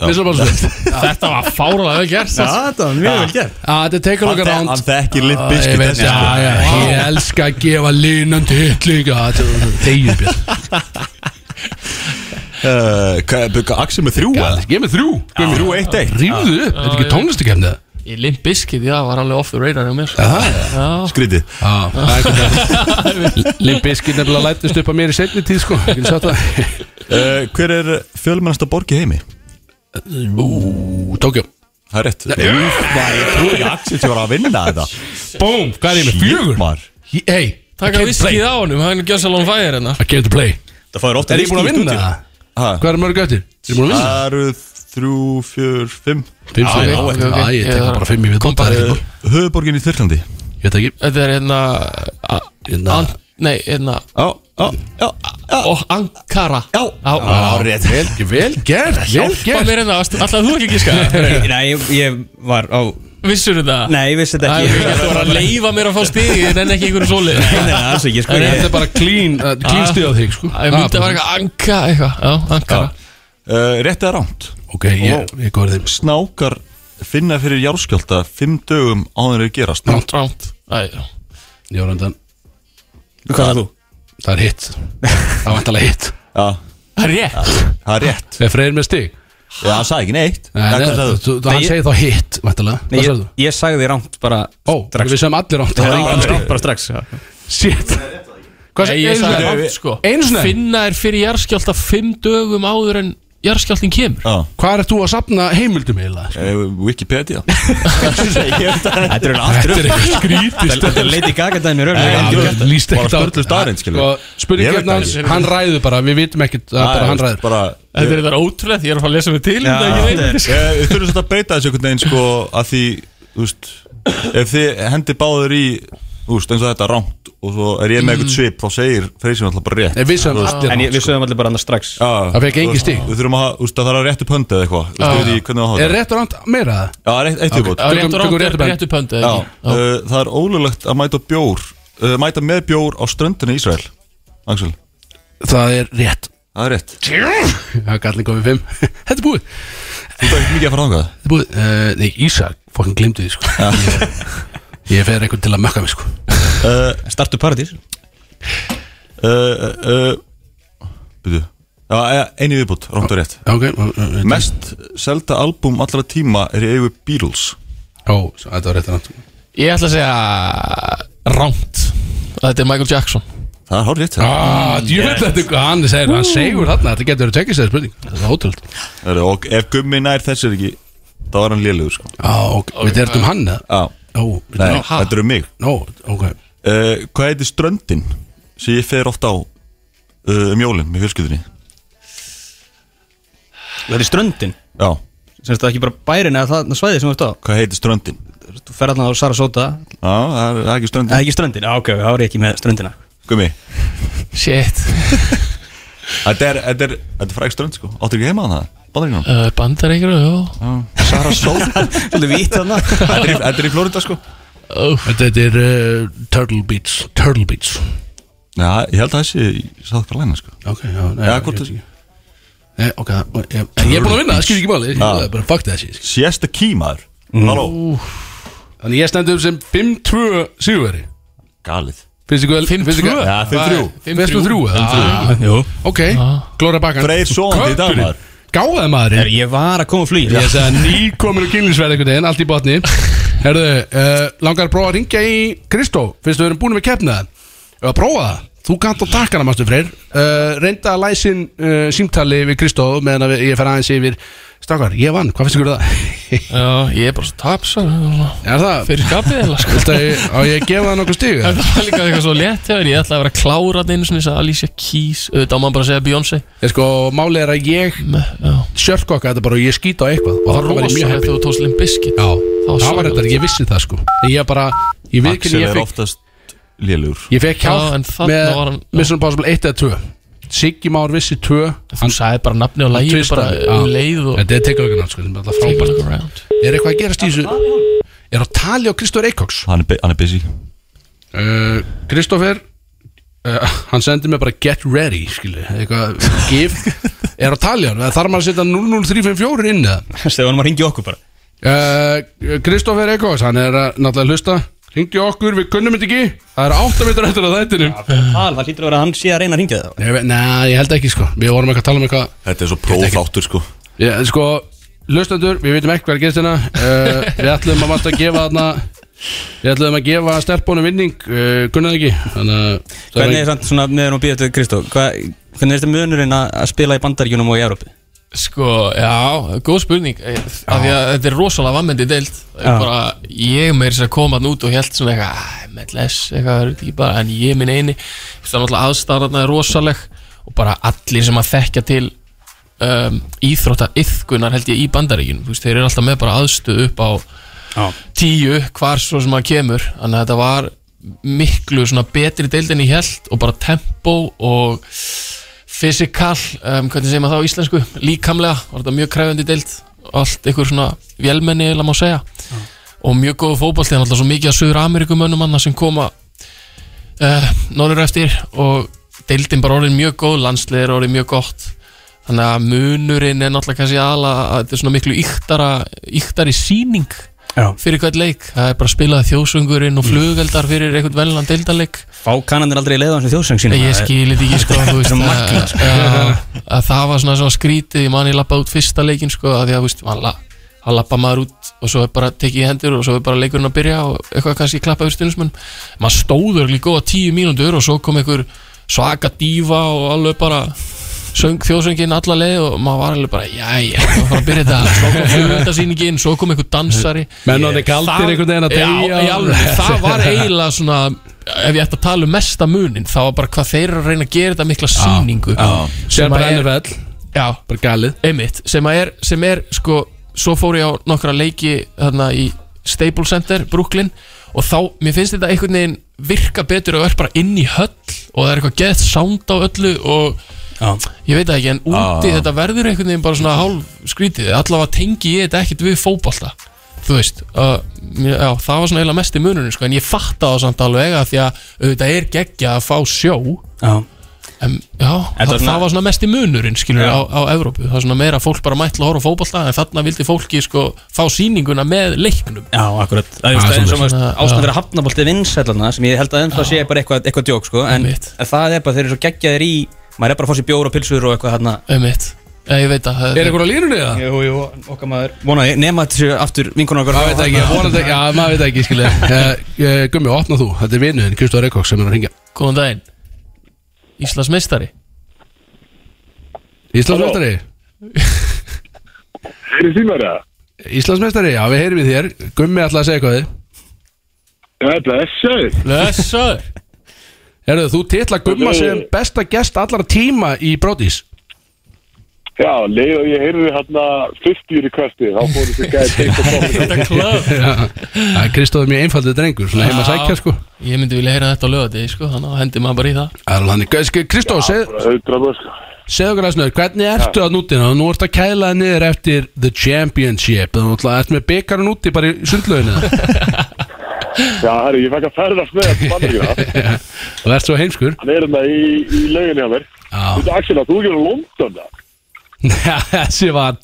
S2: Mission Impossible 1
S5: Þetta var fáralega vel gert
S3: Já, þetta var mjög vel gert
S2: Ah, Þetta er Take a look around
S4: Hann þekkir Limp
S2: Ah, ég
S4: Bizkit
S2: veit,
S4: þessi,
S2: já, já,
S4: sko.
S2: ég elska að gefa línan til líka Þegið Björn
S4: Eh, hvað- bugga, Axel með þrjú
S2: Já,
S4: eða?
S2: ég er með þrjú Gumi.
S4: Þrjú eitt eitt
S2: Rífðu upp, þetta er ekki tónlistakefni það
S5: Í Limp Bizkit, já, var alveg off the radar hjá mér Já,
S4: Skrítið
S2: Já, það er eitthvað Limbiskið nefnilega lætist upp að mér í setni tíð sko Ég vil sjá það
S4: uh, Hver er fjölmennasta borg í heimi?
S2: Ú, Tókjó
S4: Það er rétt Úf, maður, Ég trúi ekki að Axel sé bara að vinna þetta
S2: Búm, hvað er ég með?
S4: Shit,
S2: Fjögur?
S4: maður.
S2: Hei,
S5: Takk að viskið á honum, hann er gjössalón fæðir hérna
S2: I came to play
S3: Það fóður ofta
S2: Er ég búin að vinna það?
S4: Ha,
S2: Hvað er mörg eftir? Er ég búin að vinna það?
S4: Það eru þrjú, fjör, fimm
S2: Fimm
S5: Já,
S2: fyrir
S5: já, ok, ok.
S2: Já, ég
S5: Ég
S2: tek
S5: þarf-
S2: bara fimm í við
S5: Kom
S2: Það er
S5: bara.
S2: ekki
S4: Höfuborgin í Þyrklandi
S2: Ég veit ekki
S5: Þetta er hérna a-
S2: Hérna.
S5: An- Nei, hérna
S4: Já, já, já
S5: oh, Ankara
S4: Já,
S5: á,
S4: rétt
S2: Vel gert, vel
S5: Hjálpa
S2: gert
S5: mér hérna, alltaf þú ekki að gíska
S3: Nei, ég, ég var á
S5: Vissur það?
S3: Nei, ég vissi þetta
S5: Æ,
S3: ekki
S5: Þú var að leifa mér að fá stig En enn ekki einhverju sóli
S3: Nei, nei, nei, alls ekki, sko, ég- Þetta er bara clean, uh, clean stig á þig, sko.
S2: Ah,
S5: Ég myndi að vera eitthvað anka eitthvað Já, ankara
S4: uh, Rétt eða ránt
S2: Ok, ég- ég góði þeim
S4: Snákar finna fyrir járskjálta Fimm dögum áður en þau gerast
S5: Ránt, ránt
S2: Ég var endan
S3: Hvað er þú?
S2: Það er hitt Það var alltaf hitt
S4: Já
S5: Það er rétt
S4: Það er rétt
S2: Er Freyr með stig?
S4: Já, hann sagði ekki neitt
S2: Nei,
S3: Hvað
S2: nei,
S3: sagði þú?
S2: þú- þú- Hann
S3: Nei, ég-
S2: segir þá hitt Væntalega
S3: Nei,
S2: Hvað
S3: ég,
S2: sagði þú?
S3: ég sagði rámt bara
S2: Ó, við sagðum allir rámt.
S3: Já,
S2: Það var engin
S3: allir
S2: stig.
S3: rámt bara strax já.
S2: Shit Hvað
S5: Nei,
S2: sagði-
S5: ég
S2: einu
S5: sagði
S2: sinni?
S5: rámt sko
S2: Einu sinni?
S5: Finna er fyrir jarðskjálta Fimm dögum áður en jarðskjáltin kemur
S4: Já
S2: Hvað ert þú að sapna heimildum eiginlega?
S4: Eh, Wikipedia
S3: Þetta er
S2: Þetta er eitthvað skrítið
S3: Þetta er Lady Gaga dæmi raun
S2: Lýst ekkert á Sko,
S3: Ég veit
S2: Spurningin hans,
S3: það ekki.
S2: hann ræður bara Við vitum ekkert að bara hann ræður
S5: Þetta er þetta ótrúlegt, ég er að fara að lesa mig til um
S4: Já,
S5: þetta, ég veit
S4: ég-
S5: þetta.
S4: Eh, Við þurfum svolítið að breyta þessu einhvern veginn sko að því, þú veist ef þið hendi báður í þú veist, eins og þetta rámt og svo er ég með eitthvað svip þá segir Freysin alltaf bara rétt
S2: Nei, við sögðum
S4: Þú veist,
S2: allir En ég-
S3: við sögum allir bara annars strax
S4: Já,
S2: Það fékk engin
S4: þú veist,
S2: stig.
S4: Við þurfum að, þú veist, að það er að réttu pöndu eða eitthvað Þú veist, ég veit ekki hvernig á að hafa
S2: Er rétt og rámt meira það?
S4: Já, rétt, eitt viðbót
S5: Já, rétt og rangt er réttu pöntu, eða
S4: Já,
S5: ekki? Já.
S4: uh, Það er ólulegt að mæta bjór uh, mæta með bjór á ströndinu í Ísrael Axel
S2: Það er rétt
S4: Það er rétt
S2: Það er gallin komið fimm Þetta er búið
S4: Þú ert mikið að fara þangað
S2: Þetta er búið uh, Nei, Ísak fokkin glimtu því sko Ég, ég fer eitthvað til að mökka mig sko
S4: uh,
S3: Startu paradís uh,
S4: uh, Býtu Já, eh, einu viðbútt, rámt og rétt
S2: okay, uh,
S4: Mest selda albúm allra tíma er í eigu Beatles
S2: Ó, þetta var rétt og rámt
S5: Ég ætla að segja Rámt Þetta er Michael Jackson
S4: Það er hár rétt
S2: Ah, djúvill þetta er hvað hann segir Hann segur þarna Þetta getur verið tekist þegar spurning Þetta er ótrúld
S4: Heyrðu, Og ef gummi nær þessu ekki þá er hann lélugur sko
S2: Á, ok, við erum um hann eða?
S4: Já
S2: Ó,
S4: Nei,
S2: Ó, ha.
S4: þetta eru mig
S2: Nó, ok
S4: uh, Hvað heitir ströndin sem ég fer ofta á uh, um jólin með fjölskyldinni
S3: Þetta er ströndin
S4: Já
S3: Semst það er ekki bara bærin eða það svæði sem þú ert á
S4: Hvað heitir ströndin?
S3: Þú fer allan á Sarasota
S4: Já, það er, það er ekki ströndin
S3: Það er ekki ströndin, já ok, þá er ég ekki með ströndina
S4: Gummi
S5: Shit
S4: Þetta er, þetta er, þetta er fræk strönd sko Áttu ekki heima að það? Bandaríkjum
S5: uh, Bandar ykkur, já
S4: Sarasota
S3: Svolítið vít þarna
S4: Þetta er í- þetta er í Florida sko
S2: Þetta er uh, Turtle Beach Turtle Beach
S4: Já, ég held að þessi Sátt Karlæna sko
S2: Ok, já, nei,
S4: Já,
S2: ég
S4: hvort
S2: veit
S4: þessi
S2: Nei, ok, það- ég, en ég er búin að vinna, það skilur ekki máli ég-
S4: Já.
S2: það er bara fuck that shit
S4: Siesta kímaður Halló
S2: Þannig ég stendur sem 5-2 sigurveri
S4: Galið
S2: Finnst ykkur vel?
S5: 5-2?
S4: Já, 5-3.
S2: 5-3 5-3
S3: Jú
S2: Ok, glóra bakan
S4: Ah. Freyr sofandi í dag, maður.
S2: Gáðaði maðurinn
S3: Ég var að koma að flýja
S2: Ég sagði nýkomin og kynlísverð einhvern veginn, allt í botni Herðu, uh, langar að prófa að ringja í Kristó Fyrst við erum búin með keppna það Að prófa það Þú gant á takkana, mástu freyr uh, Reynda að læsin uh, símtali við Kristó Meðan að við- ég fer aðeins yfir Stakar, ég vann, hvað finnst ykkur um það?
S5: Já, ég er bara svo tapsar
S2: Er það?
S5: Fyrir skapið eða sko
S2: Viltu að ég, á ég að gefa það nokkuð stíg?
S5: Það var líka eitthvað svo létt hjá þér Ég ætla að vera að klára þetta einu sinni Ég sagði Alicia Keys Auðvitað á maður bara að segja Beyoncé
S2: Ég sko, máli er að ég
S5: Já.
S2: sjörkokka þetta bara og ég skýt á eitthvað og
S5: Það var
S2: þarna var ég mjög
S5: rosalega
S2: happy
S5: þegar þú tókst Limp Bizkit
S2: Já,
S5: var
S2: það var
S5: svakalegt.
S2: þetta, ég vissi það sko En Ég bara, ég veit
S4: Axel
S2: hvernig ég
S4: er
S2: fekk
S4: oftast lélugur
S2: Ég fekk
S5: Já, en
S2: hjálp
S5: þarna
S2: með
S5: var hann- já.
S2: Mission Impossible 1 eða 2 Siggi Már vissi 2
S5: Þú sagði bara nafni á lægi Bara
S2: twistaði,
S5: um
S2: já.
S5: leið og
S2: Þetta er tekaukunar sko, þetta er alltaf
S5: Take a look
S2: frábært
S5: around
S2: Er eitthvað að gerast í þessu? Er á tali á Kristófer Eikóks
S4: Hann er, bu- hann er busy
S2: uh, Kristófer uh, Hann sendi mér bara get ready skilu, eitthvað, give Er á tali hann, þarf maður að setja 00354 inn eða?
S3: Þegar hann var að ringja okkur bara
S2: Eh, Kristófer Eikóks, hann er að náttúrulega hlusta Hringdi í okkur, við kunnum þetta ekki Það er 8 mitur eftir að þættinum
S3: Það hlýtur að vera að hann sé að reyna að ringja það
S2: Ég veit- Nei, ég held ekki sko Við vorum eitthvað að tala um eitthvað
S4: Þetta er svo prófáttur sko
S2: Já, en sko, lustendur, við veitum ekki hvað er gerst hérna uh, Við ætlum að mást að gefa þarna Við ætlum að gefa stelpunum vinning uh, Gunnar ekki Þannig að það
S3: Hvernig er
S2: ekki-
S3: samt svona meðan og býða til Kristó hva- Hvernig er þetta munurinn að að spila í bandaríkjunum og í Európi?
S5: Sko, já, góð spurning Eh, Af því að þetta er rosalega vammendi deilt Ég
S3: Já.
S5: bara, Ég meir þess að koma hann út og held svona eitthvað "Æ, MLS, eitthvað, er þetta ekki bara En ég minn eini, það er náttúrulega aðstæðan er rosaleg Og bara allir sem að þekkja til um, Íþrótta yfkunar held ég í bandaríkjunum Þú veist, Þeir eru alltaf með bara aðstöð upp á
S3: Já.
S5: tíu hvar svo sem að kemur Þannig að þetta var miklu svona betri deild en ég held Og bara tempo og fysikal, um, hvernig segir maður það á íslensku líkamlega, var þetta mjög krefjandi deilt allt ykkur svona vélmenni eða má segja og mjög góð fótbolti en alltaf svo mikið að sögur Amerikumönnum manna sem koma uh, norður eftir og deildin bara orðin mjög góð, landsleir orðin mjög gott þannig að munurinn er náttúrulega kannski ala að þetta er svona miklu yktara, yktari síning
S2: Já.
S5: fyrir hvern leik, það er bara að spila þjóðsöngurinn
S3: Mm.
S5: og flugeldar fyrir einhvern velnan deildaleik
S3: Fá kannandir aldrei leiða hans við þjóðsöng sína
S5: Ég skilir þetta ekki sko þú veist,
S3: Þetta er magna sko
S5: að, að það var svona, svona skrítið ég man ég lappa út fyrsta leikin sko að því að þú veist, man la, að lappa maður út og svo er bara tekið í hendur og svo er bara leikurinn að byrja og eitthvað kannski klappa yfir stundismenn maður stóður líka góða tíu mínútur og svo kom einhver svaka dífa og alveg bara söng þjóðsöngin alla leið og maður var alveg bara jæja, það var bara að byrja þetta svo kom fjöldasýningin, svo kom einhver dansari
S2: Menn orðnir kaldir einhvern veginn að
S5: Já,
S2: deyja.
S5: í alveg, það var eiginlega svona ef ég ætti að tala um mesta munin þá var bara hvað þeir eru að reyna að gera þetta mikla sýningu
S2: Sér bara NFL.
S5: Já,
S2: bara galið
S5: einmitt, sem, að er, sem er sko, svo fór ég á nokkra leiki þarna í Staples Center, Brooklyn og þá, mér finnst þetta einhvern veginn virka betur og er bara inn í höll og það er eitthvað gett sound á öllu og ég veit það ekki, en úti
S2: Já.
S5: þetta verður einhvern veginn bara svona hálf skrítið allavega tengi ég þetta ekkert við fótbolta þú veist, uh, mér- já, það var svona eiginlega mest í mununum, sko, en ég fatta það samt alveg að því að auðvitað er geggja að fá sjó
S3: Já
S5: En, já,
S3: Þetta
S5: það,
S3: var svona-
S5: það var svona mest í munurinn skilur á, á Evrópu, það var svona meira fólk bara mætla að horfa á fótbolta, en þarna vildi fólki sko fá sýninguna með leiknum
S3: Já, akkurat Það er
S5: Ah,
S3: ah, eins og maður
S5: svoleiðis. Svona,
S3: ástæðan
S5: já.
S3: fyrir hafnaboltið vinsællana sem ég held að ennþá sé bara eitthvað, eitthvað djók sko en, en það er bara þeir eru svo geggjaðir í maður er bara að fá sér bjór og pilsur og eitthvað hérna
S5: Einmitt, ja, ég veit að
S2: Er einhver á línunni eða?
S3: Jú, jú, okkar maður Vona, ég- nema þetta séu aftur vinkunar okkar
S2: Það veit ekki, vonandi ekki, já, maður veit ekki, skilja uh, Gummi, opna þú, þetta er vinnuðin, Kristóð Reykjóks sem er að ringja
S5: Góðan daginn Íslands meistari
S2: Íslandsmeistari
S13: Er þið símar það?
S2: Íslandsmeistari, já, við heyrim í þér Gummi ætla að segja eitthvað við
S13: Já, blessaður
S5: Blessaður
S2: Herðu, þú titla Gumma sem besta gest allra tíma í Brodís
S13: Já, leið og ég heyrði hérna 50 requesti, þá fóru þessi gæði til og komin
S2: Kristóð er mjög einfaldið drengur, svona heima að sækja sko
S5: Ég myndi vilja heyra þetta á lögadegi sko, þannig að hendi maður bara í það
S2: Það er alveg hannig. Sk- Kristó, segð- segðu okkur aðeins nöður, hvernig ertu að nútina? Nú ertu að kæla þig niður eftir The Championship, þannig að ertu með byggarinn úti bara í sundlauginu
S13: Já, herri, ég fæk að ferðast með þetta bandaríkina
S2: og ert svo heimskur
S13: Hann er hérna í, í leiðinni hjá mér Þú veit, Axel, að þú er ekki á London það
S2: Já, Þessi var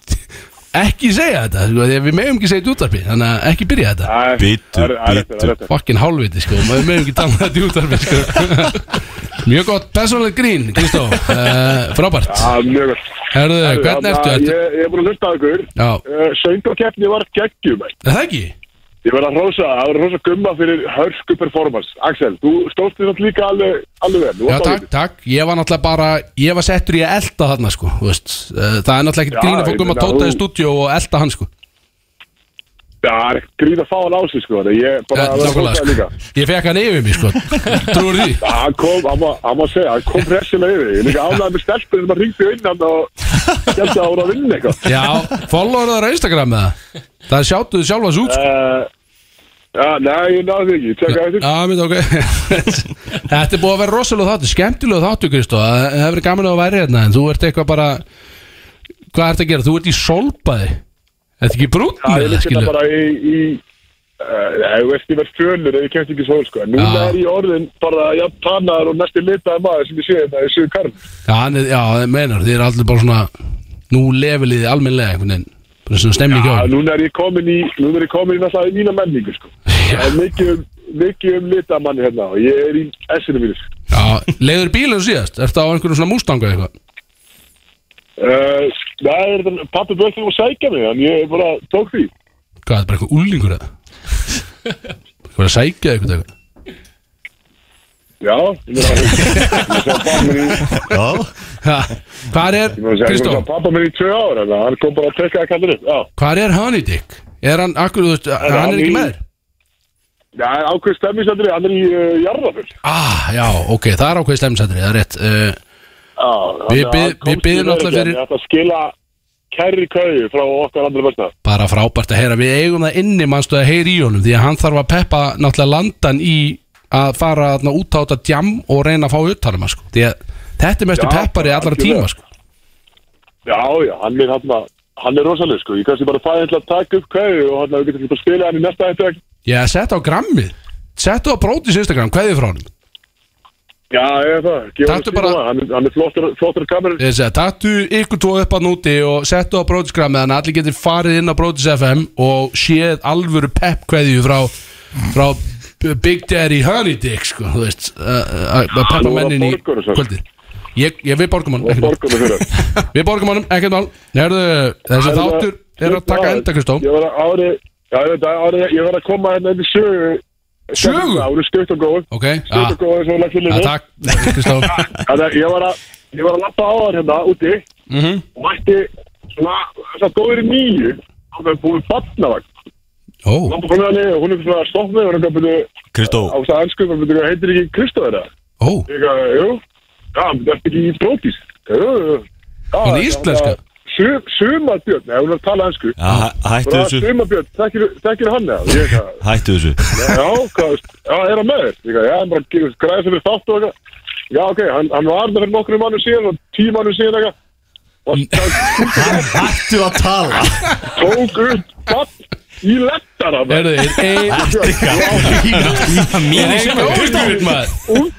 S2: ekki segja þetta, sko, því að við megum ekki segja þetta í útarpi, þannig að ekki byrja þetta
S13: Bítu, bítu
S2: Fokkin hálfviti, sko, maður megum ekki tala um þetta í útarpi, sko Mjög gott, personal grín, Kristó, uh, frábært
S13: Já, mjög gott hérna,
S2: Herðu, hvernig ertu? ertu?
S13: Ég, ég er búin að hlusta á ykkur
S2: Já.
S13: uh, Söngarkeppni var geggjum Er
S2: það ekki?
S13: Ég verð að hrósa, það verður að hrósa gumma fyrir hörsku performance Axel, þú stóðst þér samt líka alveg, alveg vel Þú
S2: Já,
S13: varst
S2: takk, takk, ég var náttúrulega bara, ég var settur í að elda þarna, sko, þú veist Eh, Það er náttúrulega
S13: Já,
S2: ekkert grín að
S13: ég
S2: fólk um að
S13: meina,
S2: tóta í
S13: þú-
S2: stúdíu og elda hann, sko
S13: Já, það er ekkert gríð að fá hann á sig sko þannig að Ég bara
S2: Eh,
S13: verð að
S2: nákvæmlega,
S13: hrósa það líka
S2: sko. Ég fekk hann yfir mig, sko Trúur því?
S13: Já, hann kom, hann var- hann var að segja, hann kom pressilega yfir Ég er líka ánægði með stelpunni sem hann ringdi inn hann og held að hann voru að vinna eitthvað
S2: Já, followar það á Instagram eða? Það sjáttu þið sjálfa svo út, sko
S13: uh, Já, ah, nei, ég náði því ekki, tjekka eftir
S2: Já, mitt, ok Þetta er búið að vera rosalega þáttu, skemmtilega þáttu, Kristó Það það hefur verið gaman að væri hérna, en þú ert eitthvað bara Hvað ert að gera? Þú ert í solbaði Þetta er ekki brúnn
S13: Já,
S2: með
S13: ég
S2: það,
S13: líka þetta
S2: skilur
S13: bara í, í uh, Ég veist, ég verð fjölur ef ég kemst ekki í sól sko En núna
S2: Já.
S13: er ég orðin bara jafn tannar og næstu litaði maður sem ég sé þetta í sögur karn
S2: Já, hann er, já, það meinar, þið er allir bara svona Nú lefiliði almennlega einhvern veginn Bara svona stemning hjá
S13: Já,
S2: ykkur.
S13: núna er ég komin í, núna er ég komin í náttúrulega í mína menningu sko Það er mikið um, mikið um litaði manni hérna og ég er í essinu mínu sko
S2: Já, leiður bílum síðast Ertu á einhverjum svona mústanga eitthvað
S13: Uh, það er þannig, pappi bauð þegar að sækja mig, en ég bara tók því.
S2: Hvað, þetta er bara eitthvað úlingur eða Eitthvað að sækja eitthvað eitthvað
S13: Já, ég meina, ég sá pappa minn í...
S2: Já Hvar er,
S13: Ég meina, ég sá- ég
S2: Kristó,
S13: sá pappa minn í tvö ára, en hann kom bara að tekka að kallir upp, já.
S2: hvar er Honey Dick? Er hann, akkur, þú veist, hann er ekki
S13: í-
S2: með þér?
S13: Já, það er ákveð stemmisandri, hann er í uh, jarðaföld.
S2: Ah, já, ok, það er ákveð stemmisættri, það er rétt uh,
S13: Já,
S2: Við bið- við biðjum náttúrulega fyrir-
S13: Ég ætla að skila kærri kauði frá okkar andra besta.
S2: Bara frábært að heyra, við eigum það inni mannstu að heyra í honum Því að hann þarf að peppa náttúrulega landan í að fara þarna út á þetta djam og reyna að fá uttalma sko. Því að þetta er mestu
S13: Já,
S2: peppari allra
S13: algjörlega.
S2: tíma sko.
S13: Já, já, hann er hann að, hann er rosaleg sko, ég kannski bara fæði hann til að taka upp kveði og hann getur bara að spila hann í næsta eftir
S2: Já, sett á grammið Sett á brótis Instagram, hvað er frá honum?
S13: Já, ég er það, gefa hann
S2: Taktu
S13: stíma það, hann, er- hann er flottur, flottur kamerun
S2: Ég segi, Taktu ykkur tvo upp að núti og settu á brótisgrammið Þannig að allir getur farið inn á brótis FM Og séð alvöru pepp kveðju frá, frá Big Daddy Honey Dick sko, Þú veist uh, uh, Peppa
S13: Nú var
S2: mennin í
S13: borgarinn, sagði.
S2: kvöldi Ég, ég, við borgum hann Við
S13: borgum hann
S2: Við borgum hann, ekkert mál Herðu, þessi þáttur er að taka enda, Kristó
S13: Ég var að ári, já, ég veit að ári, ég var að koma hérna inn í sögu
S2: Sögu?
S13: Ári skutt og góð
S2: Ok,
S13: Skutt og góð, svo lagt til
S2: Já, takk, Kristó
S13: Þannig að ég var að, ég var að lappa á hann hérna úti
S2: Mhm.
S13: og mætti svona, svona góður í nýju og það er búin barnavagn
S2: Ó
S13: Lappa kom hérna niður og hún er svona að stoppa mig og hún er eitthvað byrju
S4: Kristó
S13: á þess að ansku, hún byrju heitir ekki Kristó þetta
S2: Ó
S13: Ég eitthvað, jú, já, hann er ekki í brótis Jú, jú, jú Já,
S4: Hún er íslenska.
S13: Sum- Sumarbjörn, nei, hún er að tala ansku
S4: Já, hæ- hættu þessu.
S13: Sumarbjörn, þekkir- þekkir hann eða? Ég eitthvað
S4: Hættu þessu
S13: Já, hvað, já, er hann með þér? Ég gaf, já, hann bara ge- græði sem er þátt og eitthvað. Já, ok, hann, hann var það fyrir nokkru mannu síðan og tíu mannu síðan eitthvað. Og hann
S4: hættu að tala.
S13: Tók upp bapp í lettara.
S2: Herðu,
S13: ein...
S2: Mínu sem er Kristó
S13: Unga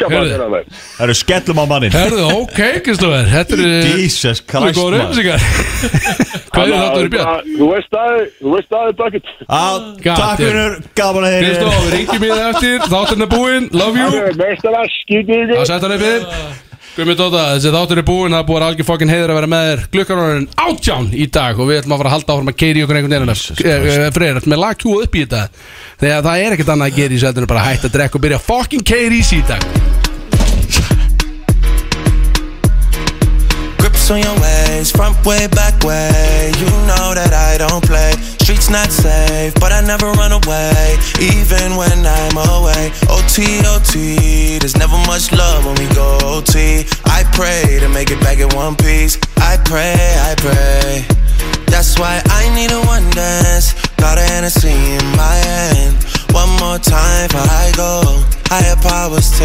S13: mann er hann með.
S4: Það eru skellum á mannin
S2: Herðu, ok, Kristófer Þetta eru þetta eru
S4: Jesus Christ,
S2: góðar
S4: maður.
S2: upplýsingar Hvað er þetta að vera björn?
S13: Þú veist að, þú veist að þetta ekkert.
S2: God takk, damn. vinur.
S4: gaman að
S2: heyra. Kristó, við ringjum í þig eftir. Þátturinn er búinn. Love you.
S13: Mestara, skýtið ykkur.
S2: Það setja hann upp í þig Gumi Dóta, þessi þáttur er búinn Það er búin algjör fokkin heiður að vera með þér Glukkarónin átján í dag Og við ætlum að fara að halda áfram að keiri okkur einhvern veginn Eh, Freyr, ætlum við að laga kjúa upp í þetta Þegar það er ekkert annað að gera í þessu heldur en bara að hætta að drekka og byrja að fokkin keiri í sig í dag
S14: Grips on your ways, front way, back way. You know that I don't play. Streets not safe, but I never run away. Even when I'm away. OT, OT, there's never much love when we go OT. I pray to make it back in one piece. I pray, I pray. That's why I need a one dance. Got a Hennessy in my hand. One more time before I go. Higher powers